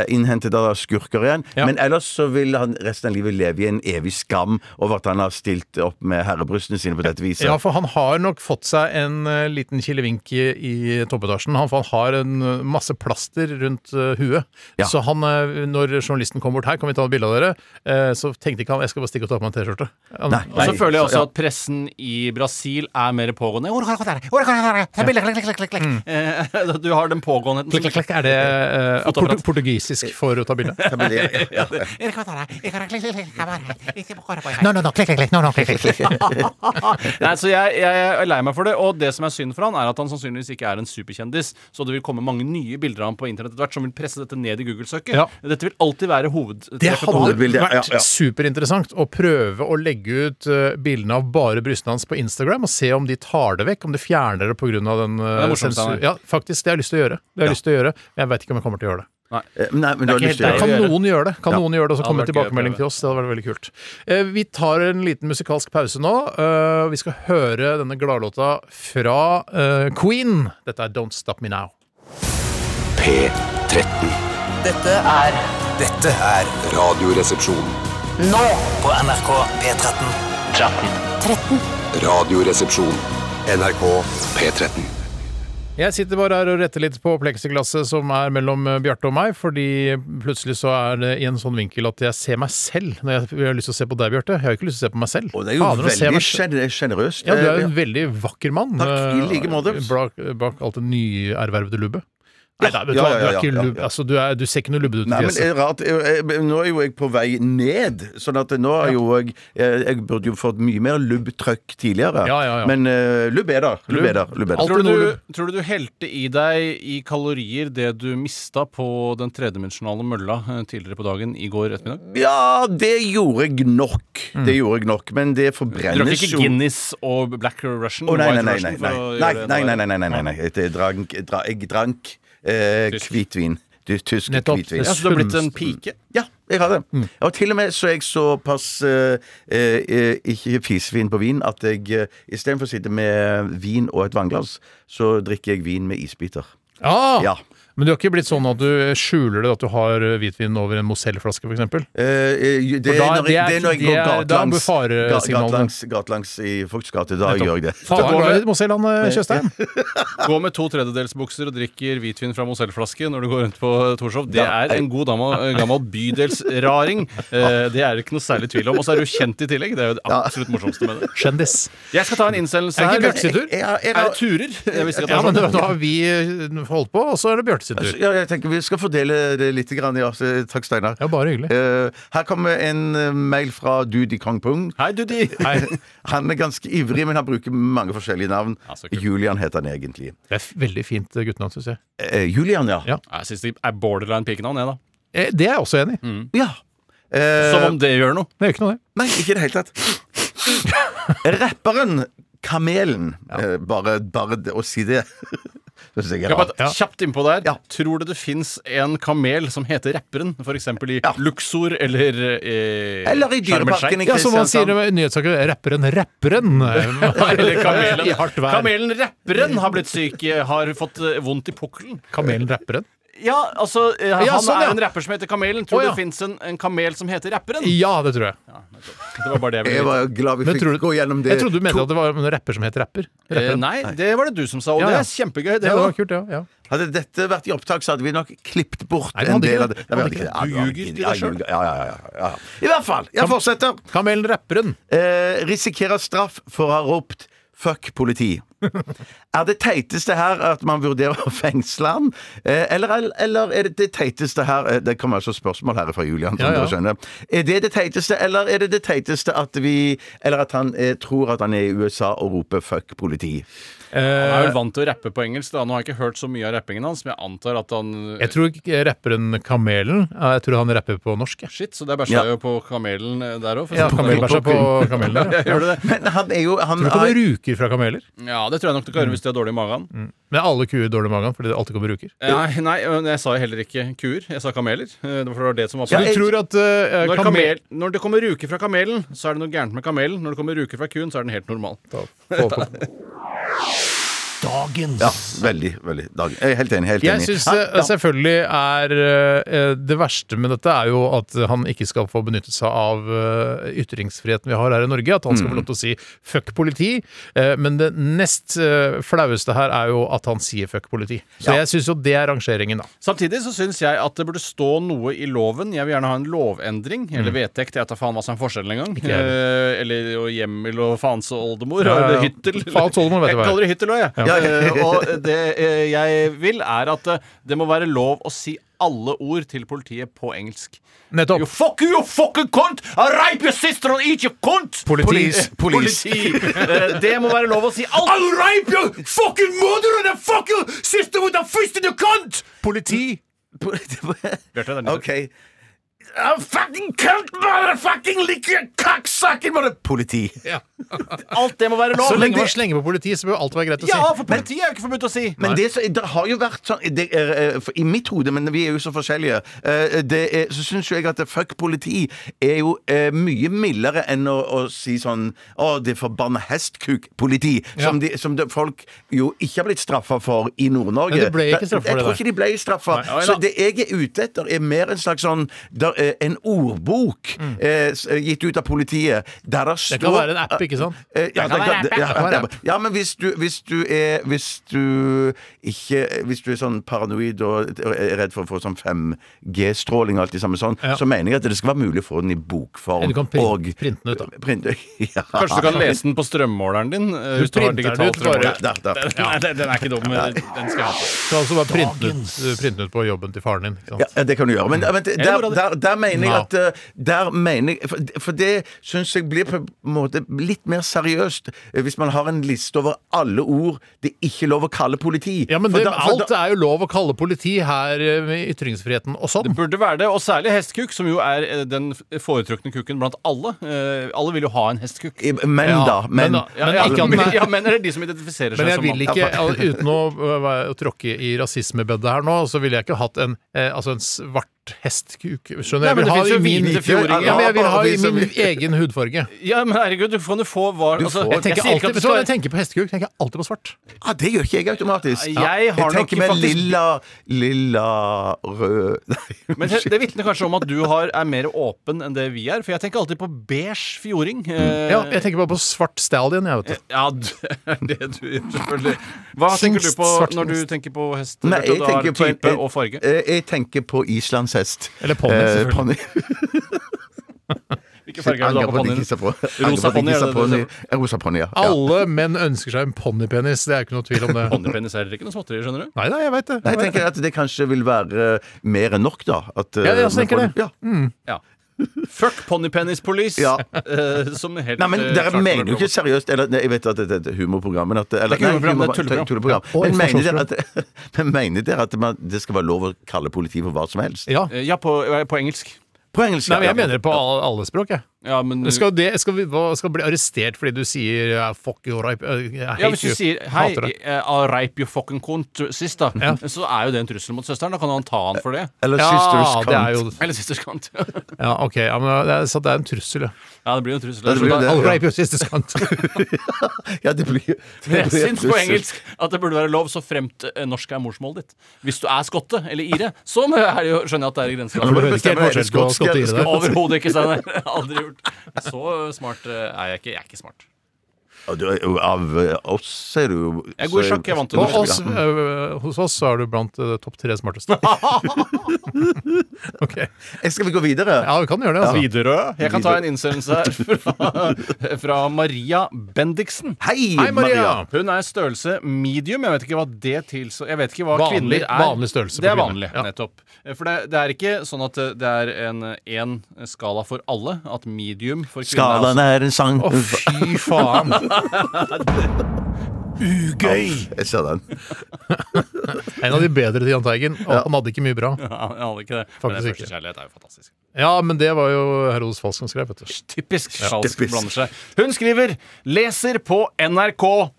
[SPEAKER 4] innhentet av skurker igjen.
[SPEAKER 3] Ja.
[SPEAKER 4] Men ellers så vil han resten av livet leve i en evig skam over at han har stilt opp med herrebrystene sine på dette viset.
[SPEAKER 3] Ja, for han har nok fått seg en eh, liten kilevink i, i toppetasjen. Han, for han har en eh, masse plaster rundt eh, huet.
[SPEAKER 4] Ja.
[SPEAKER 3] Så han, eh, når journalisten kom bort her, kan vi ta et bilde av dere, eh, så tenkte ikke han jeg skal bare stikke og ta på meg en T-skjorte. Han-
[SPEAKER 4] Nei.
[SPEAKER 5] Og så
[SPEAKER 4] Nei,
[SPEAKER 5] føler jeg også
[SPEAKER 4] så- ja.
[SPEAKER 5] at pressen i Brasil er mer pågående. Eh, Du har den pågåenheten
[SPEAKER 3] Klikk, klikk, klikk, er det eh, portu
[SPEAKER 5] Fotoapparat.
[SPEAKER 3] portugisisk for å ta bilde?
[SPEAKER 4] Ja.
[SPEAKER 8] No,
[SPEAKER 3] no, klikk, klikk, klikk,
[SPEAKER 5] Nei, så jeg, jeg er lei meg for det. Og det som er synd for han, er at han sannsynligvis ikke er en superkjendis. Så det vil komme mange nye bilder av han på internett etter hvert som vil presse dette ned i Google-søket.
[SPEAKER 3] Ja.
[SPEAKER 5] Dette vil alltid være
[SPEAKER 3] Det
[SPEAKER 5] hovedtreffet på
[SPEAKER 3] hadde
[SPEAKER 5] han.
[SPEAKER 4] Hovedbildet, ja,
[SPEAKER 3] vært
[SPEAKER 4] ja.
[SPEAKER 3] superinteressant å prøve å legge ut eh, bildene av bare brystene hans på Instagram og se om de tar det vekk, om de fjerner det pga. den
[SPEAKER 5] Det er
[SPEAKER 3] uh,
[SPEAKER 5] morsomt, Steinar.
[SPEAKER 3] Ja, faktisk. Det har jeg lyst til å gjøre. Det har jeg lyst til å gjøre. men Jeg veit ikke om jeg kommer til å gjøre det.
[SPEAKER 4] Eh, Nei, men du har
[SPEAKER 5] ikke
[SPEAKER 4] lyst til å
[SPEAKER 5] helt
[SPEAKER 4] gjøre
[SPEAKER 3] Kan
[SPEAKER 4] det.
[SPEAKER 5] gjøre det.
[SPEAKER 3] noen gjøre det? Kan noen gjøre det, og så
[SPEAKER 5] Ja,
[SPEAKER 3] komme
[SPEAKER 5] det hadde vært gøy å prøve.
[SPEAKER 3] tilbakemelding til oss? Det hadde vært veldig kult. Eh, Vi tar en liten musikalsk pause nå. Eh, Vi skal høre denne gladlåta fra eh, Queen. Dette er Don't Stop Me Now.
[SPEAKER 2] P13.
[SPEAKER 8] Dette er
[SPEAKER 2] Dette er Radioresepsjon.
[SPEAKER 8] nå på NRK P13.
[SPEAKER 2] Radioresepsjon. NRK P13.
[SPEAKER 3] Jeg sitter bare her og retter litt på pleksiglasset som er mellom eh, Bjarte og meg, fordi plutselig så er det i en sånn vinkel at jeg ser meg selv når jeg, jeg har lyst til å se på deg, Bjarte. Jeg har jo ikke lyst til å se på meg selv.
[SPEAKER 4] Og det er jo
[SPEAKER 3] Fader, å se
[SPEAKER 4] veldig
[SPEAKER 3] meg-
[SPEAKER 4] sjener- sjenerøst.
[SPEAKER 3] Ja, du er
[SPEAKER 4] Eh,
[SPEAKER 3] jo en veldig vakker mann.
[SPEAKER 4] Takk, i like måte.
[SPEAKER 3] eh, Bak, bak alt det nyervervede lubbet. Nei, nei, vet du
[SPEAKER 4] ja,
[SPEAKER 3] hva,
[SPEAKER 4] ja,
[SPEAKER 3] du er
[SPEAKER 4] ja,
[SPEAKER 3] ikke
[SPEAKER 4] ja,
[SPEAKER 3] lubb...
[SPEAKER 4] ja.
[SPEAKER 3] Altså, du, er, du ser ikke noe lubbete ut i
[SPEAKER 4] Nei, men eh, det
[SPEAKER 3] fjeset.
[SPEAKER 4] er rart. Jeg, jeg, nå er jo jeg på vei ned, sånn at nå er jo jeg jeg, jeg burde jo fått mye mer lubb-trøkk tidligere.
[SPEAKER 3] Ja, ja, ja.
[SPEAKER 4] Men eh, lubb er der. Lubb er der. Lubb er der.
[SPEAKER 5] Tror
[SPEAKER 3] Alltid
[SPEAKER 5] du,
[SPEAKER 3] noe
[SPEAKER 5] du,
[SPEAKER 3] lubb.
[SPEAKER 5] tror du du helte i deg i kalorier det du mista på den tredimensjonale mølla eh, tidligere på dagen i går ettermiddag?
[SPEAKER 4] Ja, det gjorde jeg nok. Det gjorde jeg nok, men det
[SPEAKER 5] Mm. Du drakk
[SPEAKER 4] forbrennes
[SPEAKER 5] ikke
[SPEAKER 4] Eh, jo
[SPEAKER 5] Guinness og Black Russian?
[SPEAKER 4] Å, nei, nei,
[SPEAKER 5] White
[SPEAKER 4] nei.
[SPEAKER 5] Russian
[SPEAKER 4] nei,
[SPEAKER 5] for
[SPEAKER 4] nei,
[SPEAKER 5] å
[SPEAKER 4] nei,
[SPEAKER 5] gjøre det
[SPEAKER 4] nei, nei,
[SPEAKER 5] der?
[SPEAKER 4] nei, nei, nei, nei. Jeg drank, jeg dra- jeg drank eh,
[SPEAKER 5] Tysk.
[SPEAKER 4] hvitvin. Du, Tysk
[SPEAKER 3] Nettopp.
[SPEAKER 4] hvitvin.
[SPEAKER 5] Ja, så du har blitt en pike?
[SPEAKER 4] Ja, jeg har det.
[SPEAKER 3] Mm.
[SPEAKER 4] Og til og med så er jeg såpass eh, eh, ikke fisefin på vin at jeg eh, istedenfor å sitte med vin og et vannglass, så drikker jeg vin med isbiter.
[SPEAKER 3] Ah!
[SPEAKER 4] Ja.
[SPEAKER 3] Men du har ikke blitt sånn at du skjuler det at du har eh, hvitvin over en Mozell-flaske, f.eks.?
[SPEAKER 4] Eh, eh, det,
[SPEAKER 3] For da-
[SPEAKER 4] er når jeg, det er når jeg
[SPEAKER 3] det
[SPEAKER 4] går
[SPEAKER 3] er- da er
[SPEAKER 4] gatelangs
[SPEAKER 3] faresignalet.
[SPEAKER 4] ga- gatelangs- gatelangs i Folks gate. Da gjør jeg det.
[SPEAKER 3] Faen,
[SPEAKER 5] går
[SPEAKER 3] er
[SPEAKER 5] det-
[SPEAKER 3] glad i Mozell, han eh, Tjøstheim.
[SPEAKER 5] Gå med to tredjedelsbukser og drikker hvitvin fra Mozell-flaske når du går rundt på Torshov. Det
[SPEAKER 4] Ja,
[SPEAKER 5] er en god dame, gammel bydelsraring. Eh, Det er det ikke noe særlig tvil om. Og så er du kjent i tillegg. Det er jo det absolutt morsomste med det.
[SPEAKER 3] Kjendis.
[SPEAKER 5] Jeg skal ta en innsendelse
[SPEAKER 3] Er det
[SPEAKER 5] her.
[SPEAKER 3] ikke Bjørksetur?
[SPEAKER 5] Er det turer? Jeg visste ikke at det
[SPEAKER 3] Ja,
[SPEAKER 5] var
[SPEAKER 3] men
[SPEAKER 5] sånn.
[SPEAKER 3] da har vi eh, holdt på, og så er det Bjarte sin tur.
[SPEAKER 4] Ja, jeg tenker Vi skal fordele det litt. Grann, ja. Så, eh, Takk, Steinar.
[SPEAKER 3] Ja, bare hyggelig.
[SPEAKER 4] Eh, her kommer en eh, mail fra Dude i Kangpung.
[SPEAKER 5] Hei, Dudi.
[SPEAKER 3] Hei.
[SPEAKER 4] Han er ganske ivrig, men han bruker mange forskjellige navn.
[SPEAKER 5] Ja, så kult.
[SPEAKER 4] Julian heter han egentlig.
[SPEAKER 3] Det er f- veldig fint eh, guttenavn, syns jeg.
[SPEAKER 4] Eh, Julian, ja.
[SPEAKER 3] Ja.
[SPEAKER 5] Jeg syns det er borderline pikenavn, jeg, da.
[SPEAKER 3] Eh, Det er jeg også enig i.
[SPEAKER 4] Ja. Eh,
[SPEAKER 5] Som om det gjør noe.
[SPEAKER 3] Det gjør ikke noe, det.
[SPEAKER 4] Nei, ikke i det hele tatt. Rapperen Kamelen. Eh, bare, bare det å si det Det synes jeg er
[SPEAKER 5] Kan jeg
[SPEAKER 4] rart.
[SPEAKER 5] bare Kjapt innpå der.
[SPEAKER 4] Ja.
[SPEAKER 5] Tror du det fins en kamel som heter Rapperen? F.eks. i
[SPEAKER 4] Ja.
[SPEAKER 5] Luxor eller eh,
[SPEAKER 4] Eller i
[SPEAKER 5] Sharm el
[SPEAKER 4] Dyreparken i
[SPEAKER 3] Ja, Som man sier
[SPEAKER 4] Kristiansand.
[SPEAKER 3] i nyhetssaker, rapperen Rapperen. eh,
[SPEAKER 5] Sheikh. Eller kamelen.
[SPEAKER 3] I hardt vær.
[SPEAKER 5] kamelen Rapperen har blitt syk, eh, har fått eh, vondt i pukkelen.
[SPEAKER 3] Kamelen Rapperen.
[SPEAKER 5] Ja, altså, eh,
[SPEAKER 3] Ja,
[SPEAKER 5] han
[SPEAKER 3] sånn,
[SPEAKER 5] er
[SPEAKER 3] ja.
[SPEAKER 5] en rapper som heter Kamelen. Tror
[SPEAKER 3] Å, ja.
[SPEAKER 5] det fins en, en kamel som heter Rapperen?
[SPEAKER 3] Ja, det tror jeg.
[SPEAKER 5] Det var bare det jeg ville
[SPEAKER 4] Jeg
[SPEAKER 5] vite.
[SPEAKER 4] var glad vi
[SPEAKER 3] Men
[SPEAKER 4] fikk
[SPEAKER 3] tror du,
[SPEAKER 4] gå gjennom det.
[SPEAKER 3] Jeg trodde du mente at det var en rapper som het rapper.
[SPEAKER 5] Eh,
[SPEAKER 3] Rapperen.
[SPEAKER 5] Nei, det var det du som sa, og
[SPEAKER 3] Ja,
[SPEAKER 5] det
[SPEAKER 3] ja.
[SPEAKER 5] er kjempegøy. Det,
[SPEAKER 3] ja, det var
[SPEAKER 5] også.
[SPEAKER 3] kult, ja. ja.
[SPEAKER 4] Hadde dette vært i opptak, så hadde vi nok klippet bort
[SPEAKER 3] Nei, vi
[SPEAKER 4] en
[SPEAKER 3] hadde ikke
[SPEAKER 4] del av
[SPEAKER 3] det.
[SPEAKER 4] det.
[SPEAKER 3] Vi hadde ikke det.
[SPEAKER 4] Ja, vi
[SPEAKER 5] Du
[SPEAKER 4] hadde
[SPEAKER 5] ljuger
[SPEAKER 4] ikke det.
[SPEAKER 5] til
[SPEAKER 4] Ja,
[SPEAKER 5] deg selv.
[SPEAKER 4] ljuger. Ja, ja, ja, ja, ja. I hvert fall. Jeg fortsetter.
[SPEAKER 3] Kamelen Rapperen.
[SPEAKER 4] Eh, risikerer straff for å ha ropt 'fuck politi'. Er det teiteste her at man vurderer å fengsle han? Eh, eller, eller er det det teiteste her eh, Det kommer altså spørsmål her fra Julian. som
[SPEAKER 3] Ja, ja.
[SPEAKER 4] dere skjønner. Er det det teiteste, eller er det det teiteste at vi Eller at han eh, tror at han er i USA og roper 'fuck politi'?
[SPEAKER 5] Han er vel vant til å rappe på engelsk. Da. Nå har jeg ikke hørt så mye av rappingen hans, men jeg antar at han
[SPEAKER 3] Jeg tror ikke rapperen Kamelen ja, Jeg tror han rapper på norsk. jeg.
[SPEAKER 5] Shit, så der bæsja
[SPEAKER 4] Ja.
[SPEAKER 5] jeg jo på kamelen eh, der òg.
[SPEAKER 3] Ja, Kamelbæsja på kamelen. Ja.
[SPEAKER 5] Gjør du det?
[SPEAKER 4] Men han er jo han
[SPEAKER 3] Tror du ikke
[SPEAKER 4] er-
[SPEAKER 3] det ruker fra kameler?
[SPEAKER 5] Ja, det tror jeg nok du kan gjøre hvis de har dårlig i magen. Eh,
[SPEAKER 3] Men er alle kuer dårlig i magen fordi det alltid kommer ruker.
[SPEAKER 5] Nei, nei, men jeg sa heller ikke kuer. Jeg sa kameler. Eh, Det var det som var
[SPEAKER 3] Så
[SPEAKER 4] Ja,
[SPEAKER 3] du
[SPEAKER 4] jeg-
[SPEAKER 3] tror at eh,
[SPEAKER 5] når, kamel,
[SPEAKER 3] kamel...
[SPEAKER 5] når det kommer ruker fra kamelen, så er det noe gærent med kamelen. Når det kommer ruker fra kuen, så er den helt normal.
[SPEAKER 3] Få på-
[SPEAKER 4] Ja, veldig. veldig dag. Jeg er helt enig. Helt
[SPEAKER 3] Jeg eh, altså-
[SPEAKER 4] enig.
[SPEAKER 3] syns
[SPEAKER 4] Ja, ja.
[SPEAKER 3] selvfølgelig er eh, Det verste med dette er jo at han ikke skal få benytte seg av eh, ytringsfriheten vi har her i Norge. At han skal få
[SPEAKER 4] Mm.
[SPEAKER 3] lov til å si 'fuck politi'. Eh, Men det nest eh, flaueste her er jo at han sier 'fuck politi'. Så jeg syns jo det er rangeringen, da.
[SPEAKER 5] Samtidig så syns jeg at det burde stå noe i loven. Jeg vil gjerne ha en lovendring. Eller vedtekt. Jeg tar faen hva som er forskjellen engang.
[SPEAKER 3] jeg
[SPEAKER 5] Eh, eller og hjemmel og faens og oldemor.
[SPEAKER 3] Ja, ja, ja.
[SPEAKER 5] Eller hyttel.
[SPEAKER 3] Faens oldemor vet
[SPEAKER 5] jeg
[SPEAKER 3] du hva er.
[SPEAKER 5] kaller det hyttel òg, jeg.
[SPEAKER 4] Ja.
[SPEAKER 5] Eh, og det eh, jeg vil, er at eh, det må være lov å si alle ord til politiet på engelsk. You
[SPEAKER 3] Nettopp.
[SPEAKER 5] fuck you, you fucking cunt! I rape your sister and eat your cunt!
[SPEAKER 3] Politi.
[SPEAKER 4] Police. Police.
[SPEAKER 5] Politi. Eh, Det må være lov å si alt. I'll rape your fucking mother and fuck your sister with a fist in your cunt!
[SPEAKER 3] Politi!
[SPEAKER 5] Bjarte, det er din tur.
[SPEAKER 4] OK. I'm fucking cunt, motherfucking lick your cocksucking mother... Politi.
[SPEAKER 5] Alt det må være lov.
[SPEAKER 3] Så lenge
[SPEAKER 5] det-
[SPEAKER 3] man slenger på politi, så bør alt være greit å si.
[SPEAKER 5] Ja, for politiet er jo ikke forbudt å si.
[SPEAKER 4] Men det, som- det har jo vært sånn det er, eh, for I mitt hode, men vi er jo så forskjellige, eh, det er, så syns jo jeg at fuck politi er jo eh, mye mildere enn å, å si sånn Å, det forbanna hestkuk-politi.
[SPEAKER 3] Ja.
[SPEAKER 4] Som, de, som de, folk jo ikke har blitt straffa for i Nord-Norge.
[SPEAKER 3] Men de ble ikke
[SPEAKER 4] Da-
[SPEAKER 3] straffet for
[SPEAKER 4] Jeg
[SPEAKER 3] det
[SPEAKER 4] tror
[SPEAKER 3] der.
[SPEAKER 4] ikke de ble straffa.
[SPEAKER 5] Nei, oi, da.
[SPEAKER 4] Så det jeg er ute etter, er mer en slags sånn der, eh, En ordbok eh, s- gitt ut av politiet der det står
[SPEAKER 3] Mm. Det kan være en app, ikke sant?
[SPEAKER 4] Eh, Ja, det
[SPEAKER 5] kan være
[SPEAKER 4] kan,
[SPEAKER 5] app,
[SPEAKER 4] det,
[SPEAKER 5] ja.
[SPEAKER 4] ja,
[SPEAKER 3] Det kan være
[SPEAKER 4] ja, ja, men hvis du, hvis du er Hvis du ikke Hvis du er sånn paranoid og er redd for å få sånn 5G-stråling og alt det samme sånn,
[SPEAKER 3] Ja.
[SPEAKER 4] så mener jeg at det skal være mulig å få den i bokform.
[SPEAKER 3] Eller du kan print-
[SPEAKER 4] og
[SPEAKER 3] printe den ut, da.
[SPEAKER 4] Printe, ja.
[SPEAKER 5] Kanskje du kan lese den på strømmåleren din? eh, Hvis
[SPEAKER 3] Du
[SPEAKER 5] du har
[SPEAKER 3] printer
[SPEAKER 5] digital
[SPEAKER 3] den ut bare.
[SPEAKER 5] strømmåler.
[SPEAKER 4] Der, der.
[SPEAKER 5] Nei, den den er ikke dum. men Den skal jeg ha.
[SPEAKER 3] Så altså bare printe ut, printe ut på jobben til faren din. Ikke sant?
[SPEAKER 4] Ja, ja, det kan du gjøre. Men, men der,
[SPEAKER 5] Eller
[SPEAKER 4] der,
[SPEAKER 5] hvordan-
[SPEAKER 4] der, mener jeg
[SPEAKER 3] Ja.
[SPEAKER 4] at eh, Der mener jeg For, for det syns jeg blir på en måte litt mer seriøst eh, hvis man har en liste over alle ord det er ikke lov å kalle politi.
[SPEAKER 3] Ja, men
[SPEAKER 4] For
[SPEAKER 3] det,
[SPEAKER 4] da- for
[SPEAKER 3] alt
[SPEAKER 4] da-
[SPEAKER 3] er jo lov å kalle politi her eh, med ytringsfriheten og sånn.
[SPEAKER 5] Burde være det, og særlig hestkuk, som jo er eh, den foretrukne kukken blant alle. Eh, Alle vil jo ha en hestkuk.
[SPEAKER 4] Eh, Men
[SPEAKER 3] Ja,
[SPEAKER 4] da.
[SPEAKER 3] men
[SPEAKER 4] Men,
[SPEAKER 3] da-
[SPEAKER 5] Ja,
[SPEAKER 3] Men
[SPEAKER 5] ja,
[SPEAKER 3] ikke at den
[SPEAKER 5] men,
[SPEAKER 3] er-
[SPEAKER 5] ja, men er det de som identifiserer seg
[SPEAKER 3] Men jeg
[SPEAKER 5] som
[SPEAKER 3] vil
[SPEAKER 5] mann?
[SPEAKER 3] ikke, al- uten å, øh, å tråkke i rasismebedet her nå, så ville jeg ikke hatt en, eh, altså en svart hestkuk. Skjønner
[SPEAKER 5] Nei, men
[SPEAKER 3] jeg? vil
[SPEAKER 5] det
[SPEAKER 3] ha
[SPEAKER 5] finnes jo
[SPEAKER 3] i min-
[SPEAKER 5] hvite fjordinger.
[SPEAKER 3] Ja, men jeg vil ha i
[SPEAKER 4] Ja,
[SPEAKER 3] min
[SPEAKER 4] bare
[SPEAKER 3] egen hudfarge.
[SPEAKER 5] Ja, men herregud, du kan jo få hva
[SPEAKER 4] Du
[SPEAKER 5] altså,
[SPEAKER 4] får-
[SPEAKER 5] jeg
[SPEAKER 3] Jeg tenker
[SPEAKER 5] sier ikke at det
[SPEAKER 3] alltid, vet du hva,
[SPEAKER 5] skal
[SPEAKER 3] jeg tenker på hestekuk, tenker jeg alltid på svart.
[SPEAKER 4] Ah, det gjør ikke jeg automatisk.
[SPEAKER 5] Ja, jeg har nok
[SPEAKER 4] tenker med
[SPEAKER 5] faktisk-
[SPEAKER 4] lilla, lilla, rød Nei,
[SPEAKER 5] Men det, det vitner kanskje om at du har, er mer åpen enn det vi er, for jeg tenker alltid på beige fjording. Eh,
[SPEAKER 3] Ja, jeg tenker bare på svart stallion, jeg, vet du.
[SPEAKER 5] ja, det er det du gjør, selvfølgelig. Hva tenker du på
[SPEAKER 3] Svart-
[SPEAKER 5] når du tenker på hest?
[SPEAKER 4] Nei,
[SPEAKER 5] Bjarte? Da er det
[SPEAKER 4] en-
[SPEAKER 5] type
[SPEAKER 4] jeg-
[SPEAKER 5] og farge.
[SPEAKER 4] eh, Jeg tenker på islandshest.
[SPEAKER 3] Eller ponni,
[SPEAKER 4] Eh,
[SPEAKER 3] selvfølgelig.
[SPEAKER 4] ponni.
[SPEAKER 5] Hvilken farge er det du har på ponnien?
[SPEAKER 4] Rosa ponni.
[SPEAKER 5] Rosa ponni. er det det du ser på?
[SPEAKER 4] Rosa ponni, ja. Ja.
[SPEAKER 3] Alle menn ønsker seg en ponnipenis, det er ikke noe tvil om det.
[SPEAKER 5] Ponnipenis er ikke noe småtteri, skjønner du.
[SPEAKER 3] Nei da, jeg veit det. Jeg
[SPEAKER 4] Nei, jeg
[SPEAKER 3] vet det.
[SPEAKER 4] tenker at det kanskje vil være eh, mer enn nok, da. At, eh,
[SPEAKER 3] Ja, jeg også tenker det.
[SPEAKER 4] Ja.
[SPEAKER 5] Ja. Fuck Ponnipenis Police,
[SPEAKER 4] Ja.
[SPEAKER 5] eh, som helt
[SPEAKER 4] Nei, men
[SPEAKER 5] eh,
[SPEAKER 4] dere
[SPEAKER 5] klart
[SPEAKER 4] mener
[SPEAKER 5] kommer
[SPEAKER 4] jo ikke seriøst eller, nei, Jeg vet at det er et humorprogram, men at eller,
[SPEAKER 5] Det er ikke humorprogram,
[SPEAKER 4] humor-
[SPEAKER 5] det er tulleprogram.
[SPEAKER 3] Ja, og
[SPEAKER 4] Men mener dere at, men mener dere at man, det skal være lov å kalle politiet for hva som helst?
[SPEAKER 3] Ja.
[SPEAKER 5] til å- Eh, Ja, på, eh, på engelsk.
[SPEAKER 4] På engelsk.
[SPEAKER 3] Nei, men
[SPEAKER 4] ja.
[SPEAKER 3] jeg mener det på alle, alle språk, jeg.
[SPEAKER 5] Ja, men
[SPEAKER 3] Skal, det, skal, vi, hva- skal bli arrestert fordi du sier eh, 'fuck you, rape'? eh, I hate
[SPEAKER 5] ja, hvis du
[SPEAKER 3] you.
[SPEAKER 5] sier 'hei,
[SPEAKER 3] Hater deg.
[SPEAKER 5] eh, I'll rape you fucking cunt sist', da, så er jo det en trussel mot søsteren. Da kan han ta han for det.
[SPEAKER 4] Eller
[SPEAKER 3] Ja,
[SPEAKER 4] sisters
[SPEAKER 3] det er
[SPEAKER 4] cunt.
[SPEAKER 3] jo
[SPEAKER 5] Eller sisters cunt. ja,
[SPEAKER 3] Ja, OK. Ja, men det er, så det er en trussel, ja.
[SPEAKER 5] det blir jo en trussel.
[SPEAKER 4] det blir jo det.
[SPEAKER 3] I'll
[SPEAKER 4] ja.
[SPEAKER 3] rape you, sisters cunt.
[SPEAKER 4] Ja, det blir, det blir
[SPEAKER 5] Jeg syns på
[SPEAKER 4] trussel.
[SPEAKER 5] engelsk at det burde være lov så fremt eh, norsk er morsmålet ditt. Hvis du er skotte eller ire, så må- er det jo, skjønner jeg at det er i
[SPEAKER 4] Men
[SPEAKER 5] grenseland.
[SPEAKER 3] det ikke
[SPEAKER 4] bestemmer
[SPEAKER 3] helt
[SPEAKER 4] jeg,
[SPEAKER 3] forskjell på
[SPEAKER 4] skotsk-
[SPEAKER 3] skott og ire der.
[SPEAKER 5] Overhodet ikke, Steinar. Aldri gjort. Så smart eh, er jeg ikke. Jeg er ikke smart.
[SPEAKER 4] Ja, du er jo- Av eh, oss er du jo
[SPEAKER 5] Jeg er god i
[SPEAKER 4] så-
[SPEAKER 5] sjakk, jeg vant det.
[SPEAKER 4] Ja.
[SPEAKER 3] Og oss, eh, hos oss så er du blant eh, topp tre smarteste. OK.
[SPEAKER 4] Eh, Skal vi gå videre?
[SPEAKER 3] Ja, vi kan gjøre det, altså.
[SPEAKER 5] Widerøe. Jeg kan ta en innsendelse her fra, fra Maria Bendiksen.
[SPEAKER 4] Hei,
[SPEAKER 3] Hei, Maria!
[SPEAKER 5] Hun er størrelse medium. Jeg vet ikke hva det tilså Jeg vet ikke hva
[SPEAKER 3] Vanlig-
[SPEAKER 5] kvinner er.
[SPEAKER 3] vanlig størrelse på
[SPEAKER 5] Det er
[SPEAKER 3] kvinner.
[SPEAKER 5] vanlig,
[SPEAKER 3] Ja.
[SPEAKER 5] nettopp. Eh, For det, det er ikke sånn at eh, det er en én skala for alle. At medium for kvinner
[SPEAKER 4] Skalaen
[SPEAKER 5] er
[SPEAKER 4] er en sang
[SPEAKER 3] Å, fy faen!
[SPEAKER 4] Ugøy! Jeg ser den.
[SPEAKER 3] En av de bedre til Jahn Teigen. Og han hadde ikke mye bra.
[SPEAKER 5] også- Ja, Jeg aner ikke det. Men det
[SPEAKER 3] Faktisk ikke.
[SPEAKER 5] første kjærlighet er jo fantastisk.
[SPEAKER 3] Ja, men det var jo Herodes Falsk som skrev, vet du.
[SPEAKER 5] Typisk falsk
[SPEAKER 4] Typisk.
[SPEAKER 5] blander seg. Hun skriver 'Leser på NRK'.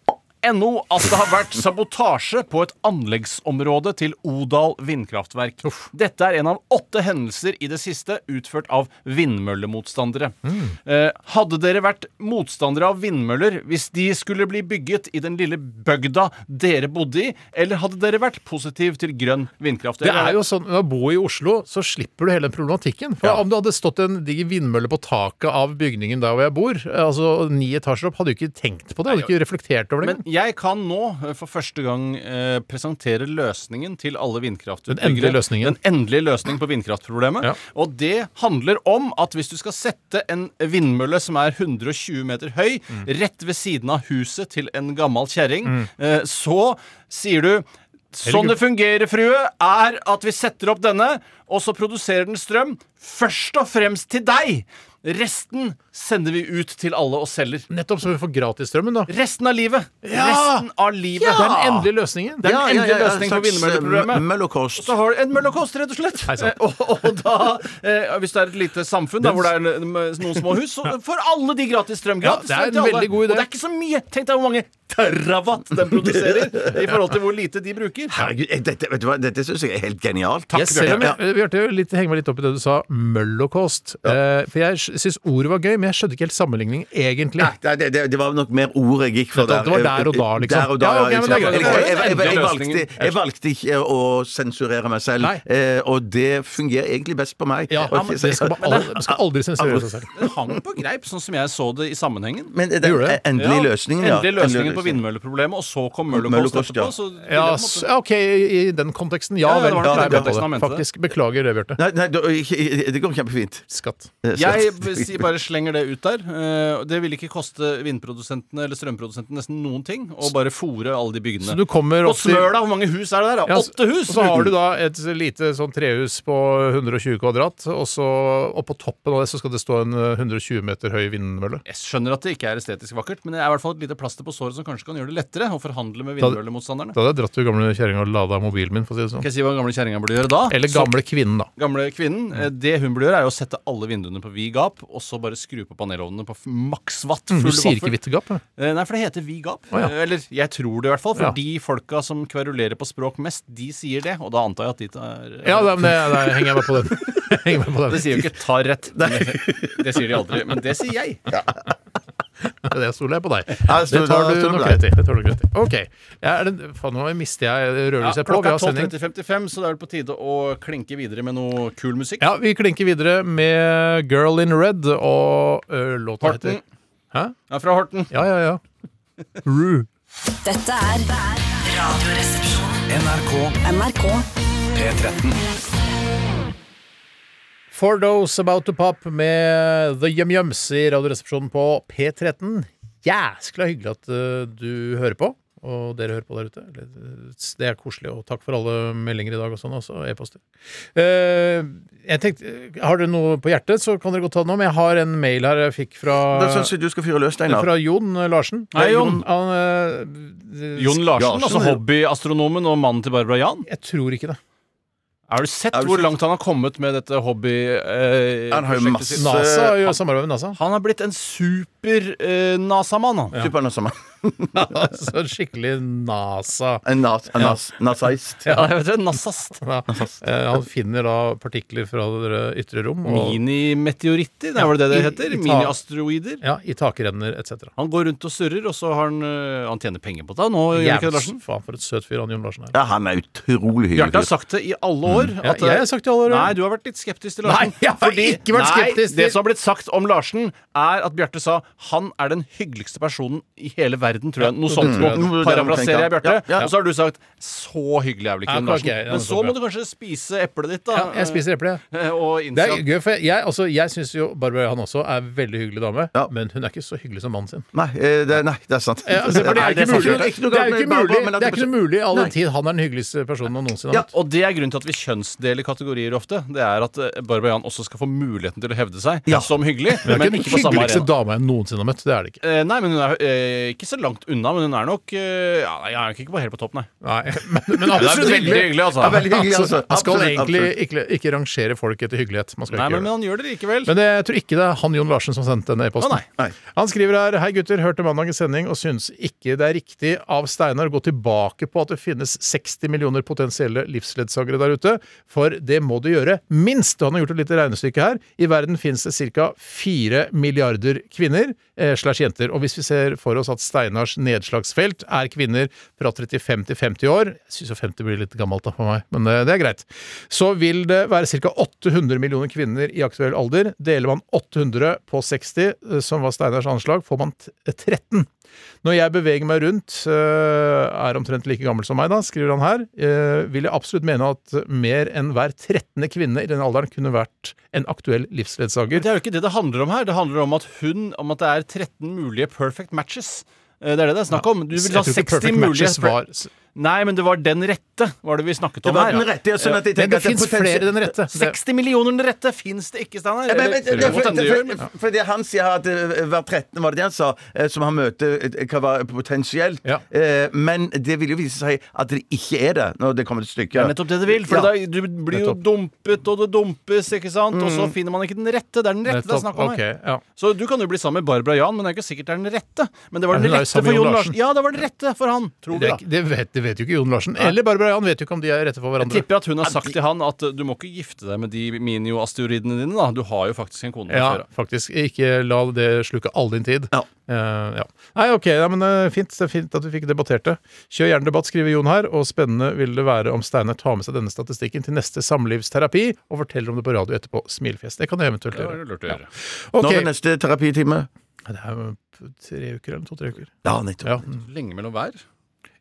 [SPEAKER 5] NO at det har vært sabotasje på et anleggsområde til Odal vindkraftverk. Dette er en av åtte hendelser i det siste utført av vindmøllemotstandere.
[SPEAKER 3] Mm.
[SPEAKER 5] Eh, hadde dere vært motstandere av vindmøller hvis de skulle bli bygget i den lille bygda dere bodde i, eller hadde dere vært positiv til grønn vindkraft?
[SPEAKER 3] Det er jo sånn, Ved å bo i Oslo så slipper du hele den problematikken. For Om det hadde stått en diger vindmølle på taket av bygningen der hvor jeg bor, eh, altså ni etasjer opp, hadde du ikke tenkt på det? Hadde du ikke reflektert over det?
[SPEAKER 5] Men jeg kan nå eh, for første gang eh, presentere løsningen til alle vindkraftutbyggere.
[SPEAKER 3] Den endelige løsningen.
[SPEAKER 5] Den endelige løsningen på vindkraftproblemet.
[SPEAKER 3] Ja.
[SPEAKER 5] Og det handler om at hvis du skal sette en vindmølle som er 120 meter høy,
[SPEAKER 3] Mm.
[SPEAKER 5] rett ved siden av huset til en gammel kjerring, eh, så sier du Sånn det fungerer, frue, er at vi setter opp denne, og så produserer den strøm først og fremst til deg. Resten sender vi ut til alle og selger.
[SPEAKER 3] Nettopp så vi får gratisstrømmen, da.
[SPEAKER 5] Resten av livet! Resten av livet.
[SPEAKER 3] Det er den endelige løsningen.
[SPEAKER 5] Det er den endelige løsningen på
[SPEAKER 4] eh,
[SPEAKER 5] vindmølleproblemet.
[SPEAKER 4] Møllerkost.
[SPEAKER 5] Så har du en møllekost, rett og slett.
[SPEAKER 3] sant.
[SPEAKER 5] Eh, og, og da, eh, hvis det er et lite samfunn da, hvor det er eh, noen små hus, så får alle de gratis strøm.
[SPEAKER 3] Ja,
[SPEAKER 5] Gratis
[SPEAKER 3] det er
[SPEAKER 5] strøm til
[SPEAKER 3] en
[SPEAKER 5] alle.
[SPEAKER 3] veldig god idé.
[SPEAKER 5] Og det er ikke så mye. Tenk deg hvor mange terawatt den produserer i forhold til hvor lite de bruker.
[SPEAKER 4] Herregud, eh, dette, vet du hva? dette syns jeg er helt genialt.
[SPEAKER 3] Jeg selv om
[SPEAKER 4] Ja.
[SPEAKER 3] jeg, eh, Bjarte, jeg vil litt, henger meg litt opp i det du sa, møllokost. Eh, for jeg syns ordet var gøy, men jeg skjønte ikke helt sammenligningen, egentlig.
[SPEAKER 4] Nei, nei, det, det, det var nok mer ord jeg gikk for
[SPEAKER 3] Det- det var der og da, liksom.
[SPEAKER 4] Der og da,
[SPEAKER 3] Ja, ok, men det er
[SPEAKER 4] jeg,
[SPEAKER 3] greit.
[SPEAKER 4] jeg, jeg, jeg, jeg, valgte,
[SPEAKER 5] Endelig
[SPEAKER 4] jeg valgte ikke å sensurere meg selv,
[SPEAKER 3] Nei.
[SPEAKER 4] eh, og det fungerer egentlig best på meg.
[SPEAKER 3] Ja,
[SPEAKER 4] Og-
[SPEAKER 3] men det skal, man aldri, man skal aldri sensurere seg selv.
[SPEAKER 5] Den hang på greip, sånn som jeg så det i sammenhengen.
[SPEAKER 4] men det er
[SPEAKER 3] Gjorde det?
[SPEAKER 4] den endelige
[SPEAKER 5] Ja,
[SPEAKER 4] løsningen, ja.
[SPEAKER 5] Endelig løsningen på
[SPEAKER 4] Endelig løsning.
[SPEAKER 5] vindmølleproblemet, og så kom møllekost
[SPEAKER 4] Møllekost,
[SPEAKER 5] etterpå.
[SPEAKER 4] ja.
[SPEAKER 5] Så ville
[SPEAKER 3] Ja,
[SPEAKER 5] det på en måte-
[SPEAKER 3] s- ja, OK, i, i den konteksten. Ja
[SPEAKER 5] Ja, det
[SPEAKER 3] vel.
[SPEAKER 5] var den
[SPEAKER 3] Ja, jeg
[SPEAKER 5] konteksten
[SPEAKER 3] mente
[SPEAKER 5] han mente
[SPEAKER 3] det.
[SPEAKER 5] det.
[SPEAKER 3] Faktisk. Beklager det, Bjarte.
[SPEAKER 4] Nei, nei, det- ikke- det går kjempefint.
[SPEAKER 3] Skatt.
[SPEAKER 4] Eh,
[SPEAKER 5] Jeg
[SPEAKER 4] så-
[SPEAKER 5] b- si- bare slenger det ut der. Eh, Det vil ikke koste vindprodusentene eller strømprodusentene nesten noen ting å bare fòre alle de
[SPEAKER 3] Så
[SPEAKER 5] byggene.
[SPEAKER 3] du kommer
[SPEAKER 5] På
[SPEAKER 3] opp til
[SPEAKER 5] Smøla, hvor mange hus er det der? da?
[SPEAKER 3] Ja, så-
[SPEAKER 5] Åtte hus!
[SPEAKER 3] Og så har du da et lite sånn trehus på 120 kvadrat, og, så, og på toppen av det så skal det stå en eh, 120 meter høy vindmølle.
[SPEAKER 5] Jeg skjønner at det ikke er estetisk vakkert, men det er i hvert fall et lite plaster på såret som kanskje kan gjøre det lettere å forhandle med
[SPEAKER 3] Da-
[SPEAKER 5] vindmøllemotstanderne.
[SPEAKER 3] Da hadde jeg dratt til gamle kjerringa og lada mobilen min, for å si det sånn.
[SPEAKER 5] Skal jeg si hva gamle kjerringa burde gjøre da?
[SPEAKER 3] Eller gamle Mm. kvinnen, da.
[SPEAKER 5] Gamle kvinnen, eh, det hun burde gjøre er jo å sette alle vinduene på vid gap, og så bare skru på panelovnene på f- maks watt.
[SPEAKER 3] Mm, Du
[SPEAKER 5] full
[SPEAKER 3] sier ikke
[SPEAKER 5] vaffel.
[SPEAKER 3] vidt gap.
[SPEAKER 5] Eh, Nei, for det heter vi gap.
[SPEAKER 3] Å, ja.
[SPEAKER 5] Eh, Eller jeg tror det i hvert fall. For de folka som kverulerer på språk mest, de sier det. Og da antar jeg at de tar
[SPEAKER 3] Ja, det, men det, det henger jeg meg på den. Jeg henger meg på
[SPEAKER 5] Det
[SPEAKER 3] den.
[SPEAKER 5] sier jo ikke 'ta rett'. Det sier de aldri. Men det sier jeg.
[SPEAKER 3] Det stoler jeg på deg.
[SPEAKER 4] Ja,
[SPEAKER 3] Det
[SPEAKER 4] stoler-
[SPEAKER 3] tar du
[SPEAKER 4] stoler på
[SPEAKER 3] nok
[SPEAKER 4] deg.
[SPEAKER 3] rett i. Det tar du nok rett i. OK. Ja, er det, faen, nå mister jeg rødlyset på. Vi
[SPEAKER 5] klokka er
[SPEAKER 3] har sending.
[SPEAKER 5] 12.30-55, så det er vel på tide å klinke videre med noe kul musikk.
[SPEAKER 3] Ja, vi klinker videre med Girl in Red og ø, låta
[SPEAKER 5] Horten.
[SPEAKER 3] heter Hæ?
[SPEAKER 5] Ja, fra Horten.
[SPEAKER 3] Ja, ja, ja. Rue.
[SPEAKER 1] Dette er Radioresepsjonen. NRK. NRK.
[SPEAKER 2] P13.
[SPEAKER 3] For Those About To Pop med The Yum Yums i Radioresepsjonen på P13. Jæskla hyggelig at eh, du hører på, og dere hører på der ute. Eller, eh, Det er koselig, og takk for alle meldinger i dag og sånn også, og e-poster. Eh, jeg tenkte, eh, Har dere noe på hjertet, så kan dere godt ta det nå, men jeg har en mail her jeg fikk fra,
[SPEAKER 4] Da syns jeg du skal fyre løs, Steinar.
[SPEAKER 3] fra Jon Larsen.
[SPEAKER 5] Hei, Jon.
[SPEAKER 3] Han, eh,
[SPEAKER 5] Jon Larsen,
[SPEAKER 4] Larsen,
[SPEAKER 5] altså
[SPEAKER 4] ja.
[SPEAKER 5] hobbyastronomen og mannen til Barbara Jan.
[SPEAKER 3] Jeg tror ikke det.
[SPEAKER 5] Har du sett
[SPEAKER 4] du
[SPEAKER 5] hvor
[SPEAKER 4] sett-
[SPEAKER 5] langt han har kommet med dette hobby... Eh,
[SPEAKER 4] Han har jo
[SPEAKER 5] prosjektet
[SPEAKER 4] masse-
[SPEAKER 5] sitt?
[SPEAKER 3] NASA gjør samarbeid med NASA.
[SPEAKER 5] Han er blitt en eh, super-NASA-mann.
[SPEAKER 4] Super NASA-mann.
[SPEAKER 3] Altså, skikkelig NASA.
[SPEAKER 4] En nas- en nas- Nasaist.
[SPEAKER 5] Ja, jeg vet det. Nassast.
[SPEAKER 3] Ja. Eh, Han finner da partikler fra det ytre rom og,
[SPEAKER 5] Minimeteoritter, det er vel det det
[SPEAKER 3] I-
[SPEAKER 5] heter?
[SPEAKER 3] i ta-
[SPEAKER 5] Miniasteroider.
[SPEAKER 3] ja, i takrenner etc.
[SPEAKER 5] Han går rundt og surrer, og så har han øh, Han tjener penger på det nå, gjør ikke det, Larsen?
[SPEAKER 3] Faen, for et søt fyr han Jon Larsen er.
[SPEAKER 4] Ja, han er utrolig
[SPEAKER 5] Bjarte har
[SPEAKER 4] hyggelig.
[SPEAKER 5] sagt det i alle år.
[SPEAKER 3] Mm. Ja, jeg har sagt det i alle år, ja.
[SPEAKER 5] Nei, du har vært litt skeptisk til
[SPEAKER 3] Nei,
[SPEAKER 5] Larsen.
[SPEAKER 3] jeg har ikke vært skeptisk til-
[SPEAKER 5] Nei, det som har blitt sagt om Larsen, er at Bjarte sa han er den hyggeligste personen i hele verden, tror jeg. Noe
[SPEAKER 3] Mm.
[SPEAKER 5] sånt.
[SPEAKER 4] tror jeg.
[SPEAKER 5] nå Parafraserer jeg Bjarte.
[SPEAKER 4] Ja, ja.
[SPEAKER 5] Og så har du sagt så hyggelig er vel ikke
[SPEAKER 3] Ja,
[SPEAKER 5] den
[SPEAKER 3] klart
[SPEAKER 5] Larsen.
[SPEAKER 3] ikke jeg. Ja,
[SPEAKER 5] Men så
[SPEAKER 3] nettopp,
[SPEAKER 5] må du kanskje spise eplet ditt, da.
[SPEAKER 3] Ja, jeg spiser eple. jeg.
[SPEAKER 5] eh, Og
[SPEAKER 3] Det
[SPEAKER 5] innse
[SPEAKER 3] er
[SPEAKER 5] at
[SPEAKER 3] gøy, for jeg, jeg, altså, jeg syns jo Barbara Johan også er en veldig hyggelig dame,
[SPEAKER 4] Ja.
[SPEAKER 3] men hun er ikke så hyggelig som mannen sin.
[SPEAKER 4] Nei, eh, det, nei, det er sant.
[SPEAKER 3] Ja, altså, for det
[SPEAKER 4] Nei,
[SPEAKER 3] er ikke mulig.
[SPEAKER 4] sant.
[SPEAKER 3] Det er
[SPEAKER 4] noe galt
[SPEAKER 3] jo
[SPEAKER 4] med
[SPEAKER 3] ikke
[SPEAKER 4] Barbara,
[SPEAKER 3] mulig,
[SPEAKER 4] men at
[SPEAKER 3] det er ikke
[SPEAKER 4] det-
[SPEAKER 3] noe mulig all
[SPEAKER 4] Nei.
[SPEAKER 3] den tid. Han er den hyggeligste personen han noensinne har hatt.
[SPEAKER 5] Og det er grunnen til at vi kjønnsdeler kategorier ofte. Det er at eh, Barbara Jan også skal få muligheten til å hevde seg
[SPEAKER 4] Ja.
[SPEAKER 5] som hyggelig,
[SPEAKER 3] Hun er
[SPEAKER 5] men
[SPEAKER 3] ikke den
[SPEAKER 5] ikke på samme
[SPEAKER 3] hyggeligste
[SPEAKER 5] arena.
[SPEAKER 3] dama jeg noensinne har møtt. Det er det ikke.
[SPEAKER 5] Eh, nei, men hun er eh, ikke så langt unna, men hun er nok eh, ja, Jeg er nok ikke på helt på topp, nei.
[SPEAKER 3] Nei, men, men
[SPEAKER 5] Hun er
[SPEAKER 3] absolutt
[SPEAKER 5] veldig
[SPEAKER 3] hyggelig.
[SPEAKER 5] hyggelig, altså.
[SPEAKER 4] Ja, veldig hyggelig, altså.
[SPEAKER 3] Man skal
[SPEAKER 4] Absolutt,
[SPEAKER 3] egentlig
[SPEAKER 4] absolutt.
[SPEAKER 3] ikke, ikke rangere folk etter hyggelighet. Man skal
[SPEAKER 5] Nei,
[SPEAKER 3] ikke
[SPEAKER 5] men,
[SPEAKER 3] gjøre
[SPEAKER 5] men
[SPEAKER 3] det.
[SPEAKER 5] han gjør det likevel.
[SPEAKER 3] Men det, jeg tror ikke det er han Jon Larsen som sendte denne
[SPEAKER 5] Å,
[SPEAKER 3] e-posten.
[SPEAKER 5] nei.
[SPEAKER 4] Nei.
[SPEAKER 3] Han skriver her Hei gutter, hørte mandagens sending og syns ikke det er riktig av Steinar å gå tilbake på at det finnes 60 millioner potensielle livsledsagere der ute, for det må du gjøre minst. Og han har gjort et lite regnestykke her. I verden finnes det ca. 4 milliarder kvinner eh, slash jenter. Og hvis vi ser for oss at Steinars nedslagsfelt er kvinner fra 35 til 50 år Jeg syns jo 50 blir litt gammelt da for meg, men eh, det er greit. Så vil det være ca. 800 millioner kvinner i aktuell alder. Deler man 800 på 60, eh, som var Steinars anslag, får man t- 13. Når jeg beveger meg rundt, eh, er omtrent like gammel som meg, da, skriver han her, eh, vil jeg absolutt mene at mer enn hver 13. kvinne i den alderen kunne vært en aktuell livsledsager.
[SPEAKER 5] Det er jo ikke det det handler om her. Det handler om at hun Om at det er 13 mulige perfect matches. Eh, Det er det det er snakk om. Du vil ha
[SPEAKER 3] Jeg tror ikke
[SPEAKER 5] 60
[SPEAKER 3] perfect
[SPEAKER 5] mulige
[SPEAKER 3] matches var
[SPEAKER 5] Nei, men det var den rette, var det vi snakket
[SPEAKER 4] Det
[SPEAKER 5] om
[SPEAKER 4] var
[SPEAKER 5] her.
[SPEAKER 4] den rette, ja, sånn at jeg
[SPEAKER 3] Men det
[SPEAKER 4] tenker at det
[SPEAKER 3] fins flere
[SPEAKER 4] potensi-
[SPEAKER 3] den rette. Det-
[SPEAKER 5] 60 millioner den rette fins det ikke, Steinar.
[SPEAKER 4] Ja, men- men-
[SPEAKER 5] Eller-
[SPEAKER 4] det- for-
[SPEAKER 5] Godt hende det gjør,
[SPEAKER 4] for- for- Fordi han sier at eh, hver 13. var det det han sa, eh, som han møter eh, kan være potensielt.
[SPEAKER 3] Ja.
[SPEAKER 4] Eh, Men det vil jo vise seg at det ikke er det, når det kommer til stykket.
[SPEAKER 5] Det er nettopp det det vil. For
[SPEAKER 4] Ja.
[SPEAKER 5] da, du blir jo
[SPEAKER 3] Nettopp. Mm.
[SPEAKER 5] dumpet, og det dumpes, ikke sant? Og så finner man ikke den rette. Det er den rette det er
[SPEAKER 3] Nettopp.
[SPEAKER 5] snakk om. her.
[SPEAKER 3] Ok, ja.
[SPEAKER 5] Så du kan jo bli sammen med Barbara Jan, men det er ikke sikkert det er den rette. Men det var
[SPEAKER 3] Ja,
[SPEAKER 5] den
[SPEAKER 3] hun er jo
[SPEAKER 5] rette
[SPEAKER 3] sammen
[SPEAKER 5] for
[SPEAKER 3] med Jon
[SPEAKER 5] Jon
[SPEAKER 3] Larsen.
[SPEAKER 5] Larsen. Ja, det var den rette for han, tror vi da.
[SPEAKER 3] Det, er ikke- det, vet, det vet jo ikke Jon Larsen. Eller Barbara Jan vet jo ikke om de er rette for hverandre.
[SPEAKER 5] Tipper at hun har sagt til han at uh, du må ikke gifte deg med de minioasteroidene dine, da. Du har jo faktisk en kone fra
[SPEAKER 3] Ja,
[SPEAKER 5] før. da.
[SPEAKER 3] faktisk. Ikke la det sluke all din tid.
[SPEAKER 4] Ja.
[SPEAKER 3] Eh, ja. Nei, ok, ja, men eh, fint. Det er fint at vi fikk debattert det. Kjør gjerne debatt, skriver Jon her. Og spennende vil det være om Steinar tar med seg denne statistikken til neste samlivsterapi og forteller om det på radio etterpå. Smilfjes. Det kan jeg eventuelt
[SPEAKER 5] Det var jo
[SPEAKER 3] gjøre.
[SPEAKER 5] lurt å gjøre.
[SPEAKER 3] Ok,
[SPEAKER 4] Når er neste terapitime?
[SPEAKER 3] Det er jo tre uker eller to-tre uker.
[SPEAKER 4] Ja, nettopp.
[SPEAKER 3] Ja.
[SPEAKER 5] Lenge mellom hver.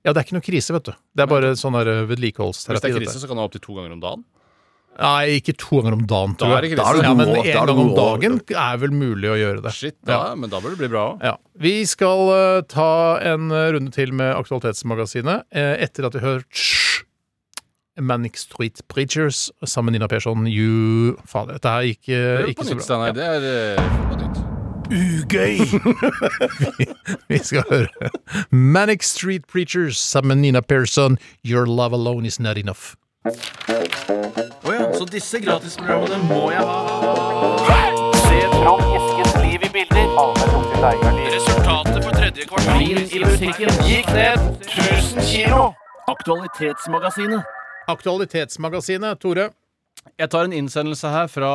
[SPEAKER 3] ja, det er ikke noe krise, vet du. Det er bare sånn der, eh, vedlikeholdsterapi.
[SPEAKER 5] Hvis det er
[SPEAKER 3] dette.
[SPEAKER 5] krise, så kan det være opptil to ganger om dagen.
[SPEAKER 3] Nei, ikke to ganger om dagen,
[SPEAKER 5] Da
[SPEAKER 3] tror
[SPEAKER 5] er det
[SPEAKER 3] jeg.
[SPEAKER 5] ikke det. Da er det
[SPEAKER 3] ja,
[SPEAKER 4] god
[SPEAKER 3] men
[SPEAKER 4] råd, da
[SPEAKER 3] en
[SPEAKER 4] er det
[SPEAKER 3] gang om
[SPEAKER 4] god råd,
[SPEAKER 3] dagen er vel mulig å gjøre det.
[SPEAKER 5] Shit, da, men da bør det bli bra òg.
[SPEAKER 3] Ja. Vi skal eh, ta en eh, runde til med Aktualitetsmagasinet eh, etter at vi har hørt Shh! Manic Street Preachers sammen med Nina Persson. You Fader, dette her gikk eh, ikke så bra.
[SPEAKER 5] Det er uh, på nytt.
[SPEAKER 3] Vi skal høre Manic Street Preachers sammen med Nina Persson. Your love alone is not enough.
[SPEAKER 5] Så disse gratisprogrammene må jeg ha. Se Trond Eskens liv i bilder. Resultatet på tredje kvartal i musikken gikk ned 1000 kilo. Aktualitetsmagasinet.
[SPEAKER 3] Aktualitetsmagasinet, Tore.
[SPEAKER 5] Jeg tar en innsendelse her fra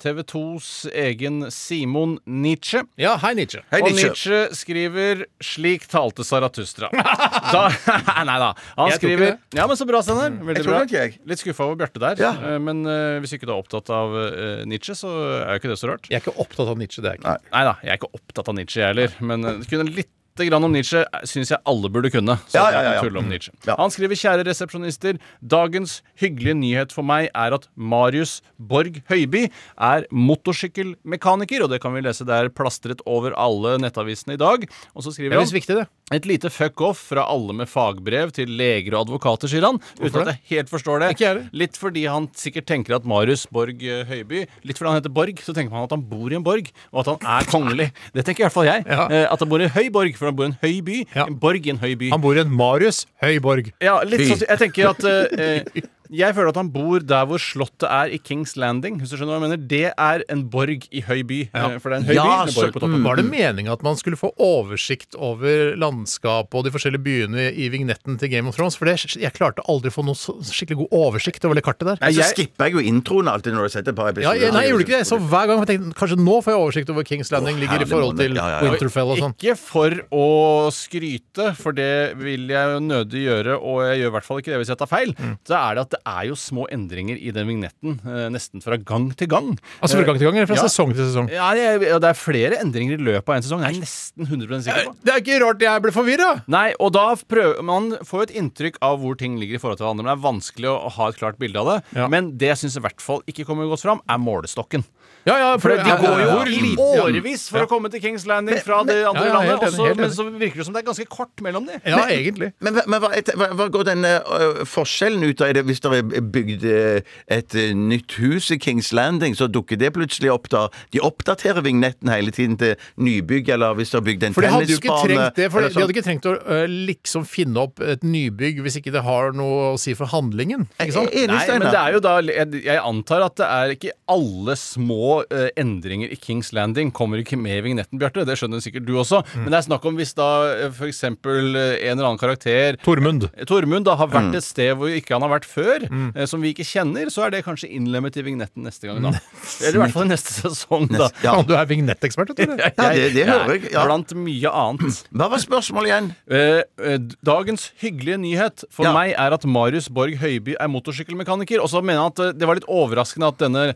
[SPEAKER 5] TV2s egen Simon Nietzsche.
[SPEAKER 3] Ja, hei, Nietzsche.
[SPEAKER 4] Hei,
[SPEAKER 5] Og
[SPEAKER 4] Nietzsche.
[SPEAKER 5] Nietzsche skriver 'Slik talte Zarathustra'. Da, nei da. Han
[SPEAKER 3] Jeg tror ikke
[SPEAKER 5] skriver
[SPEAKER 3] det.
[SPEAKER 5] Ja, men så bra, Steinar. Veldig
[SPEAKER 4] Mm. Jeg tror
[SPEAKER 5] bra.
[SPEAKER 4] nok jeg.
[SPEAKER 5] Litt skuffa over Bjarte der.
[SPEAKER 4] Ja.
[SPEAKER 5] eh, Men eh, hvis ikke du er opptatt av eh, Nietzsche, så er jo ikke det så rart.
[SPEAKER 3] Jeg er ikke opptatt av Nietzsche, det er jeg ikke.
[SPEAKER 4] Nei.
[SPEAKER 5] Nei da, jeg er ikke opptatt av Nietzsche, jeg heller. Men eh, det kunne litt lite grann om Nietzsche syns jeg alle burde kunne. Så
[SPEAKER 4] Ja,
[SPEAKER 5] at jeg
[SPEAKER 4] ja, ja,
[SPEAKER 5] kan
[SPEAKER 4] ja.
[SPEAKER 5] tulle om Nietzsche.
[SPEAKER 4] Ja.
[SPEAKER 5] Han skriver kjære resepsjonister, dagens hyggelige nyhet for meg er at Marius Borg Høiby er motorsykkelmekaniker, og det kan vi lese der plastret over alle nettavisene i dag. Og så
[SPEAKER 3] Det
[SPEAKER 5] skriver
[SPEAKER 3] er
[SPEAKER 5] han
[SPEAKER 3] visst viktig, det.
[SPEAKER 5] et lite fuck off fra alle med fagbrev til leger og advokater, sier han. Uten at jeg helt forstår det.
[SPEAKER 3] Ikke jeg heller.
[SPEAKER 5] Litt fordi han sikkert tenker at Marius Borg eh, Høiby Litt fordi han heter Borg, så tenker man at han bor i en borg, og at han er kongelig. Det tenker i hvert fall jeg.
[SPEAKER 3] Ja.
[SPEAKER 5] Eh, At han bor i en høy borg, for han bor i en høy by.
[SPEAKER 3] Ja.
[SPEAKER 5] En borg i en høy by.
[SPEAKER 3] Han bor i en Marius Høyborg.
[SPEAKER 5] Ja, litt sånn Jeg tenker at eh, eh, Jeg føler at han bor der hvor slottet er i Kings Landing. Hvis du skjønner hva jeg mener Det er en borg i høy by. eh, For det er en høy
[SPEAKER 3] Ja,
[SPEAKER 5] by med
[SPEAKER 3] så-
[SPEAKER 5] borg på toppen.
[SPEAKER 3] Var det meninga at man skulle få oversikt over landskapet og de forskjellige byene i vignetten til Game of Thrones? For det, jeg klarte aldri å få noe så- skikkelig god oversikt over det kartet der.
[SPEAKER 4] Nei, så
[SPEAKER 5] jeg-
[SPEAKER 4] skipper jeg jo introen alltid når du har sett et par
[SPEAKER 3] Ja,
[SPEAKER 4] episoder.
[SPEAKER 3] jeg, nei, jeg gjorde ikke det. Så hver gang jeg tenkte kanskje nå får jeg oversikt over Kings Landing ligger i
[SPEAKER 4] herre
[SPEAKER 3] forhold
[SPEAKER 4] måned.
[SPEAKER 3] til
[SPEAKER 4] Ja, ja, ja.
[SPEAKER 3] Winterfell og sånn.
[SPEAKER 5] Ikke for å skryte, for det vil jeg jo nødig gjøre, og jeg gjør i hvert fall ikke det hvis jeg tar feil.
[SPEAKER 3] Mm.
[SPEAKER 5] Så er det at det er jo små endringer i den vignetten, eh, nesten fra gang til gang.
[SPEAKER 3] Altså fra gang til gang, eller fra
[SPEAKER 5] Ja.
[SPEAKER 3] sesong til sesong?
[SPEAKER 5] Ja, det er- det er flere endringer i løpet av en sesong. Det er jeg nesten 100 sikker på.
[SPEAKER 3] Det er ikke rart jeg ble forvirra!
[SPEAKER 5] Nei, og da prøver Man får jo et inntrykk av hvor ting ligger i forhold til hverandre. Men det er vanskelig å ha et klart bilde av det.
[SPEAKER 3] Ja.
[SPEAKER 5] Men det jeg syns i hvert fall ikke kommer godt fram, er målestokken.
[SPEAKER 3] Ja, ja,
[SPEAKER 5] For det, de går jo
[SPEAKER 3] Hvor lite
[SPEAKER 5] årevis for å komme til Kings Landing fra det andre
[SPEAKER 3] Ja, ja, helt
[SPEAKER 5] landet,
[SPEAKER 3] enig,
[SPEAKER 5] og så-
[SPEAKER 3] helt
[SPEAKER 5] men
[SPEAKER 3] enig.
[SPEAKER 5] så virker det som det er ganske kort mellom de.
[SPEAKER 3] Ja, egentlig.
[SPEAKER 4] Men, hva- men hva, et, hva, hva går denne ø, forskjellen ut av Er det hvis det er bygd ø, et ø, nytt hus i Kings Landing, så dukker det plutselig opp da? De oppdaterer vignetten hele tiden til nybygg, eller hvis det er bygd en
[SPEAKER 3] For de hadde jo ikke
[SPEAKER 4] tennisbane
[SPEAKER 3] trengt det, for
[SPEAKER 4] eller
[SPEAKER 3] de
[SPEAKER 4] sånn.
[SPEAKER 3] hadde ikke trengt å ø, liksom finne opp et nybygg hvis ikke det har noe å si for handlingen.
[SPEAKER 4] Eh,
[SPEAKER 3] Ikke sant?
[SPEAKER 4] Jeg er Enig,
[SPEAKER 5] Nei, men det
[SPEAKER 4] Steinar.
[SPEAKER 5] er jo da Jeg, jeg antar at det er ikke alle små eh, endringer i Kings Landing kommer ikke med i vignetten, Bjarte. Det skjønner sikkert du også. Men det er snakk om hvis da eh, for eksempel eh, en eller annen karakter Eh,
[SPEAKER 3] Tormund.
[SPEAKER 5] Tormund da har vært et sted hvor ikke han har vært før, eh, som vi ikke kjenner, så er det kanskje innlemmet i vignetten neste gang, da. Eller i hvert fall i neste sesong, da.
[SPEAKER 4] Ja.
[SPEAKER 3] Faen, Du er vignettekspert, vet du.
[SPEAKER 4] Ja, det- det hører jeg, ja.
[SPEAKER 5] Blant mye annet.
[SPEAKER 4] Hva var spørsmålet igjen?
[SPEAKER 5] Eh, eh, Dagens hyggelige nyhet for
[SPEAKER 4] Ja.
[SPEAKER 5] meg er at Marius Borg Høiby er motorsykkelmekaniker. Og så mener han at eh, det var litt overraskende at denne eh,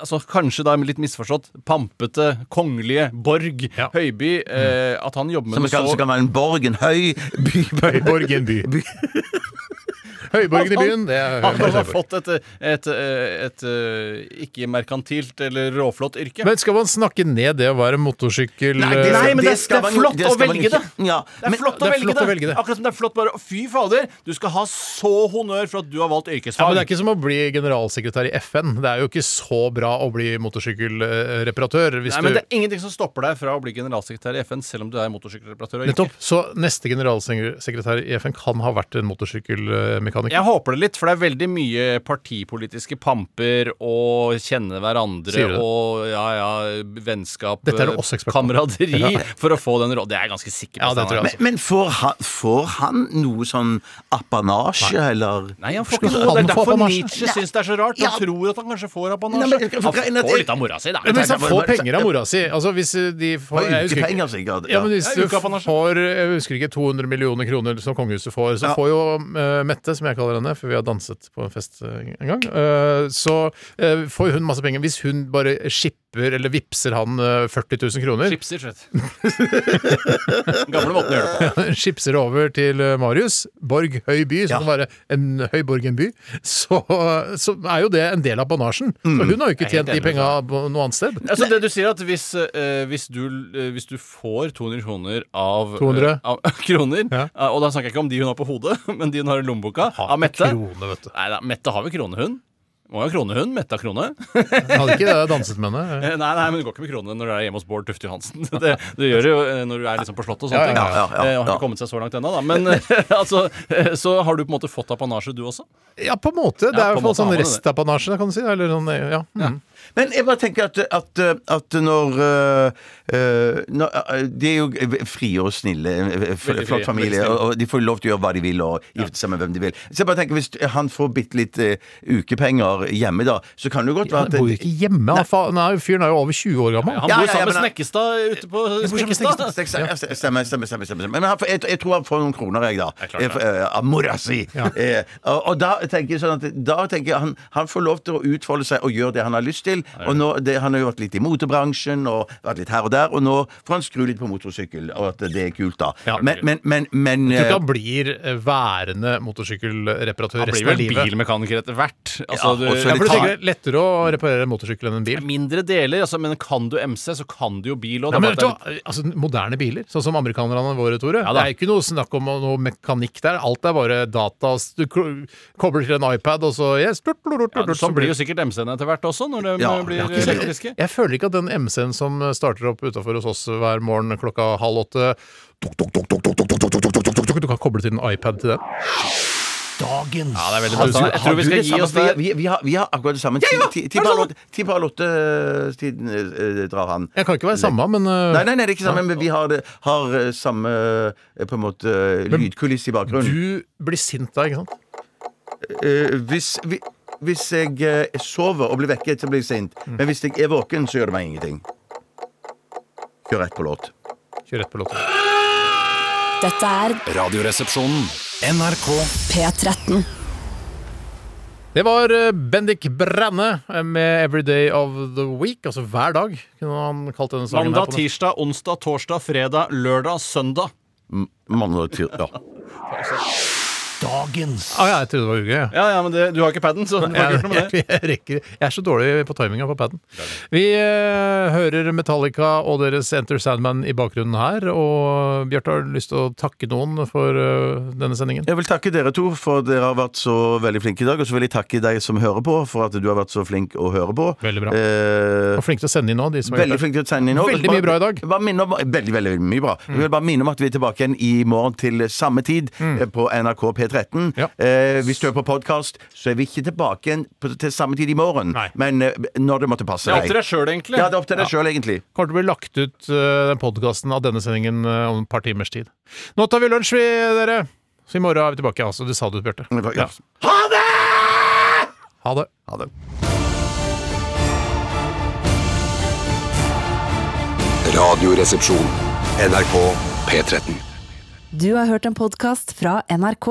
[SPEAKER 5] Altså Kanskje da litt misforstått pampete, kongelige Borg
[SPEAKER 3] Ja. Mm.
[SPEAKER 5] Høiby eh, At han jobber med
[SPEAKER 4] Som
[SPEAKER 5] noe så
[SPEAKER 4] kanskje kan være en borg, en høy by
[SPEAKER 3] Høyborg i en by. Høyborgen i byen, det er
[SPEAKER 5] Han
[SPEAKER 3] Høyborg.
[SPEAKER 5] har
[SPEAKER 3] Høyborg.
[SPEAKER 5] fått et, eh, et, eh, et, eh, ikke-merkantilt eller råflott yrke.
[SPEAKER 3] Men skal man snakke ned det å være motorsykkel...
[SPEAKER 5] det-
[SPEAKER 3] ø,
[SPEAKER 5] Nei, men det- det
[SPEAKER 4] skal
[SPEAKER 5] er
[SPEAKER 4] man-
[SPEAKER 5] flott
[SPEAKER 4] skal
[SPEAKER 5] å
[SPEAKER 4] man
[SPEAKER 5] velge
[SPEAKER 4] ikke-
[SPEAKER 5] det.
[SPEAKER 4] Ja,
[SPEAKER 5] Det er
[SPEAKER 4] men-
[SPEAKER 5] flott,
[SPEAKER 3] det er
[SPEAKER 5] å,
[SPEAKER 3] flott
[SPEAKER 5] velge
[SPEAKER 3] å velge det.
[SPEAKER 5] Akkurat som det er flott bare å- Fy fader, du skal ha så honnør for at du har valgt
[SPEAKER 3] Ja, men
[SPEAKER 5] yrkesfag.
[SPEAKER 3] Det er ikke som å bli generalsekretær i FN. Det er jo ikke så bra å bli motorsykkelreparatør. Hvis
[SPEAKER 5] Nei, men det
[SPEAKER 3] du...
[SPEAKER 5] er ingenting som stopper deg fra å bli generalsekretær i FN, selv om du er motorsykkelreparatør. og ikke.
[SPEAKER 3] Nettopp. Så neste generalsekretær i FN kan ha vært en motorsykkelmekaniker.
[SPEAKER 5] Jeg håper det litt, for det er veldig mye partipolitiske pamper og kjenne
[SPEAKER 3] Sier du
[SPEAKER 5] hverandre
[SPEAKER 3] det?
[SPEAKER 5] og ja, ja, vennskap,
[SPEAKER 3] Dette er det også ekspert på.
[SPEAKER 5] kameraderi,
[SPEAKER 3] Ja.
[SPEAKER 5] for å få den rollen. Det er jeg ganske sikker på.
[SPEAKER 3] Ja, det tror jeg
[SPEAKER 5] Steinar.
[SPEAKER 3] også.
[SPEAKER 4] Men får han, får han noe sånn apanasje, eller?
[SPEAKER 5] Nei, han får ikke noe.
[SPEAKER 3] Skal
[SPEAKER 5] Det
[SPEAKER 3] han
[SPEAKER 5] er
[SPEAKER 3] få
[SPEAKER 5] derfor
[SPEAKER 3] apanasje?
[SPEAKER 5] Nietzsche syns det er så rart. Han tror at han kanskje får apanasje.
[SPEAKER 4] Nei, men jeg kan
[SPEAKER 5] han
[SPEAKER 4] forklare at
[SPEAKER 5] får
[SPEAKER 4] jeg-
[SPEAKER 5] litt av mora si, da.
[SPEAKER 3] Men hvis han får penger av mora si altså hvis de får,
[SPEAKER 4] Har
[SPEAKER 3] jeg husker ikke-
[SPEAKER 4] ukepenger, sikkert.
[SPEAKER 3] ja, men hvis
[SPEAKER 5] Ja,
[SPEAKER 3] du
[SPEAKER 5] ukeapanasje.
[SPEAKER 3] får jeg husker ikke, 200 millioner kroner som kongehuset får, så får jo eh, Mette, som jeg kaller henne, for vi har danset på en fest eh, en gang, eh, så eh, får hun masse penger. Hvis hun bare skipper eller vippser han eh, 40 000 kroner,
[SPEAKER 5] Chipser, slett. Gamle måten å gjøre det på.
[SPEAKER 3] skipser det over til eh, Marius, Borg høy by, som kan være en høy borg i en by, så, så er jo det en del av banasjen. Så hun har jo ikke
[SPEAKER 5] Jeg Mm. er helt
[SPEAKER 3] tjent de
[SPEAKER 5] enig med
[SPEAKER 3] penga på noe annet sted.
[SPEAKER 5] Altså det du sier er at hvis, eh, hvis, du, eh, hvis du får 200 kroner av
[SPEAKER 3] 200?
[SPEAKER 5] eh, av, kroner
[SPEAKER 3] Ja.
[SPEAKER 5] eh, Og da snakker jeg ikke om de hun har på hodet, men de hun har i lommeboka. Av Mette.
[SPEAKER 3] Krone, vet du.
[SPEAKER 5] Nei, da, Mette har vel krone, hun? Må jo ha krone, hun. Mette har krone.
[SPEAKER 3] Jeg hadde ikke danset med henne.
[SPEAKER 5] Eh, Nei, nei, men du går ikke med krone når du er hjemme hos Bård Tufte Johansen. Det, det gjør du jo eh, når du er liksom på Slottet og sånne
[SPEAKER 3] Ja, ja,
[SPEAKER 5] ting.
[SPEAKER 4] ja, ja, ja.
[SPEAKER 5] Eh, Har ikke kommet seg så langt ennå, da. Men eh, altså, eh, så har du på en måte fått apanasje, du også?
[SPEAKER 3] Ja, på en måte. Det
[SPEAKER 5] Ja,
[SPEAKER 3] er i
[SPEAKER 5] på en
[SPEAKER 3] hvert fall
[SPEAKER 5] måte har
[SPEAKER 3] sånn
[SPEAKER 5] man det.
[SPEAKER 3] restapanasje, kan du si. Eller sånn, ja. Mm.
[SPEAKER 4] Men jeg bare tenker at, at, at når, øh, øh, når øh, De er jo frie og snille, øh,
[SPEAKER 5] frie,
[SPEAKER 4] fl- flott
[SPEAKER 5] veldig
[SPEAKER 4] familie,
[SPEAKER 5] snille.
[SPEAKER 4] og og de får lov til å gjøre hva de vil og gifte seg med hvem de vil. Så jeg bare tenker, Hvis han får bitte litt øh, ukepenger hjemme, da, så kan det jo godt være
[SPEAKER 3] Han bor jo
[SPEAKER 4] at
[SPEAKER 3] ikke hjemme. han fa- Nei, fyren er jo over 20 år gammel.
[SPEAKER 5] Han
[SPEAKER 4] Ja,
[SPEAKER 5] bor
[SPEAKER 4] ja, ja,
[SPEAKER 5] sammen med
[SPEAKER 4] men-
[SPEAKER 5] Snekkestad eh, ute på Snekkestad.
[SPEAKER 4] Stemmer, stemmer, stemmer. stemmer, stemmer, stemmer. Men han får- jeg, jeg tror han får noen kroner, jeg, da.
[SPEAKER 5] klart det.
[SPEAKER 4] Eh, Av mora si. Eh, og, og da tenker jeg sånn at da tenker jeg han, han får lov til å utfolde seg og gjøre det han har lyst motorsykkel. Og nå, det, han har jo vært litt i motebransjen og vært litt her og der, og nå får han skru litt på motorsykkel, og at det er kult, da.
[SPEAKER 3] Ja.
[SPEAKER 4] men, men, men, men
[SPEAKER 3] Jeg tror ikke
[SPEAKER 4] eh,
[SPEAKER 3] han blir eh, værende motorsykkelreparatør
[SPEAKER 5] Han blir
[SPEAKER 3] resten av
[SPEAKER 5] vel
[SPEAKER 3] livet.
[SPEAKER 5] bilmekaniker etter hvert. Altså, du,
[SPEAKER 4] og så
[SPEAKER 3] Ja, for du
[SPEAKER 4] litt
[SPEAKER 3] tenker det er lettere å reparere en motorsykkel enn en bil?
[SPEAKER 5] mindre deler, altså, men kan du MC, så kan du jo bil òg.
[SPEAKER 3] Nei, men, vet du, hva? altså, moderne biler, sånn som amerikanerne våre, Tore.
[SPEAKER 5] Ja,
[SPEAKER 3] det
[SPEAKER 5] da.
[SPEAKER 3] er ikke noe snakk om noe mekanikk der. Alt er bare data. ass. Du ko- kobler til en iPad, og så yes, blurt, blurt, blurt, blurt,
[SPEAKER 5] sånn
[SPEAKER 3] så
[SPEAKER 5] blir jo sikkert MC-ene etter hvert også, når de
[SPEAKER 4] Ja,
[SPEAKER 5] blir
[SPEAKER 4] ja, ikke sant.
[SPEAKER 5] elektriske.
[SPEAKER 3] Jeg føler ikke at den MC-en som starter opp utafor hos oss hver morgen klokka halv åtte tok, tok, tok, tok, tok, tok, tok, tok, tok, tok, tok, tok, Du kan koble til en iPad til den. Dagens
[SPEAKER 5] Ja, det er veldig
[SPEAKER 4] har
[SPEAKER 5] bra.
[SPEAKER 4] du-
[SPEAKER 5] Sånn, Jeg
[SPEAKER 4] har
[SPEAKER 5] tror vi
[SPEAKER 4] du
[SPEAKER 5] skal
[SPEAKER 4] det
[SPEAKER 5] gi
[SPEAKER 4] samme?
[SPEAKER 5] oss der.
[SPEAKER 4] Vi, vi, vi, har, vi har akkurat det samme. Ti
[SPEAKER 5] ja,
[SPEAKER 4] ti-
[SPEAKER 5] er det
[SPEAKER 4] ti på halv
[SPEAKER 5] samme?
[SPEAKER 4] åtte- ti på halv åtte-tiden drar han.
[SPEAKER 3] Jeg kan ikke være samme, men uh,
[SPEAKER 4] Nei, nei, nei, det er ikke samme, men vi har, det, har eh, samme eh, på en måte eh, lydkulisse i bakgrunnen.
[SPEAKER 3] du blir sint da, ikke sant?
[SPEAKER 4] Eh, hvis, vi, hvis jeg eh, sover og blir vekket, så blir jeg sint. Men hvis jeg er våken, så gjør det meg ingenting. Kjør rett på låt.
[SPEAKER 3] Kjør rett på låta.
[SPEAKER 1] Dette er
[SPEAKER 2] Radioresepsjonen.
[SPEAKER 1] P13.
[SPEAKER 3] Det var eh, Bendik Brenne eh, med 'Every Day of the Week'. Altså hver dag, kunne han kalt denne sangen. her
[SPEAKER 5] Mandag,
[SPEAKER 3] på norsk.
[SPEAKER 5] tirsdag, onsdag, torsdag, fredag, lørdag, søndag.
[SPEAKER 4] Mandag til ja.
[SPEAKER 3] Ah, ja, jeg trodde det var uke. Ja.
[SPEAKER 5] Ja, ja, men det, du har ikke paden, så du får ikke
[SPEAKER 3] Jeg,
[SPEAKER 5] gjort noe med det.
[SPEAKER 3] jeg, jeg rekker Jeg er så dårlig på timinga på paden. Vi eh, hører Metallica og deres Enter Sandman i bakgrunnen her. Og Bjarte har lyst til å takke noen for eh, denne sendingen.
[SPEAKER 4] Jeg vil takke dere to for dere har vært så veldig flinke i dag. Og så vil jeg takke deg som hører på, for at du har vært så flink å høre på.
[SPEAKER 3] Veldig bra.
[SPEAKER 4] Eh,
[SPEAKER 3] Og flinke til å sende inn nå, de som har
[SPEAKER 4] Veldig
[SPEAKER 3] gjort det.
[SPEAKER 4] flink til å sende inn nå.
[SPEAKER 3] Veldig mye bra i dag.
[SPEAKER 4] Bare minne om, veldig, veldig mye bra. Jeg vil bare minne om at vi er tilbake igjen i morgen til samme tid eh, på NRK P13.
[SPEAKER 3] Mm. Ja.
[SPEAKER 4] Eh, hvis du er på podkast, så er vi ikke tilbake igjen på, til samme tid i morgen,
[SPEAKER 3] Nei.
[SPEAKER 4] men eh, når det måtte passe
[SPEAKER 5] Det er opp til
[SPEAKER 4] deg.
[SPEAKER 5] deg sjøl, egentlig.
[SPEAKER 4] Ja, det er opp til deg selv sjøl, egentlig.
[SPEAKER 3] Kommer til å bli lagt ut eh, den podkasten av denne sendingen eh, om et par timers tid. Nå tar vi lunsj, vi, dere. Så i morgen er vi tilbake. Altså, det sa du, Bjarte.
[SPEAKER 4] Ja.
[SPEAKER 3] Ha det.
[SPEAKER 4] Ha det.
[SPEAKER 2] Radioresepsjon. NRK P13.
[SPEAKER 9] Du har hørt en podkast fra NRK.